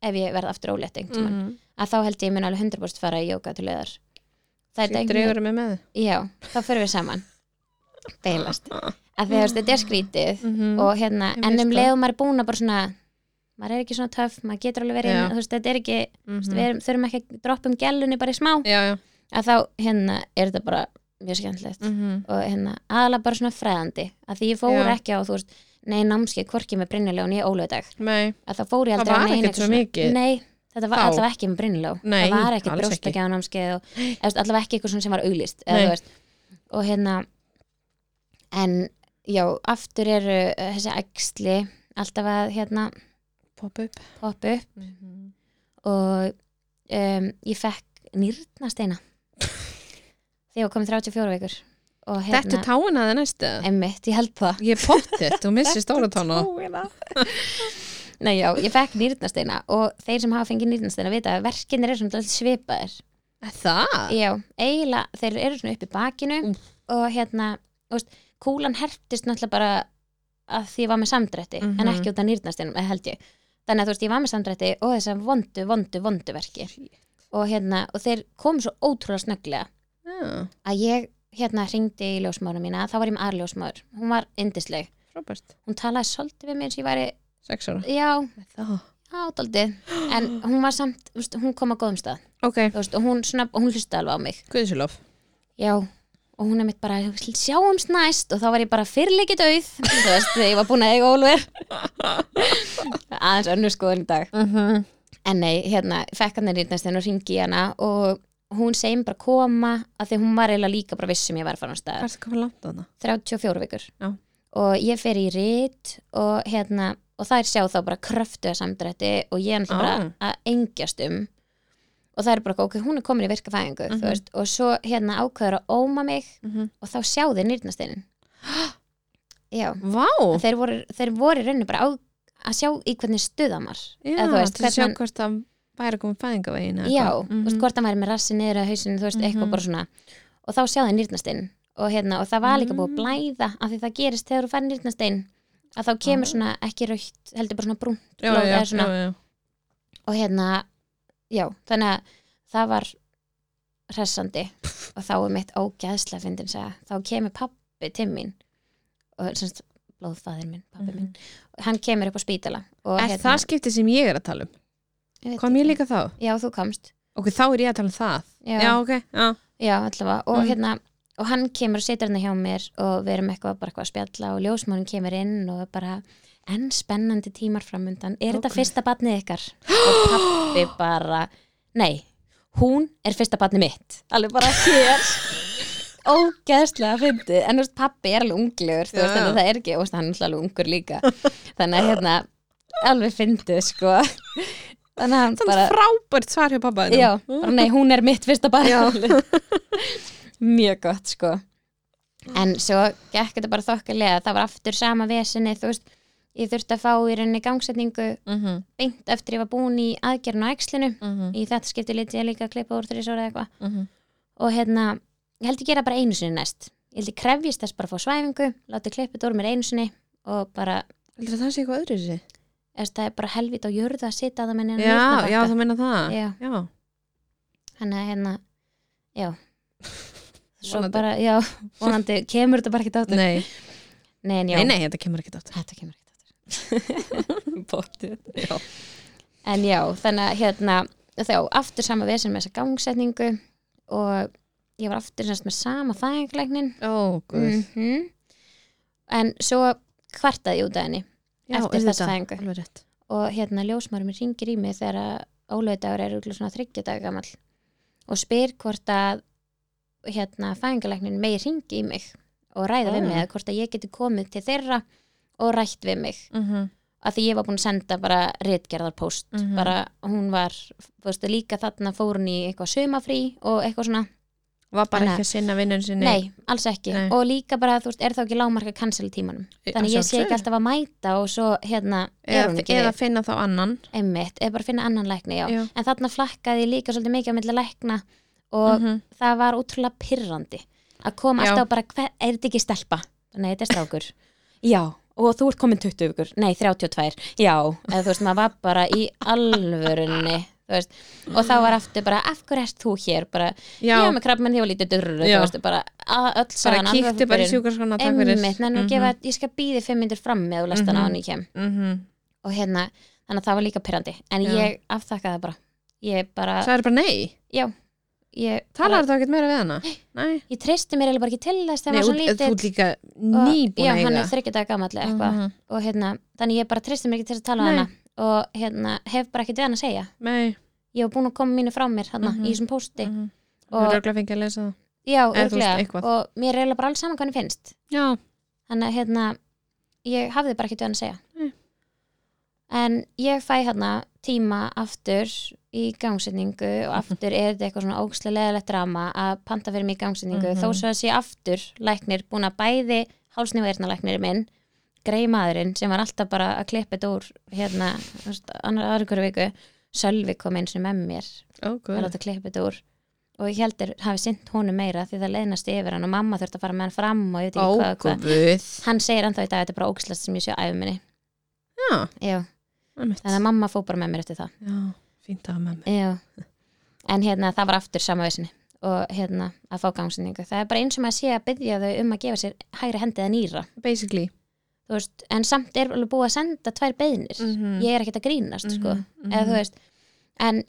Speaker 1: ef ég verð aftur ólétt einhvern tímann
Speaker 2: Mhm.
Speaker 1: að þá held ég mun alveg 100% fara í jóka til leðar það er
Speaker 2: Því
Speaker 1: einhvern
Speaker 2: dregur mig með
Speaker 1: já, þá fyrir við saman deilast að þegar þetta er skrítið
Speaker 2: þið
Speaker 1: og hérna,
Speaker 2: Mhm. Ég
Speaker 1: en
Speaker 2: veist
Speaker 1: um
Speaker 2: það.
Speaker 1: leiðum maður er búin að bara svona maður er ekki svona töff, maður getur alveg verið
Speaker 2: Já.
Speaker 1: inn- þú veist, þetta er ekki,
Speaker 2: mm
Speaker 1: mm. við erum, þurfum ekki að droppa um gælunni bara í smá,
Speaker 2: Já, já
Speaker 1: að þá hérna er þetta bara mjög skemmtilegt
Speaker 2: -hmm.
Speaker 1: og hérna, aðalega bara svona fræðandi að því ég fór
Speaker 2: Já.
Speaker 1: ekki á, þú veist, nei námskeið hvorki með Brynjaló né Ólaudag
Speaker 2: Nei,
Speaker 1: að það fór ég
Speaker 2: Það
Speaker 1: aldrei á
Speaker 2: var
Speaker 1: nein
Speaker 2: ekkert
Speaker 1: eitthvað
Speaker 2: svo
Speaker 1: svona-
Speaker 2: mikið
Speaker 1: nei, þetta var
Speaker 2: þá.
Speaker 1: allavega ekki með Brynjaló
Speaker 2: Nei,
Speaker 1: það var ekki
Speaker 2: alls ekki.
Speaker 1: brjóstakjáð námskeið og eða, þú veist, allavega ekki eitthvað svona sem var auglist eða,
Speaker 2: Nei.
Speaker 1: þú veist, og hérna en já, aftur eru uh, þessi æxli alltaf að hérna
Speaker 2: pop up
Speaker 1: poppu Mhm. og um, ég fekk nýrnasteina þegar ég var komin 34 vikur og
Speaker 2: Þetta
Speaker 1: hérna,
Speaker 2: er táin að það næstu
Speaker 1: emmitt, ég held það
Speaker 2: Ég pottir, þú missir stóra tánu
Speaker 1: Nei, já, ég fekk nýrnasteina og þeir sem hafa fengið nýrnasteina vita að verkinir eru svona dálítið svipaðir.
Speaker 2: Það?
Speaker 1: Já, eiginlega, þeir eru svona upp í bakinu
Speaker 2: Mm.
Speaker 1: og hérna, þú veist, kúlan herptist náttúrulega bara að því ég var með samdrætti, en
Speaker 2: Mhm.
Speaker 1: ekki út af nýrnasteinum, eða held ég. Þannig að þú veist, ég var með samdrætti og þess að vondu, vondu, vondu verki. Og hérna, og þeir komu svo ótrúlega snögglega
Speaker 2: Já,
Speaker 1: að ég, hérna, hringdi í ljósmára mína, þá var ég með aðljósmáður. Hún var indisleg.
Speaker 2: frábært
Speaker 1: Hún talaði svolítið við mér sem ég væri,
Speaker 2: Sex ára
Speaker 1: já,
Speaker 2: Það
Speaker 1: ádaldið, en hún var samt þú veist, hún kom á góðum stað
Speaker 2: Ok,
Speaker 1: þú veist, og hún, svona, hún hlusti alveg á mig
Speaker 2: guðsulof
Speaker 1: já, og hún er mitt bara þú veist, sjáumst um næst og þá var ég bara fyrrleikið auð þú veist, þegar ég var búin að eiga Ólver aðeins önnur skoðun í dag
Speaker 2: mm -hmm.
Speaker 1: en nei, hérna, fekk hann þeirri næst og ringi hana og hún segi mér bara að koma að því hún var eiginlega líka bara viss sem ég var að fara á stað
Speaker 2: Hvað er það komið langt á það?
Speaker 1: 34 vikur
Speaker 2: Já.
Speaker 1: og ég fer í rít og hérna og þær sjá þá bara kröftu að samdrætti og ég er náttúrulega
Speaker 2: Á.
Speaker 1: bara að engjast um og það er bara ok, hún er komin í virka fæðingu mm
Speaker 2: Mhm.
Speaker 1: veist, og svo hérna ákveður að óma mig
Speaker 2: Mhm.
Speaker 1: og þá sjá þeir nýrnasteinin já,
Speaker 2: Vá,
Speaker 1: en þeir voru, þeir voru í rauninni bara á, að sjá í hvernig stuðamar
Speaker 2: já,
Speaker 1: eða þú veist,
Speaker 2: til að sjá
Speaker 1: hvernig,
Speaker 2: hvort það væri komið fæðingavegin eða
Speaker 1: já,
Speaker 2: eitthvað.
Speaker 1: þú veist,
Speaker 2: Mhm.
Speaker 1: hvort hann væri með rassi niður að hausinu, þú veist, eitthvað
Speaker 2: Mhm.
Speaker 1: bara svona og þá sjá þeir nýrnastein og, hérna, og það var líka búið að
Speaker 2: Mm.
Speaker 1: blæða af því það gerist þegar þú fær nýrnastein að þá kemur
Speaker 2: Ah.
Speaker 1: svona ekki raukt, heldur bara svona brún
Speaker 2: já,
Speaker 1: blóð
Speaker 2: já,
Speaker 1: eða svona-
Speaker 2: já, já.
Speaker 1: og hérna, já, þannig að það var hressandi og þá er mitt ógæðslega fyndin segja, þá kemur pappi til mín og semst blóðfæðir minn, pappi minn hann kemur upp á spítala og
Speaker 2: Mhm.
Speaker 1: hérna-
Speaker 2: Er það skipti sem ég er að tala um?
Speaker 1: ég veit
Speaker 2: Kom ég
Speaker 1: ekki.
Speaker 2: líka þá?
Speaker 1: Já, þú komst
Speaker 2: Ok, þá er ég að tala um það.
Speaker 1: Já,
Speaker 2: Já,
Speaker 1: já.
Speaker 2: ok, já.
Speaker 1: allavega og
Speaker 2: Mhm.
Speaker 1: hérna og hann kemur og situr hérna hjá mér og við erum eitthvað bara eitthvað að spjalla og ljósmónin kemur inn og er bara enn spennandi tímar framundan er þetta
Speaker 2: Ókei.
Speaker 1: fyrsta batnið ykkar? og pappi bara nei, hún er fyrsta batnið mitt alveg bara hér ógeðslega fyndið en þú veist, pappi er alveg unglegur þú
Speaker 2: Já,
Speaker 1: veist, þannig
Speaker 2: já.
Speaker 1: að það er ekki, og hann er náttúrulega alveg ungur líka þannig að hérna alveg fyndið sko þannig að hann
Speaker 2: Þannig
Speaker 1: bara
Speaker 2: frábært svar hjá pappa þínum. Mhm.
Speaker 1: Já, bara nei, hún er mitt fyrsta barn Mjög gott, sko En svo gekk þetta bara þokkalega Það var aftur sama vesinni, þú veist Ég þurfti að fá í rauninni gangsetningu
Speaker 2: Mhm,
Speaker 1: beint eftir ég var búin í aðgerun á æxlinu
Speaker 2: mhm,
Speaker 1: Í þetta skipti liti ég líka að klippa úr þrjus eða eitthvað
Speaker 2: mhm.
Speaker 1: Og hérna, ég held ég gera bara einu sinni næst Ég held ég krefjist þess bara að fá svæfingu Láti klippa þetta úr mér einu sinni Og bara,
Speaker 2: Heldur að það sé eitthvað öðru sér?
Speaker 1: eða það er bara helvít á jörðu að sita að það menni
Speaker 2: Já, já, þú meina það.
Speaker 1: hérna Já.
Speaker 2: Já.
Speaker 1: þannig að hérna, já svo
Speaker 2: Vonandi.
Speaker 1: bara, já, vonandi kemur þetta bara ekki áttur,
Speaker 2: Nei,
Speaker 1: nei, en já
Speaker 2: nei, nei, þetta kemur ekki áttur.
Speaker 1: þetta kemur ekki áttur bóttið
Speaker 2: Já.
Speaker 1: en já, þannig að hérna þá, aftur sama vesen með þessa gangsetningu og ég var aftur semst með sama fæðinglæknin
Speaker 2: Ó, guð.
Speaker 1: mm en svo kvartaði ég út af henni
Speaker 2: Já,
Speaker 1: Eftir
Speaker 2: auðvitað,
Speaker 1: þessa fæðingu.
Speaker 2: Alveg rétt.
Speaker 1: og hérna ljósmarum ringir í mig þegar að ólöðdagur er úrlega svona þryggja dag gamall og spyr hvort að hérna fæðingalæknin megi ringi í mig og ræða við
Speaker 2: Ah.
Speaker 1: mig eða hvort að ég geti komið til þeirra og rætt við mig
Speaker 2: Mhm,
Speaker 1: að því ég var búin að senda bara réttgerðarpóst
Speaker 2: Mhm.
Speaker 1: bara hún var þú veist, líka þarna fór hún í eitthvað sumafrí og eitthvað svona,
Speaker 2: Var bara
Speaker 1: Þannig
Speaker 2: ekki að sinna vinnun sinni.
Speaker 1: nei, alls ekki
Speaker 2: Nei.
Speaker 1: og líka bara þú veist, er þá ekki lámarka cancel tímanum þannig að ég sé ekki alltaf að mæta og svo hérna er hún
Speaker 2: Eða,
Speaker 1: ekki
Speaker 2: eða
Speaker 1: við
Speaker 2: finna þá annan.
Speaker 1: einmitt, eða bara finna annan lækni, já.
Speaker 2: Já.
Speaker 1: En þarna flakkaði ég líka svolítið mikið á milli lækna og
Speaker 2: Mhm.
Speaker 1: það var útrúlega pirrandi að koma
Speaker 2: Já.
Speaker 1: alltaf bara, hver, er þetta ekki stelpa? Nei, þetta er strákur. já, og þú ert komin 20 vikur. Nei, 32. Já, eða þú veist, maður var bara í alvörunni, þú veist. Og þá var aftur bara, af hverju erst þú hér? Bara, já,
Speaker 2: Já,
Speaker 1: með krabmenn, ég var lítið durru,
Speaker 2: Já.
Speaker 1: þú veist, bara a- öll
Speaker 2: bara
Speaker 1: sagan.
Speaker 2: kíkti bara í sjúkarskona, takk fyrir.
Speaker 1: Einmitt, en
Speaker 2: Mhm,
Speaker 1: mm -hmm. ég skal býði 5 minnur fram með og lesta mm
Speaker 2: Mhm.
Speaker 1: -hmm. ég kem
Speaker 2: mhm.
Speaker 1: og hérna, þannig að það var líka pyrrandi en
Speaker 2: Já.
Speaker 1: ég aftakkaði það bara ég bara,
Speaker 2: Sagði bara nei.
Speaker 1: ég, bara,
Speaker 2: Talar það ekkert meira við hana? Nei.
Speaker 1: ég treysti mér eiginlega bara ekki til þess
Speaker 2: Nei,
Speaker 1: þegar hann var
Speaker 2: út-
Speaker 1: svo
Speaker 2: þú
Speaker 1: lítill
Speaker 2: ert líka
Speaker 1: og-
Speaker 2: nýbúin
Speaker 1: já,
Speaker 2: að eiga.
Speaker 1: hann er þryggja daga gamall eða eitthvað
Speaker 2: Mhm.
Speaker 1: og hérna, þannig ég bara treysti mér ekki til þess að tala
Speaker 2: Nei.
Speaker 1: við hana og hérna, hef bara ekkert við hana að segja
Speaker 2: Nei.
Speaker 1: ég var búin að koma mínu frá mér hana,
Speaker 2: Mhm.
Speaker 1: í þessum pósti
Speaker 2: Mhm. Þú
Speaker 1: og,
Speaker 2: er örglega fengið að lesa það.
Speaker 1: já,
Speaker 2: eða þú veist,
Speaker 1: örglega,
Speaker 2: eitthvað.
Speaker 1: og mér er eiginlega bara alls saman hvað hann finnst
Speaker 2: Já.
Speaker 1: þannig að hérna, ég hafði bara ekki til hann að segja
Speaker 2: Nei.
Speaker 1: en ég fæ hérna tíma aftur í gangsetningu og aftur er þetta eitthvað svona ókslega leðalegt drama að panta fyrir mig í gangsetningu
Speaker 2: Mhm.
Speaker 1: þó svo að sé aftur læknir búin að bæði hálsnývæðirna læknir minn grei maðurinn sem var alltaf bara að klippa þetta úr hérna þú veist, annar aðra hverju viku Sölvi kom eins og með mér
Speaker 2: Ó,
Speaker 1: að
Speaker 2: guð.
Speaker 1: láta klippa þetta úr og ég heldur hafi sint honum meira því það leðnast yfir hann og mamma þurfti að fara með hann fram og ég veit
Speaker 2: Ó,
Speaker 1: ekki hvað, og hvað
Speaker 2: guð.
Speaker 1: hann segir ennþá í dag að þetta er bara ógislast sem ég sé á æfuminni
Speaker 2: Já.
Speaker 1: já,
Speaker 2: einmitt.
Speaker 1: þannig að mamma fór bara með mér eftir það
Speaker 2: Já, fínt að hafa með mig.
Speaker 1: já. en hérna það var aftur sama vesinni og hérna að fá gangsinningu það er bara eins og maður sé að byggja þau um að gefa sér hægri hendi eða nýra
Speaker 2: Basically.
Speaker 1: þú veist, en samt er alveg búið að senda tvær beðnir
Speaker 2: Mhm.
Speaker 1: ég er ekkert að grínast sko.
Speaker 2: Mhm, mhm.
Speaker 1: eða þú veist en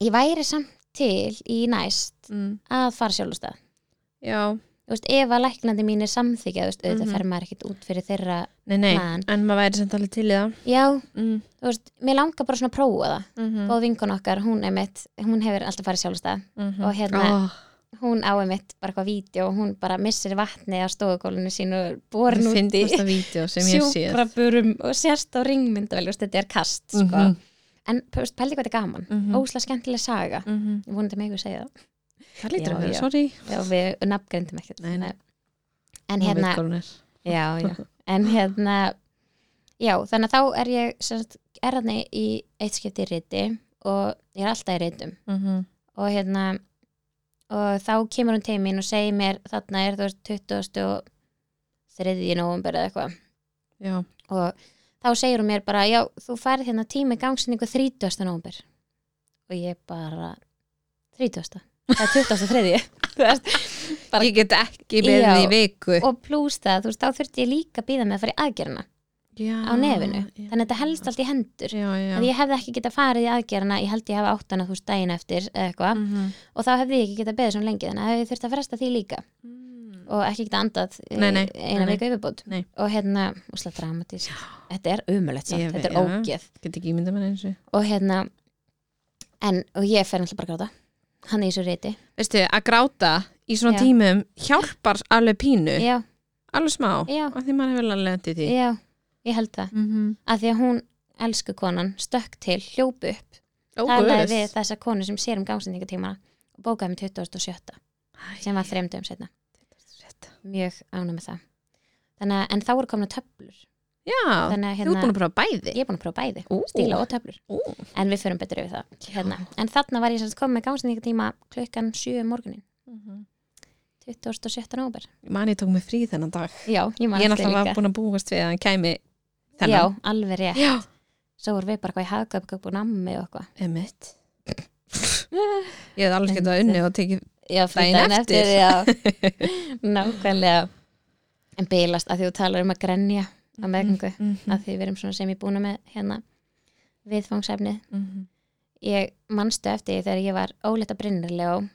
Speaker 1: ég væri samt til í næst
Speaker 2: Mm.
Speaker 1: að fara sjálfstað
Speaker 2: Já,
Speaker 1: þú veist, ef að læknandi mín er samþykja þú veist, auðvitað
Speaker 2: Mhm.
Speaker 1: fer maður ekkert út fyrir þeirra
Speaker 2: nei, nei,
Speaker 1: plan
Speaker 2: en maður væri samt alveg til í það.
Speaker 1: já,
Speaker 2: Mm.
Speaker 1: þú veist, mér langar bara svona að prófa það
Speaker 2: Mm
Speaker 1: góð vinkon okkar, hún er mitt hún hefur alltaf farið sjálfstæð
Speaker 2: Mhm.
Speaker 1: og hérna, hún á er mitt bara eitthvað vídeo og hún bara missir vatnið á stofugólinu sínu, borin
Speaker 2: Það
Speaker 1: út í
Speaker 2: finnst það vídeo sem ég sé.
Speaker 1: sjúkraburum og sérst á ringmyndavel þetta er kast, sko
Speaker 2: Mhm.
Speaker 1: en þú veist, pældi hvað þetta er gaman, mm
Speaker 2: Mhm.
Speaker 1: skemmtileg saga
Speaker 2: Mhm.
Speaker 1: ég vonandi megu að segja það
Speaker 2: Það lítur
Speaker 1: Já,
Speaker 2: að vera,
Speaker 1: já.
Speaker 2: sorry.
Speaker 1: já, við nafngrindum ekkert
Speaker 2: Nei, nei.
Speaker 1: en
Speaker 2: Hún veit
Speaker 1: hérna,
Speaker 2: hvað hún er.
Speaker 1: já, já en hérna já, þannig að þá er ég sem sagt, er hérna í eitt skipti í riti og ég er alltaf í ritum
Speaker 2: Mhm.
Speaker 1: og hérna og þá kemur hún til mín og segir mér þarna er þú veist 20. og 3. november eða eitthvað
Speaker 2: Já,
Speaker 1: og þá segir hún mér bara já, þú færð hérna tími gangsinningu 30. november og ég bara 30. það er 23. Þú veist, Bara-
Speaker 2: Ég get ekki beðið
Speaker 1: Já.
Speaker 2: í viku
Speaker 1: og plús það, þú veist, þá þurfti ég líka að býða með að fara í aðgerðina
Speaker 2: já,
Speaker 1: á nefinu
Speaker 2: já.
Speaker 1: þannig að þetta helst allt í hendur
Speaker 2: Já, já.
Speaker 1: að ég hefði ekki getað farið í aðgerðina ég held ég hafa átt hana þú veist daginn eftir eða eitthvað
Speaker 2: Mhm.
Speaker 1: og þá hefði ég ekki getað beðið svona lengi þannig að ég þurfti að fresta því líka
Speaker 2: Mhm.
Speaker 1: og ekki getað andað eh,
Speaker 2: Nei, nei,
Speaker 1: eina
Speaker 2: nei, nei.
Speaker 1: viku yfirbútt
Speaker 2: Nei.
Speaker 1: og hérna, úslega dramatísk þetta er umulett samt,
Speaker 2: Ég
Speaker 1: þetta er
Speaker 2: veit, já.
Speaker 1: ógeð
Speaker 2: Get ekki ímynda mér eins og
Speaker 1: og hérna, en og ég fer alltaf bara að gráta hann er í svo reyti
Speaker 2: Veistu, að gráta í svona
Speaker 1: Já.
Speaker 2: tímum hjálpar alveg pínu,
Speaker 1: já,
Speaker 2: alveg smá
Speaker 1: Já.
Speaker 2: af því maður hefur alveg lendið því
Speaker 1: já, ég held það
Speaker 2: mm -hmm.
Speaker 1: að því að hún, elsku konan, stökk til hljóp upp
Speaker 2: Ó,
Speaker 1: talaði
Speaker 2: guðs.
Speaker 1: við þessa konu sem sér um gangsendingatímana og bókaði um 2007 sem var þreymdum setna mjög ánum með það þannig að, en þá eru komin töflur
Speaker 2: Já,
Speaker 1: þannig að
Speaker 2: þú ert
Speaker 1: hérna,
Speaker 2: búin að prófa bæði
Speaker 1: ég er búin að prófa bæði
Speaker 2: Ú.
Speaker 1: stíla og töflur,
Speaker 2: Ú,
Speaker 1: en við förum betur yfir það hérna. en þarna var ég sem sagt komin með gangsendingatíma klukkan 7 um morgunin 2017 óber
Speaker 2: Man ég tók mig frí þennan dag
Speaker 1: já, ég man
Speaker 2: Ég
Speaker 1: eftir
Speaker 2: náttúrulega var
Speaker 1: líka.
Speaker 2: búin að búast við að hann kæmi
Speaker 1: já,
Speaker 2: þennan
Speaker 1: alveg rétt,
Speaker 2: Já.
Speaker 1: svo vorum við bara hvað í hagkaup og nammi og eitthvað
Speaker 2: Emmett Ég hefði alveg getað að unni og tekið
Speaker 1: Já,
Speaker 2: Daginn
Speaker 1: frídaginn
Speaker 2: eftir.
Speaker 1: eftir, já. Nákvæmlega En bilast að því þú talar um að grenja á meðgöngu,
Speaker 2: Mhm,
Speaker 1: að því við erum svona sem ég búin með hérna viðfangsefnið
Speaker 2: mhm.
Speaker 1: Ég manstu eftir því þegar ég var óleita brinnirlega og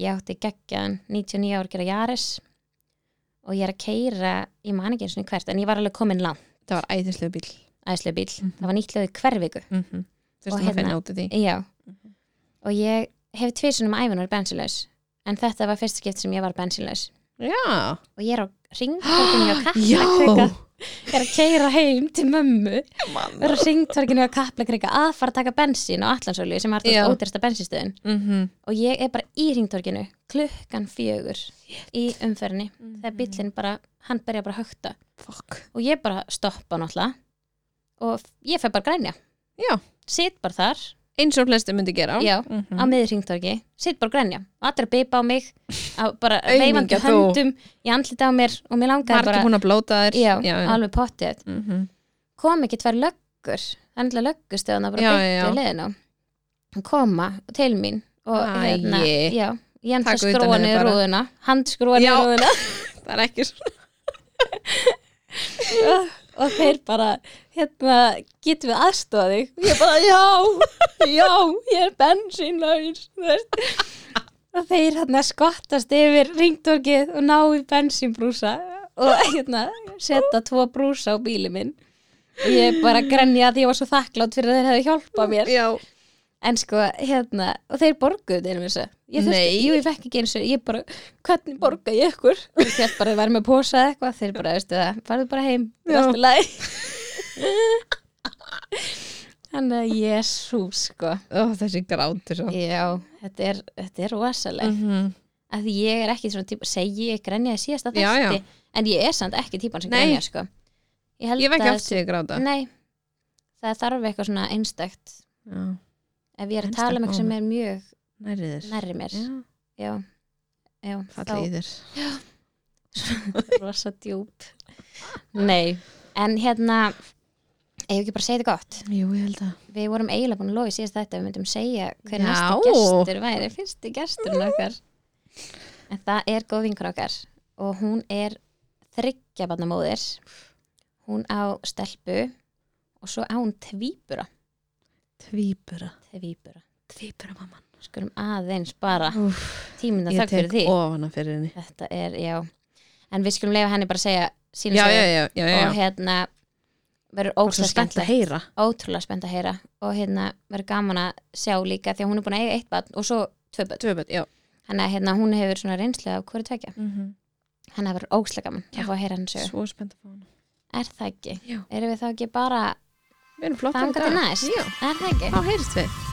Speaker 1: ég átti geggjaðan 99 ár gera Jaris og ég er að keira ég man ekki eins og hvert, en ég var alveg komin langt
Speaker 2: Það var æðislega bíl
Speaker 1: æslu bíl, það var nýtt lögðu hver viku
Speaker 2: Mhm. Þú
Speaker 1: Og
Speaker 2: veist að
Speaker 1: hérna-
Speaker 2: finna út af því
Speaker 1: Já
Speaker 2: Mhm.
Speaker 1: og ég hef um tvisunum að æfinn var bensinlaus en þetta var fyrst skipt sem ég var bensinlaus
Speaker 2: Já,
Speaker 1: og ég er á ringtorkinu á
Speaker 2: já
Speaker 1: kaplakrika ég er að keira heim til mömmu ég
Speaker 2: Man.
Speaker 1: er á ringtorkinu á kaplakrika að fara að taka bensín á allansólu sem er
Speaker 2: Já.
Speaker 1: þetta ódyrsta bensinstöðin
Speaker 2: Mhm.
Speaker 1: og ég er bara í ringtorkinu klukkan fjögur í umferðinni
Speaker 2: Mm.
Speaker 1: þegar bíllinn bara, hann berja bara að högta
Speaker 2: Fuck
Speaker 1: og ég bara stoppa náttúrulega og ég fer bara að grænja
Speaker 2: Já.
Speaker 1: sit bara þar
Speaker 2: eins og flestu myndi gera
Speaker 1: Já.
Speaker 2: Mhm.
Speaker 1: á miður ringtorki, sitt bara og grenja og allir að beipa á mig að bara
Speaker 2: Aumingja
Speaker 1: veifandi
Speaker 2: þú.
Speaker 1: höndum í andlita á mér og mér langaði
Speaker 2: margir
Speaker 1: bara
Speaker 2: búin að blóta þér
Speaker 1: já,
Speaker 2: já, já.
Speaker 1: alveg pottið
Speaker 2: Mhm.
Speaker 1: kom ekki tvær löggur þannig að löggustöðan bara
Speaker 2: Já, já, já.
Speaker 1: beitt í leðinu koma til mín og
Speaker 2: Æi.
Speaker 1: hérna já, ég enda
Speaker 2: Taka utan um
Speaker 1: skrónu
Speaker 2: þig bara.
Speaker 1: rúðuna handskrónu
Speaker 2: Já.
Speaker 1: rúðuna
Speaker 2: það er ekki svona
Speaker 1: og þeir bara hérna, getum við aðstofa þig og ég bara, já, já ég er bensínlaus þú veist. og þeir hérna skottast yfir ringdorgið og ná í bensínbrúsa og hérna setja tvo brúsa á bíli minn og ég bara grenja að ég var svo þakklátt fyrir að þeir hefði hjálpað mér
Speaker 2: já.
Speaker 1: en sko, hérna, og þeir borguðu þeir um þessu, ég þurfti,
Speaker 2: Nei.
Speaker 1: jú, ég fekk ekki eins og ég bara, hvernig borga ég ykkur og ég held bara að vera með posa eða eitthvað þeir bara, veistu það, farðu bara heim, það er
Speaker 2: Já.
Speaker 1: alltaf læg þannig að jesús, sko
Speaker 2: Ó, þessi grátur svo
Speaker 1: já, þetta er, þetta er rosaleg
Speaker 2: Mhm.
Speaker 1: af því ég er ekki svona típa, segi ég grenjaði síðasta
Speaker 2: Já, já.
Speaker 1: þætti, en ég er samt ekki típan sem
Speaker 2: Nei.
Speaker 1: grenjaði, sko ég held
Speaker 2: ég vekki
Speaker 1: að-
Speaker 2: aftur því að gráta
Speaker 1: nei, það þarf eitthvað svona einstakt
Speaker 2: Já,
Speaker 1: ef ég er að
Speaker 2: Einstakt
Speaker 1: tala um eitthvað sem er mjög
Speaker 2: nærrið þér
Speaker 1: nærri mér já, já
Speaker 2: fallið í þér
Speaker 1: þá rosa djúp nei, en hérna ef ekki bara segja þetta gott
Speaker 2: jú, ég held að
Speaker 1: við vorum eiginlega búin að logi síðast þetta við myndum segja hver
Speaker 2: Já. Mm.
Speaker 1: næsti gestur væri fyrsti gesturinn okkar en það er góð vinkur okkar og hún er þryggjabarnamóðir hún á stelpu og svo á hún tvíbura
Speaker 2: tvíbura
Speaker 1: tvíbura,
Speaker 2: tvíbura mamman
Speaker 1: skulum aðeins bara
Speaker 2: Úf,
Speaker 1: tímina
Speaker 2: ég
Speaker 1: þökk fyrir
Speaker 2: tek
Speaker 1: því
Speaker 2: ofana fyrir henni
Speaker 1: Þetta er, já En við skulum leifa henni bara að segja sína
Speaker 2: já, já,
Speaker 1: sögu
Speaker 2: já, já, já.
Speaker 1: og hérna verður
Speaker 2: Og svo
Speaker 1: ótrúlega
Speaker 2: skemmt að
Speaker 1: spennt
Speaker 2: heyra
Speaker 1: ótrúlega spennt að heyra og hérna verður gaman að sjá líka því að hún er búin að eiga eitt barn og svo tvö börn
Speaker 2: tvöböld, já
Speaker 1: hann að hérna hún hefur svona reynslu af hverju tvekja
Speaker 2: mm -hmm.
Speaker 1: hann að verður ótrúlega gaman
Speaker 2: Já.
Speaker 1: að fá að heyra henni sögu
Speaker 2: svo spennt að fá hana
Speaker 1: Er það ekki?
Speaker 2: Já.
Speaker 1: Erum við þá ekki bara
Speaker 2: við erum flott
Speaker 1: þangað til næst?
Speaker 2: já,
Speaker 1: Er það ekki?
Speaker 2: þá heyrst við